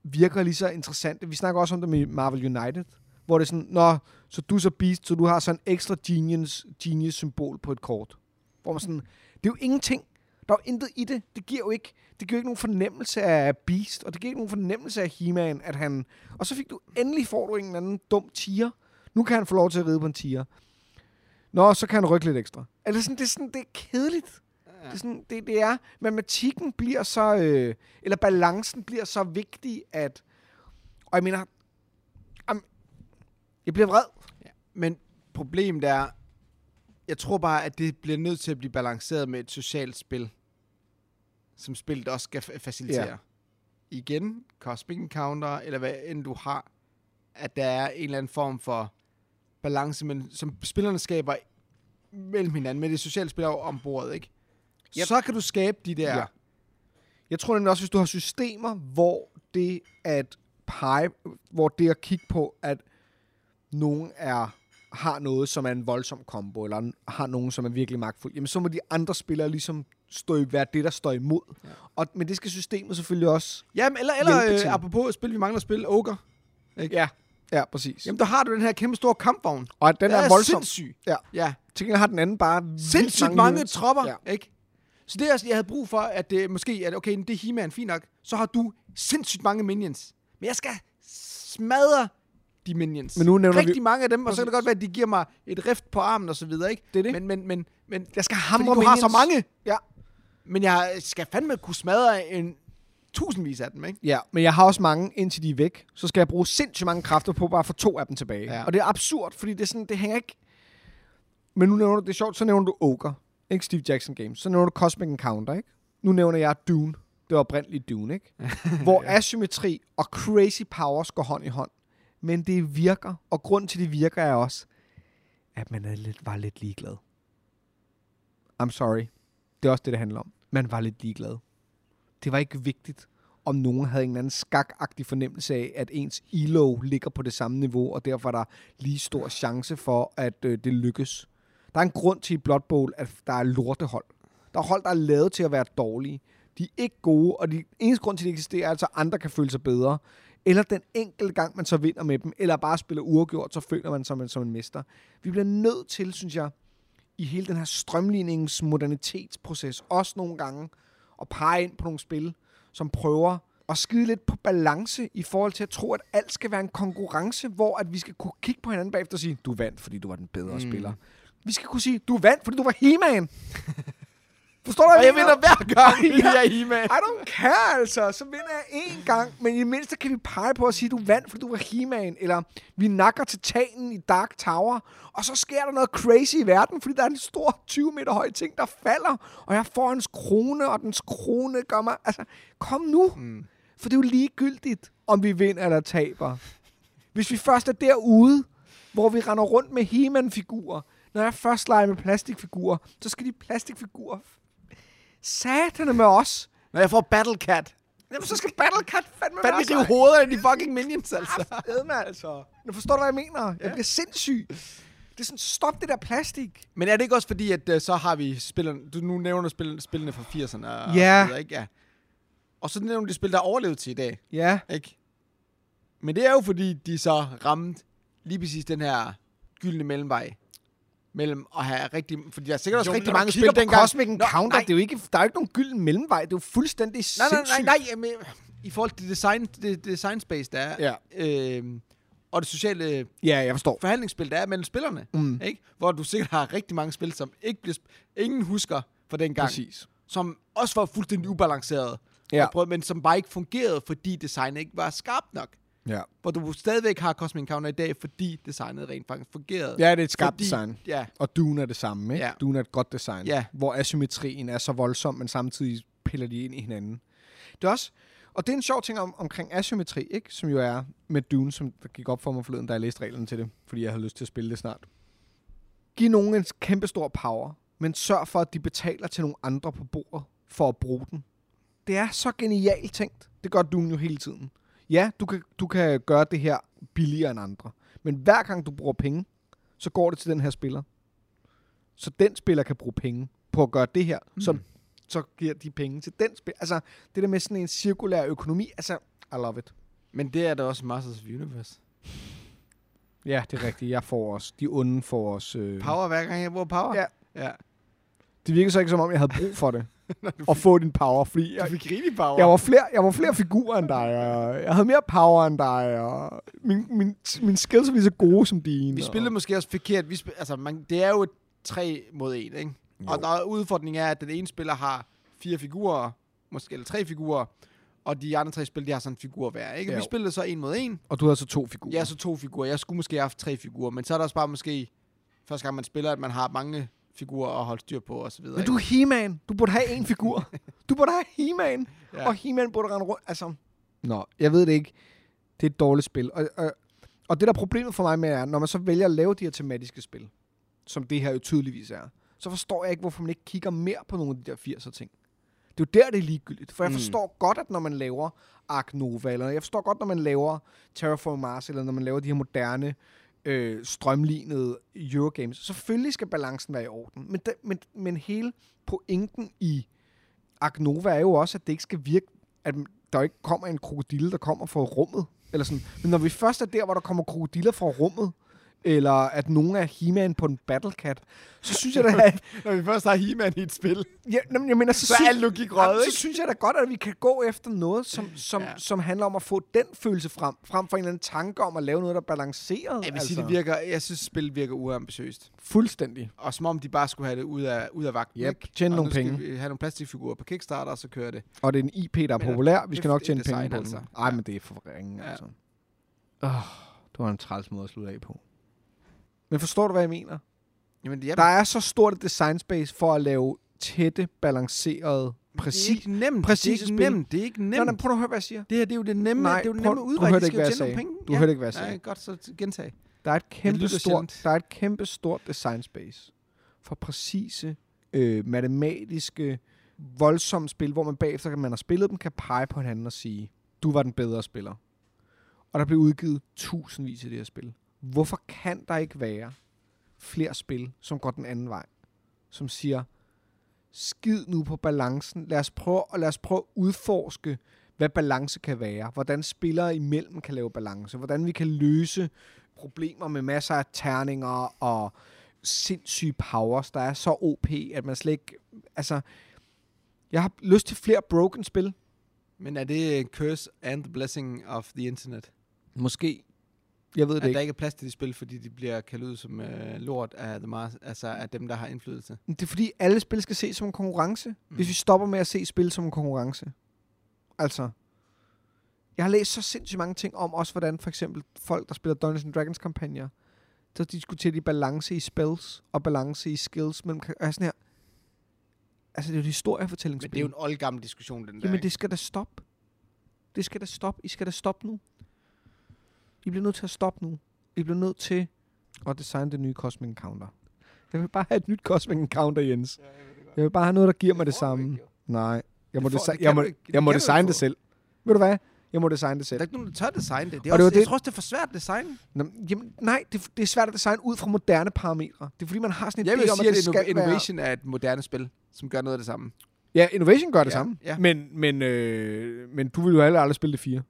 [SPEAKER 2] virker lige så interessante. Vi snakker også om det med Marvel United, hvor det er sådan, nå, så du er så beast, så du har sådan en ekstra genius, genius-symbol på et kort. Hvor man sådan, det er jo ingenting. Der er jo intet i det. Det giver jo ikke, det giver jo ikke nogen fornemmelse af Beast, og det giver ikke nogen fornemmelse af He-Man, at han... Og så fik du, endelig får du en eller anden dum tiger. Nu kan han få lov til at ride på en tiger. Nå, så kan han rykke lidt ekstra. Eller sådan, det er sådan, det er kedeligt. Det er, sådan, det, det er, matematikken bliver så, øh, eller balancen bliver så vigtig, at, og jeg mener, am, jeg bliver vred.
[SPEAKER 1] Men problemet er, jeg tror bare, at det bliver nødt til at blive balanceret med et socialt spil, som spillet også skal fa- facilitere.
[SPEAKER 2] Ja.
[SPEAKER 1] Ja. Igen, cosmic encounter, eller hvad end du har, at der er en eller anden form for balance, men som spillerne skaber mellem hinanden, med det sociale spil er jo om bordet, ikke? Yep. Så kan du skabe de der...
[SPEAKER 2] Ja. Jeg tror nemlig også, hvis du har systemer, hvor det at pege, hvor det at kigge på, at nogen er, har noget, som er en voldsom kombo, eller en- har nogen, som er virkelig magtfuld, jamen så må de andre spillere ligesom stå i, være det, der står imod. Ja. Og, men det skal systemet selvfølgelig også.
[SPEAKER 1] Jamen, eller,
[SPEAKER 2] Hjælpe
[SPEAKER 1] eller
[SPEAKER 2] til.
[SPEAKER 1] øh, apropos spil, vi mangler at spille, Ogre. Ikke?
[SPEAKER 2] Ja. Ja, præcis. Jamen,
[SPEAKER 1] Jamen, der har du den her kæmpe store kampvogn.
[SPEAKER 2] og at den
[SPEAKER 1] Den
[SPEAKER 2] er,
[SPEAKER 1] er
[SPEAKER 2] voldsom.
[SPEAKER 1] sindssyg.
[SPEAKER 2] Ja.
[SPEAKER 1] Ja,
[SPEAKER 2] Til gengæld har den anden bare vildt
[SPEAKER 1] sindssygt mange, mange
[SPEAKER 2] units.
[SPEAKER 1] tropper,
[SPEAKER 2] Ja.
[SPEAKER 1] ja. ikke? Så det er også, jeg havde brug for, at det måske, at okay, det er He-Man, fint nok, så har du sindssygt mange minions. Men jeg skal smadre de minions.
[SPEAKER 2] Men nu nævner vi-
[SPEAKER 1] Rigtig mange af dem, og så kan det
[SPEAKER 2] Præcis.
[SPEAKER 1] godt være, at de giver mig et rift på armen og så videre, ikke?
[SPEAKER 2] Det er det.
[SPEAKER 1] Men, men, men, men,
[SPEAKER 2] Jeg skal
[SPEAKER 1] fordi
[SPEAKER 2] hamre
[SPEAKER 1] du har så
[SPEAKER 2] minions.
[SPEAKER 1] mange,
[SPEAKER 2] Ja.
[SPEAKER 1] men jeg skal fandme kunne smadre en tusindvis af dem, ikke?
[SPEAKER 2] Ja, men jeg har også mange, indtil de er væk. Så skal jeg bruge sindssygt mange kræfter på bare at få to af dem tilbage. Ja.
[SPEAKER 1] Ja.
[SPEAKER 2] Og det er absurd, fordi det, er sådan, det hænger ikke... Men nu nævner du, det er sjovt, så nævner du Ogre. Ikke Steve Jackson Games. Så nævner du Cosmic Encounter, ikke? Nu nævner jeg Dune. Det var oprindeligt Dune, ikke? Hvor asymmetri og crazy powers går hånd i hånd. Men det virker, og grund til, det virker, er også, at man er lidt, var lidt ligeglad. I'm sorry. Det er også det, det handler om. Man var lidt ligeglad. Det var ikke vigtigt, om nogen havde en eller anden skakagtig fornemmelse af, at ens elo ligger på det samme niveau, og derfor er der lige stor chance for, at øh, det lykkes. Der er en grund til i Blood Bowl, at der er lortehold. Der er hold, der er lavet til at være dårlige. De er ikke gode, og de eneste grund til, at de eksisterer, er altså, at andre kan føle sig bedre. Eller den enkelte gang, man så vinder med dem, eller bare spiller uafgjort, så føler man sig man, som en mester. Vi bliver nødt til, synes jeg, i hele den her strømlignings modernitetsproces, også nogle gange at pege ind på nogle spil, som prøver at skide lidt på balance i forhold til at tro, at alt skal være en konkurrence, hvor at vi skal kunne kigge på hinanden bagefter og sige,
[SPEAKER 1] [LAUGHS]
[SPEAKER 2] du vandt, fordi du var den bedre mm. spiller. Vi skal kunne sige, du vandt, fordi du var he Forstår du, hvad
[SPEAKER 1] Og jeg
[SPEAKER 2] mener?
[SPEAKER 1] vinder hver
[SPEAKER 2] [LAUGHS]
[SPEAKER 1] gang, jeg er i med.
[SPEAKER 2] I don't care, altså. Så vinder jeg én gang, men i det mindste kan vi pege på at sige, du vandt, fordi du var he eller vi nakker titanen i Dark Tower, og så sker der noget crazy i verden, fordi der er en stor 20 meter høj ting, der falder, og jeg får hans krone, og dens krone gør mig... Altså, kom nu! Mm. For det er jo ligegyldigt, om vi vinder eller taber. Hvis vi først er derude, hvor vi render rundt med he figurer når jeg først leger med plastikfigurer, så skal de plastikfigurer satane med os.
[SPEAKER 1] Når jeg får Battle Cat,
[SPEAKER 2] Jamen, så skal Battle Cat fandme
[SPEAKER 1] fandme
[SPEAKER 2] være
[SPEAKER 1] rive hovederne i de fucking minions, altså.
[SPEAKER 2] Edme, altså. Nu forstår du, hvad jeg mener. Jeg bliver sindssyg. Det er sådan, stop det der plastik.
[SPEAKER 1] Men er det ikke også fordi, at øh, så har vi spillerne... Du nu nævner spil, spillene fra 80'erne. og- Og,
[SPEAKER 2] Ja.
[SPEAKER 1] så videre, ikke? ja. Og så nævner du de spil, der er overlevet til i dag.
[SPEAKER 2] Ja.
[SPEAKER 1] Ikke? Men det er jo fordi, de så ramte lige præcis den her gyldne mellemvej mellem at have rigtig... Fordi der er sikkert også
[SPEAKER 2] Jo,
[SPEAKER 1] rigtig
[SPEAKER 2] når
[SPEAKER 1] mange
[SPEAKER 2] du kigger
[SPEAKER 1] spil
[SPEAKER 2] på
[SPEAKER 1] dengang...
[SPEAKER 2] Cosmic Encounter,
[SPEAKER 1] nej.
[SPEAKER 2] det er jo ikke, der er jo ikke nogen gylden mellemvej. Det er jo fuldstændig
[SPEAKER 1] Nej, nej, nej,
[SPEAKER 2] sindssygt.
[SPEAKER 1] nej, jamen, i forhold til design, det, design space, der er, ja. øh, og det sociale
[SPEAKER 2] Ja, jeg forstår.
[SPEAKER 1] forhandlingsspil, der er mellem spillerne, mm. ikke? hvor du sikkert har rigtig mange spil, som ikke bliver sp- ingen husker fra den gang,
[SPEAKER 2] Præcis.
[SPEAKER 1] som også var fuldstændig ubalanceret,
[SPEAKER 2] Ja.
[SPEAKER 1] og prøv- men som bare ikke fungerede, fordi designet ikke var skarpt nok.
[SPEAKER 2] Ja.
[SPEAKER 1] Hvor du stadigvæk har Cosmic Encounter i dag, fordi designet rent faktisk fungerede.
[SPEAKER 2] Ja, det er et skarpt
[SPEAKER 1] Fordi-
[SPEAKER 2] design.
[SPEAKER 1] Ja,
[SPEAKER 2] Og Dune er det samme, ikke?
[SPEAKER 1] Ja.
[SPEAKER 2] Dune er et godt design,
[SPEAKER 1] Ja.
[SPEAKER 2] hvor asymmetrien er så voldsom, men samtidig piller de ind i hinanden. Det er også, og det er en sjov ting om, omkring asymmetri, ikke? som jo er med Dune, som der gik op for mig forleden, da jeg læste reglerne til det, fordi jeg havde lyst til at spille det snart. Giv nogen en kæmpe stor power, men sørg for, at de betaler til nogle andre på bordet for at bruge den. Det er så genialt tænkt. Det gør Dune jo hele tiden. Ja, du kan, du kan gøre det her billigere end andre, men hver gang du bruger penge, så går det til den her spiller så den spiller kan bruge penge på at gøre det her, mm. som så giver de penge til den spiller. Altså, det der med sådan en cirkulær økonomi, altså, I love it.
[SPEAKER 1] men det er der også Masters of the Universe.
[SPEAKER 2] Ja, det er rigtigt. Jeg får også. De onde får også. Øh...
[SPEAKER 1] Power hver gang jeg bruger power.
[SPEAKER 2] Ja.
[SPEAKER 1] ja.
[SPEAKER 2] Det virker så ikke, som om jeg havde brug for [LAUGHS] det. at få din power, fordi jeg,
[SPEAKER 1] Du fik rigtig power.
[SPEAKER 2] jeg, var flere, jeg var flere figurer end dig, og jeg havde mere power end dig, og min, min, min skills var lige så gode som dine.
[SPEAKER 1] Vi spillede måske også forkert. Vi spil- altså, man, det er jo et 3 mod 1, ikke? Jo. Og der udfordringen er, at den ene spiller har fire figurer, måske eller tre figurer, og de andre tre spil, de har sådan en figur hver, ikke?
[SPEAKER 2] Jo.
[SPEAKER 1] Vi spillede så en mod en.
[SPEAKER 2] Og, og du havde så to figurer.
[SPEAKER 1] Jeg er så to figurer. Jeg skulle måske have haft tre figurer, men så er der også bare måske første gang, man spiller, at man har mange figurer at holde styr på og så videre.
[SPEAKER 2] Men du er He-Man. Du burde have en figur. du burde have He-Man.
[SPEAKER 1] Ja.
[SPEAKER 2] Ja. Og He-Man burde rende rundt. Altså, nå, jeg ved det ikke. Det er et dårligt spil. Og, og, og det der er problemet for mig med er, når man så vælger at lave de her tematiske spil, som det her jo tydeligvis er, så forstår jeg ikke, hvorfor man ikke kigger mere på nogle af de der 80'er ting. Det er jo der, det er ligegyldigt. For jeg
[SPEAKER 1] Mm.
[SPEAKER 2] forstår godt, at når man laver Ark Nova, eller jeg forstår godt, når man laver Terraform Mars, eller når man laver de her moderne, øh, strømlignede Eurogames. Selvfølgelig skal balancen være i orden. Men, de, men, men hele pointen i Ark Nova er jo også, at det ikke skal virke, at der ikke kommer en krokodille, der kommer fra rummet. Eller sådan. Men når vi først er der, hvor der kommer krokodiller fra rummet, eller at nogen er he på en battlecat, så synes jeg da, at...
[SPEAKER 1] Når vi først har He-Man i et [LAUGHS] spil,
[SPEAKER 2] Ja, jamen, jeg mener, så,
[SPEAKER 1] så er al
[SPEAKER 2] synes,
[SPEAKER 1] logik
[SPEAKER 2] Jamen,
[SPEAKER 1] røget,
[SPEAKER 2] så
[SPEAKER 1] ikke?
[SPEAKER 2] synes jeg da godt, at vi kan gå efter noget, som, som,
[SPEAKER 1] Ja.
[SPEAKER 2] ja. som handler om at få den følelse frem, frem for en eller anden tanke om at lave noget, der er balanceret. altså.
[SPEAKER 1] Jeg vil sige, det virker, jeg synes, spillet virker uambitiøst.
[SPEAKER 2] fuldstændig.
[SPEAKER 1] Altså. Og som om de bare skulle have det ud af, ud af vagten,
[SPEAKER 2] Yep,
[SPEAKER 1] ikke?
[SPEAKER 2] tjene
[SPEAKER 1] Og
[SPEAKER 2] nogle
[SPEAKER 1] nu skal
[SPEAKER 2] penge.
[SPEAKER 1] vi have nogle plastikfigurer på Kickstarter, og så kører det.
[SPEAKER 2] Og det er en IP, der er
[SPEAKER 1] Men
[SPEAKER 2] populær. Vi
[SPEAKER 1] det-
[SPEAKER 2] skal nok
[SPEAKER 1] det
[SPEAKER 2] tjene
[SPEAKER 1] design,
[SPEAKER 2] penge på
[SPEAKER 1] altså.
[SPEAKER 2] den. Ej,
[SPEAKER 1] Ja.
[SPEAKER 2] men det er for ringe,
[SPEAKER 1] Ja.
[SPEAKER 2] altså. Åh, det var en træls måde at slutte af på. Men forstår du, hvad jeg mener?
[SPEAKER 1] Jamen, det er,
[SPEAKER 2] Der er så stort et design space for at lave tætte, balancerede,
[SPEAKER 1] det er
[SPEAKER 2] præcis.
[SPEAKER 1] ikke nemt.
[SPEAKER 2] Præcis
[SPEAKER 1] det er
[SPEAKER 2] spil.
[SPEAKER 1] ikke nemt. Det er ikke nemt.
[SPEAKER 2] Nå, nej, prøv at høre, hvad jeg siger.
[SPEAKER 1] Det her, det er jo det nemme,
[SPEAKER 2] Nej,
[SPEAKER 1] det er jo det
[SPEAKER 2] prøv-
[SPEAKER 1] nemme
[SPEAKER 2] du
[SPEAKER 1] udvej,
[SPEAKER 2] hørte
[SPEAKER 1] de skal
[SPEAKER 2] ikke, hvad
[SPEAKER 1] jo
[SPEAKER 2] jeg
[SPEAKER 1] tjene nogle
[SPEAKER 2] sagde.
[SPEAKER 1] penge.
[SPEAKER 2] Du hørte ikke, hvad jeg
[SPEAKER 1] Nej,
[SPEAKER 2] sagde.
[SPEAKER 1] godt, så gentag.
[SPEAKER 2] Der er et kæmpe
[SPEAKER 1] lyder
[SPEAKER 2] stort,
[SPEAKER 1] sjældent.
[SPEAKER 2] der er et kæmpe stort design space for præcise øh, matematiske voldsomme spil, hvor man bagefter, at man har spillet dem, kan pege på hinanden og sige, du var den bedre spiller. Og der blev udgivet tusindvis af det her spil. Hvorfor kan der ikke være flere spil, som går den anden vej? Som siger, skid nu på balancen. Lad os prøve, og lad os prøve at udforske, hvad balance kan være. Hvordan spillere imellem kan lave balance. Hvordan vi kan løse problemer med masser af terninger og sindssyge powers, der er så OP, at man slet ikke... Altså, jeg har lyst til flere broken spil.
[SPEAKER 1] øh, Men er det curse and the blessing of the internet?
[SPEAKER 2] Måske. Jeg ved det
[SPEAKER 1] At der
[SPEAKER 2] ikke.
[SPEAKER 1] ikke er plads til de spil, fordi de bliver kaldt ud som øh, lort af, the mas- altså af dem, der har indflydelse.
[SPEAKER 2] Men Det er fordi, alle spil skal ses som en konkurrence. Mm. Hvis vi stopper med at se spil som en konkurrence. Altså, jeg har læst så sindssygt mange ting om også, hvordan for eksempel folk, der spiller Dungeons and Dragons kampagner, så diskuterer de balance i spells og balance i skills mellem kar- og jeg er sådan her. Altså, det er jo et historiefortællingsspil.
[SPEAKER 1] Men det er jo en oldgammel diskussion, den der.
[SPEAKER 2] Jamen,
[SPEAKER 1] ikke?
[SPEAKER 2] det skal da stoppe. Det skal da stoppe. I skal da stoppe nu. I bliver nødt til at stoppe nu. I bliver nødt til at designe det nye Cosmic Encounter. Jeg vil bare have et nyt Cosmic Encounter, Jens. Jeg vil bare have noget, der giver mig det
[SPEAKER 1] får du
[SPEAKER 2] samme.
[SPEAKER 1] ikke, jo.
[SPEAKER 2] Nej. Jeg må,
[SPEAKER 1] får-
[SPEAKER 2] desi-
[SPEAKER 1] det kan
[SPEAKER 2] jeg må,
[SPEAKER 1] du ikke- det
[SPEAKER 2] jeg må
[SPEAKER 1] kan du ikke
[SPEAKER 2] designe det
[SPEAKER 1] få.
[SPEAKER 2] selv. Ved du hvad? Jeg må designe det
[SPEAKER 1] Der er
[SPEAKER 2] selv.
[SPEAKER 1] ikke nogen, der tør designe det. det, er
[SPEAKER 2] Og det
[SPEAKER 1] også,
[SPEAKER 2] var
[SPEAKER 1] det jeg
[SPEAKER 2] det-
[SPEAKER 1] tror også, det er for svært at designe.
[SPEAKER 2] Nå, jamen, nej, det, er- det er svært at designe ud fra moderne parametre. Det er fordi, man har sådan en
[SPEAKER 1] Jeg vil
[SPEAKER 2] idé om,
[SPEAKER 1] sige,
[SPEAKER 2] at det
[SPEAKER 1] at
[SPEAKER 2] skal være...
[SPEAKER 1] Innovation er et moderne spil, som gør noget af det samme.
[SPEAKER 2] Ja, Innovation gør det
[SPEAKER 1] Ja,
[SPEAKER 2] samme.
[SPEAKER 1] ja.
[SPEAKER 2] Men, men, øh, men du vil jo heller aldrig spille det fire.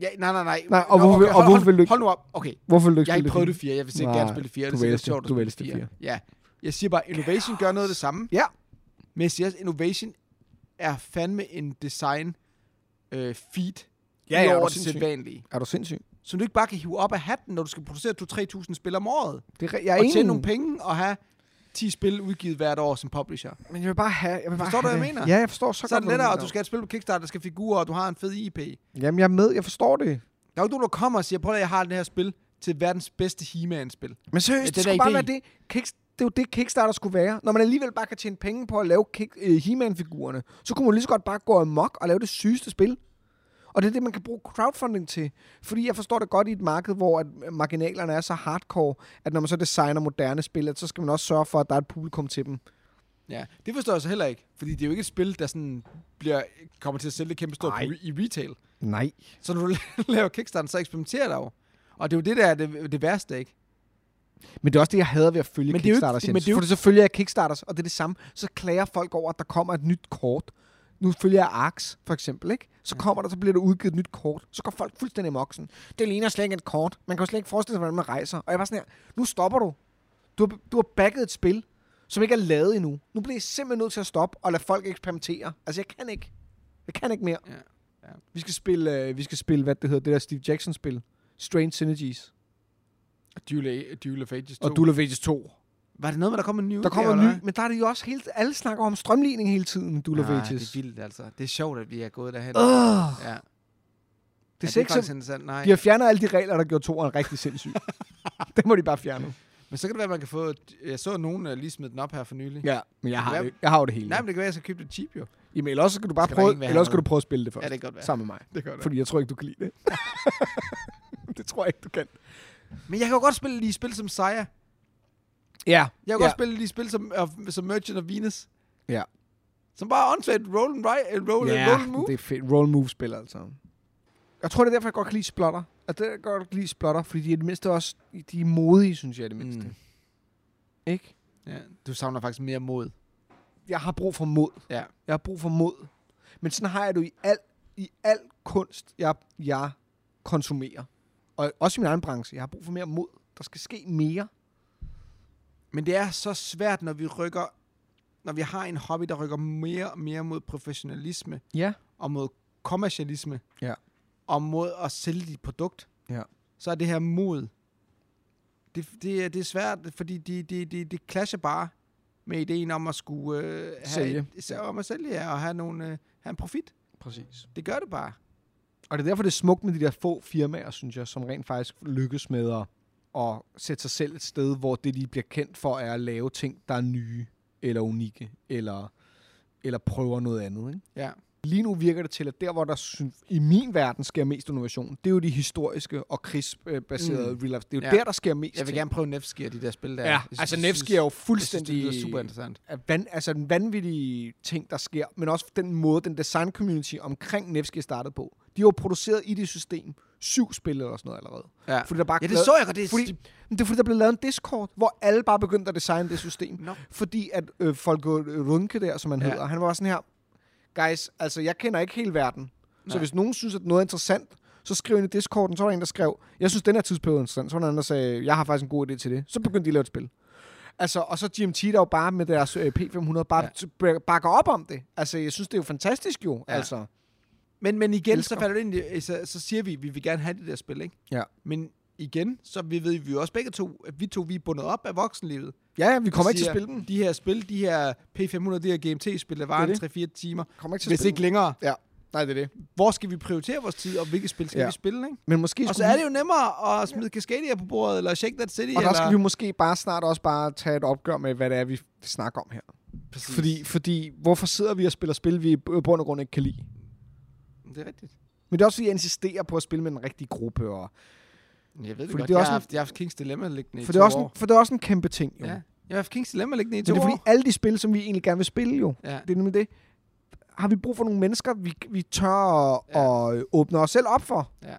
[SPEAKER 1] Ja, nej, nej, nej.
[SPEAKER 2] Nej, og hvorfor- og
[SPEAKER 1] hold,
[SPEAKER 2] hvorfor
[SPEAKER 1] hold,
[SPEAKER 2] vil du ikke-
[SPEAKER 1] Hold nu op. Okay,
[SPEAKER 2] Hvorfor vil du ikke
[SPEAKER 1] jeg har
[SPEAKER 2] spille
[SPEAKER 1] ikke
[SPEAKER 2] det
[SPEAKER 1] prøvet
[SPEAKER 2] fire?
[SPEAKER 1] det fire. Jeg vil sikkert
[SPEAKER 2] Nej,
[SPEAKER 1] gerne spille det fire.
[SPEAKER 2] du
[SPEAKER 1] Det er sikkert
[SPEAKER 2] elsker-
[SPEAKER 1] sjovt at
[SPEAKER 2] du
[SPEAKER 1] spille
[SPEAKER 2] elsker
[SPEAKER 1] fire. Ja. Jeg siger bare, Innovation gør noget af det samme.
[SPEAKER 2] Ja.
[SPEAKER 1] Men jeg siger også, Innovation er fandme en design øh, feed.
[SPEAKER 2] Ja, ja, er
[SPEAKER 1] over
[SPEAKER 2] du
[SPEAKER 1] det
[SPEAKER 2] sindssyg?
[SPEAKER 1] sædvanlige.
[SPEAKER 2] Er du sindsig?
[SPEAKER 1] Som du ikke bare kan hive op af hatten, når du skal producere 2-3.000 spil om året.
[SPEAKER 2] Det er, re- jeg er
[SPEAKER 1] og
[SPEAKER 2] enig.
[SPEAKER 1] tjene nogle penge og have 10 spil udgivet hvert år som publisher.
[SPEAKER 2] Men jeg vil bare have... Jeg vil bare
[SPEAKER 1] Forstår du,
[SPEAKER 2] have
[SPEAKER 1] hvad jeg
[SPEAKER 2] det.
[SPEAKER 1] mener?
[SPEAKER 2] Ja, jeg forstår så,
[SPEAKER 1] Så er
[SPEAKER 2] godt,
[SPEAKER 1] det
[SPEAKER 2] hvad
[SPEAKER 1] lettere, og
[SPEAKER 2] mener.
[SPEAKER 1] du skal have et spil på Kickstarter, der skal have figurer, og du har en fed IP. Der
[SPEAKER 2] Jamen, jeg er med. Jeg forstår det.
[SPEAKER 1] er jo ikke nogen, der kommer og siger, prøv at høre, jeg har det her spil til verdens bedste He-Man-spil.
[SPEAKER 2] Men seriøst,
[SPEAKER 1] Ja,
[SPEAKER 2] det,
[SPEAKER 1] den
[SPEAKER 2] det skulle
[SPEAKER 1] der
[SPEAKER 2] bare
[SPEAKER 1] idé.
[SPEAKER 2] være det. Kicks, det er jo det, Kickstarter skulle være. Når man alligevel bare kan tjene penge på at lave kick, øh, He-Man-figurerne, så kunne man lige så godt bare gå amok og lave det sygeste spil. Og det er det, man kan bruge crowdfunding til. Fordi jeg forstår det godt i et marked, hvor at øh, marginalerne er så hardcore, at når man så designer moderne spil, at så skal man også sørge for, at der er et publikum til dem.
[SPEAKER 1] Ja, det forstår jeg så heller ikke. Fordi det er jo ikke et spil, der sådan bliver, kommer til at sælge det kæmpe stort
[SPEAKER 2] Nej.
[SPEAKER 1] på re- i retail.
[SPEAKER 2] Nej.
[SPEAKER 1] Så når du [LAUGHS] laver Kickstarter, så eksperimenterer der jo. Og det er jo det, der er det, det værste, ikke?
[SPEAKER 2] Men det er også det, jeg hader ved at følge
[SPEAKER 1] Men det er jo ikke-
[SPEAKER 2] Kickstarters.
[SPEAKER 1] men
[SPEAKER 2] Men
[SPEAKER 1] det er jo
[SPEAKER 2] Fordi selvfølgelig er Kickstarters, og det er det samme. Så klager folk over, at der kommer et nyt kort. Nu følger jeg ARX, for eksempel, ikke? Så kommer der, så bliver der udgivet et nyt kort. Så går folk fuldstændig i moksen. Det ligner slet ikke et kort. Man kan jo slet ikke forestille sig, hvordan man rejser. Og jeg var sådan her, nu stopper du. Du har, du har backet et spil, som ikke er lavet endnu. Nu bliver jeg simpelthen nødt til at stoppe og lade folk eksperimentere. Altså, jeg kan ikke. Jeg kan ikke mere.
[SPEAKER 1] Ja. Ja.
[SPEAKER 2] Vi skal spille, øh, vi skal spille, hvad det hedder, det der Steve Jackson-spil. Strange Synergies.
[SPEAKER 1] Duel, Duel of Ages 2.
[SPEAKER 2] Og Duel of Ages 2.
[SPEAKER 1] Var det noget med, der kommer en ny
[SPEAKER 2] Der
[SPEAKER 1] udgave,
[SPEAKER 2] kommer
[SPEAKER 1] eller
[SPEAKER 2] ny,
[SPEAKER 1] hvad?
[SPEAKER 2] men der er det jo også helt... Alle snakker om strømligning hele tiden, Duel of
[SPEAKER 1] Nej,
[SPEAKER 2] Ages.
[SPEAKER 1] det er vildt, altså. Det er sjovt, at vi er gået derhen.
[SPEAKER 2] Øh,
[SPEAKER 1] Ja.
[SPEAKER 2] det
[SPEAKER 1] ja,
[SPEAKER 2] ser ikke
[SPEAKER 1] faktisk
[SPEAKER 2] som...
[SPEAKER 1] interessant. Nej.
[SPEAKER 2] De har fjernet alle de regler, der gjorde toeren rigtig [LAUGHS] sindssyg. det må de bare fjerne.
[SPEAKER 1] Men så kan det være, at man kan få... Jeg så nogen øh, lige smide den op her for nylig.
[SPEAKER 2] Ja, men jeg
[SPEAKER 1] har
[SPEAKER 2] har,
[SPEAKER 1] Ja.
[SPEAKER 2] det,
[SPEAKER 1] det-
[SPEAKER 2] jeg har jo det hele.
[SPEAKER 1] Nej, men det kan være, at jeg skal købe det cheap, jo.
[SPEAKER 2] Jamen, eller også skal du bare
[SPEAKER 1] Skal der
[SPEAKER 2] prøve,
[SPEAKER 1] ikke være
[SPEAKER 2] eller også skal du
[SPEAKER 1] noget?
[SPEAKER 2] prøve at spille det først.
[SPEAKER 1] Ja, det kan godt være.
[SPEAKER 2] Sammen med mig.
[SPEAKER 1] Det gør det.
[SPEAKER 2] Fordi jeg tror ikke, du kan lide det. [LAUGHS] det tror jeg ikke, du kan.
[SPEAKER 1] Men jeg kan jo godt spille lige spil som Saya.
[SPEAKER 2] Ja.
[SPEAKER 1] Jeg kan
[SPEAKER 2] ja.
[SPEAKER 1] godt spille lige spil som, uh, som Merchant of Venus.
[SPEAKER 2] Ja.
[SPEAKER 1] Som bare er åndssvagt roll and, right, uh, roll, yeah,
[SPEAKER 2] Ja,
[SPEAKER 1] roll and move.
[SPEAKER 2] det er fedt. Roll and move spil, altså. Jeg tror, det er derfor, jeg godt kan lide splotter. Og det er godt, jeg kan lide splotter, fordi de er det mindste også... De er modige, synes jeg, i det mindste. Mm.
[SPEAKER 1] Mm.
[SPEAKER 2] Ikke?
[SPEAKER 1] Ja, du savner faktisk mere mod.
[SPEAKER 2] Jeg har brug for mod.
[SPEAKER 1] Ja.
[SPEAKER 2] Jeg har brug for mod. Men sådan har jeg det jo i al, i al kunst, jeg, jeg konsumerer. Og også i min egen branche. Jeg har brug for mere mod. Der skal ske mere.
[SPEAKER 1] Men det er så svært, når vi rykker... Når vi har en hobby, der rykker mere og mere mod professionalisme
[SPEAKER 2] Ja.
[SPEAKER 1] og mod kommercialisme.
[SPEAKER 2] Ja.
[SPEAKER 1] Og mod at sælge dit produkt.
[SPEAKER 2] Ja.
[SPEAKER 1] Så er det her mod. Det, det, er- det er svært, fordi det de, de, de clasher bare med ideen om at skulle øh, have
[SPEAKER 2] Sælge.
[SPEAKER 1] Et, sælge- om at sælge ja, og have, nogle, øh, have en profit.
[SPEAKER 2] Præcis.
[SPEAKER 1] Det gør det bare.
[SPEAKER 2] Og det er derfor, det er smukt med de der få firmaer, synes jeg, som rent faktisk lykkes med at, at sætte sig selv et sted, hvor det, de bliver kendt for, er at lave ting, der er nye eller unikke, eller, eller prøver noget andet. Ikke?
[SPEAKER 1] Ja.
[SPEAKER 2] Lige nu virker det til, at der, hvor der syn- i min verden sker mest innovation, det er jo de historiske og krigsbaserede mm. real life. Det er jo ja.
[SPEAKER 1] Ja.
[SPEAKER 2] der, der sker mest
[SPEAKER 1] Jeg vil
[SPEAKER 2] ting.
[SPEAKER 1] gerne prøve Nevsky og de der spil der.
[SPEAKER 2] Ja,
[SPEAKER 1] Jeg
[SPEAKER 2] altså
[SPEAKER 1] jeg
[SPEAKER 2] Nevsky er jo
[SPEAKER 1] Jeg
[SPEAKER 2] fuldstændig...
[SPEAKER 1] synes, det er super interessant.
[SPEAKER 2] er van, altså en vanvittig ting, der sker, men også den måde, den design community omkring Nevsky er startet på. De har jo produceret i det system syv spil eller sådan noget allerede.
[SPEAKER 1] Ja.
[SPEAKER 2] Fordi der bare
[SPEAKER 1] Ja, det
[SPEAKER 2] lavet-
[SPEAKER 1] så jeg godt. Det er-
[SPEAKER 2] fordi, men det er fordi, der blev lavet en Discord, hvor alle bare begyndte at designe det system.
[SPEAKER 1] Nå.
[SPEAKER 2] Fordi at øh, Folke Runke der, som han
[SPEAKER 1] Ja.
[SPEAKER 2] hedder, han var sådan her, guys, altså jeg kender ikke hele verden. Så
[SPEAKER 1] Nej.
[SPEAKER 2] hvis nogen synes, at noget er interessant, så skriv ind i Discorden, så var der en, der skrev, jeg synes, den her tidsperiode er interessant. Så var der en, der sagde, jeg har faktisk en god idé til det. Så begyndte de at lave et spil. Altså, og så GMT, der jo bare med deres øh, P500, bare ja. bakker op om det. Altså, jeg synes, det er jo fantastisk jo. Ja.
[SPEAKER 1] Ja.
[SPEAKER 2] Altså.
[SPEAKER 1] Men, men igen,
[SPEAKER 2] Elsker.
[SPEAKER 1] altså, så, falder det ind, i- så, så siger vi, at vi vil gerne have det der spil, ikke?
[SPEAKER 2] Ja.
[SPEAKER 1] Men igen, så vi ved vi jo også begge to, at vi to vi er bundet op af voksenlivet.
[SPEAKER 2] Ja, vi
[SPEAKER 1] Vi
[SPEAKER 2] kommer ikke til
[SPEAKER 1] siger,
[SPEAKER 2] at spille dem.
[SPEAKER 1] De her spil, de her P500, de her GMT-spil, der
[SPEAKER 2] Det
[SPEAKER 1] varer
[SPEAKER 2] er
[SPEAKER 1] 3-4 timer,
[SPEAKER 2] Kommer ikke til at
[SPEAKER 1] hvis
[SPEAKER 2] spille
[SPEAKER 1] ikke længere.
[SPEAKER 2] Ja, nej, det er det.
[SPEAKER 1] Hvor skal vi prioritere vores tid, og hvilke spil skal
[SPEAKER 2] Ja.
[SPEAKER 1] ja. vi spille, ikke?
[SPEAKER 2] Men måske
[SPEAKER 1] Og så
[SPEAKER 2] skulle
[SPEAKER 1] er
[SPEAKER 2] vi-
[SPEAKER 1] det jo nemmere at smide Cascadia på bordet, eller Shake That City,
[SPEAKER 2] Og der
[SPEAKER 1] eller...
[SPEAKER 2] skal vi måske bare snart også bare tage et opgør med, hvad det er, vi snakker om her.
[SPEAKER 1] Præcis.
[SPEAKER 2] Fordi, fordi hvorfor sidder vi og spiller spil, vi i bund og grund ikke kan lide?
[SPEAKER 1] Det er rigtigt.
[SPEAKER 2] Men det er også, fordi jeg insisterer på at spille med den rigtige gruppe. Og,
[SPEAKER 1] Jeg ved det
[SPEAKER 2] Fordi
[SPEAKER 1] godt,
[SPEAKER 2] det er
[SPEAKER 1] jeg,
[SPEAKER 2] også
[SPEAKER 1] har
[SPEAKER 2] en-
[SPEAKER 1] haft, jeg har haft Kings Dilemma liggende i
[SPEAKER 2] for,
[SPEAKER 1] to
[SPEAKER 2] det er også en,
[SPEAKER 1] år.
[SPEAKER 2] for det er også en kæmpe ting, jo.
[SPEAKER 1] Ja. Jeg har haft Kings Dilemma liggende i to
[SPEAKER 2] Men det er
[SPEAKER 1] år.
[SPEAKER 2] fordi, alle de spil, som vi egentlig gerne vil spille, jo.
[SPEAKER 1] Ja.
[SPEAKER 2] Det er nemlig det. Har vi brug for nogle mennesker, vi, vi tør at,
[SPEAKER 1] Ja.
[SPEAKER 2] ja. at åbne os selv op for?
[SPEAKER 1] Ja.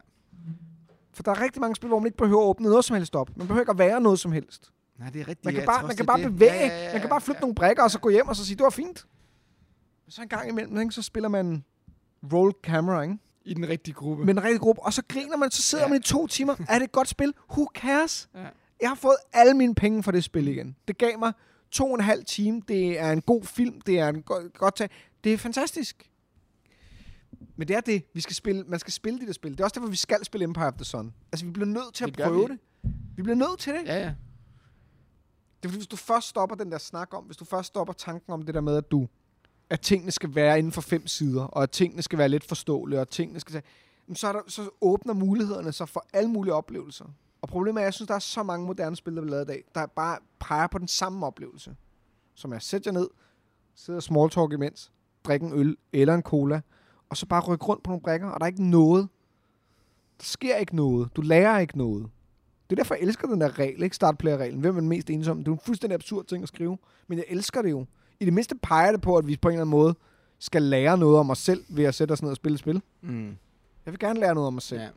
[SPEAKER 2] For der er rigtig mange spil, hvor man ikke behøver at åbne noget som helst op. Man behøver ikke at være noget som helst.
[SPEAKER 1] Nej, det er rigtigt.
[SPEAKER 2] Man kan
[SPEAKER 1] jeg
[SPEAKER 2] bare,
[SPEAKER 1] tror
[SPEAKER 2] man
[SPEAKER 1] også,
[SPEAKER 2] kan
[SPEAKER 1] det er
[SPEAKER 2] bare
[SPEAKER 1] det.
[SPEAKER 2] bevæge,
[SPEAKER 1] Ja, ja, ja, ja,
[SPEAKER 2] man kan bare flytte
[SPEAKER 1] ja.
[SPEAKER 2] nogle brækker, og så gå hjem og så sige, det var fint. Så en gang imellem, ikke, så spiller man roll camera, ikke?
[SPEAKER 1] I den rigtige gruppe.
[SPEAKER 2] Med en rigtig gruppe, og så griner man, så sidder
[SPEAKER 1] Mm. Ja.
[SPEAKER 2] ja. man i to
[SPEAKER 1] [LAUGHS]
[SPEAKER 2] timer. Er det et godt spil? Who cares?
[SPEAKER 1] Ja.
[SPEAKER 2] Jeg har fået alle mine penge for det spil igen. Det gav mig to og en halv time. Det er en god film. Det er en go- godt tag. Det er fantastisk. Men det er det. Vi skal spille, man skal spille de der spil. Det er også derfor, vi skal spille Empire of the Sun. Altså, vi bliver nødt til at
[SPEAKER 1] Det gør
[SPEAKER 2] prøve
[SPEAKER 1] vi.
[SPEAKER 2] det. Vi bliver nødt til det.
[SPEAKER 1] Ja, ja.
[SPEAKER 2] Det er fordi, hvis du først stopper den der snak om, hvis du først stopper tanken om det der med, at du at tingene skal være inden for fem sider, og at tingene skal være let forståelige, og at tingene skal tage, Jamen, så, er der, så åbner mulighederne sig for alle mulige oplevelser. Og problemet er, at jeg synes, der er så mange moderne spil, der bliver lavet i dag, der bare peger på den samme oplevelse. Som jeg sætter jer ned, sidder og smalltalk imens, drikke en øl eller en cola, og så bare rykke rundt på nogle brækker, og der er ikke noget. Der sker ikke noget. Du lærer ikke noget. Det er derfor, jeg elsker den der regel, ikke startplayer-reglen. Hvem er den mest ensomme? Det er en fuldstændig absurd ting at skrive, men jeg elsker det jo. I det mindste peger det på, at vi på en eller anden måde skal lære noget om os selv ved at sætte os ned og spille et spil.
[SPEAKER 1] Mm.
[SPEAKER 2] Jeg vil gerne lære noget om os selv. Ja.
[SPEAKER 1] ja.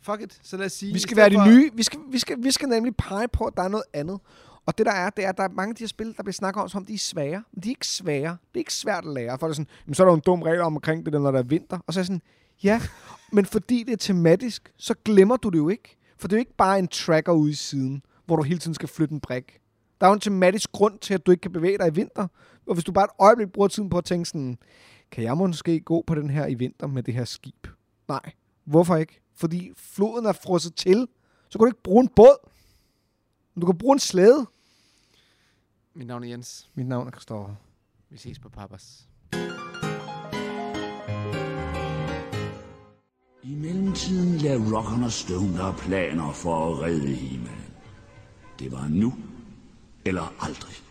[SPEAKER 1] Fuck it, så lad os sige...
[SPEAKER 2] Vi
[SPEAKER 1] i
[SPEAKER 2] skal
[SPEAKER 1] stedet
[SPEAKER 2] være de
[SPEAKER 1] for-
[SPEAKER 2] nye. Vi skal, vi, skal, vi skal nemlig pege på, at der er noget andet. Og det der er, det er, at der er mange af de her spil, der bliver snakket om, som om de er svære. Men de er ikke svære. Det er ikke svært at lære. For det er sådan, Jamen, så er der jo en dum regel om- omkring det, der, når der er vinter. Og så er jeg sådan, ja, men fordi det er tematisk, så glemmer du det jo ikke. For det er jo ikke bare en tracker ude i siden, hvor du hele tiden skal flytte en brik. Der er jo en tematisk grund til, at du ikke kan bevæge dig i vinter. Og hvis du bare et øjeblik bruger tiden på at tænke sådan, kan jeg måske gå på den her i vinter med det her skib? Nej. Hvorfor ikke? Fordi floden er frosset til. Så kan du ikke bruge en båd. Men du kan bruge en slæde.
[SPEAKER 1] Mit navn er Jens.
[SPEAKER 2] Mit navn er Kristoffer.
[SPEAKER 1] Vi ses på Pappas.
[SPEAKER 4] I mellemtiden lagde Rock'n'Stone og Stone der planer for at redde himlen. Det var nu eller aldrig.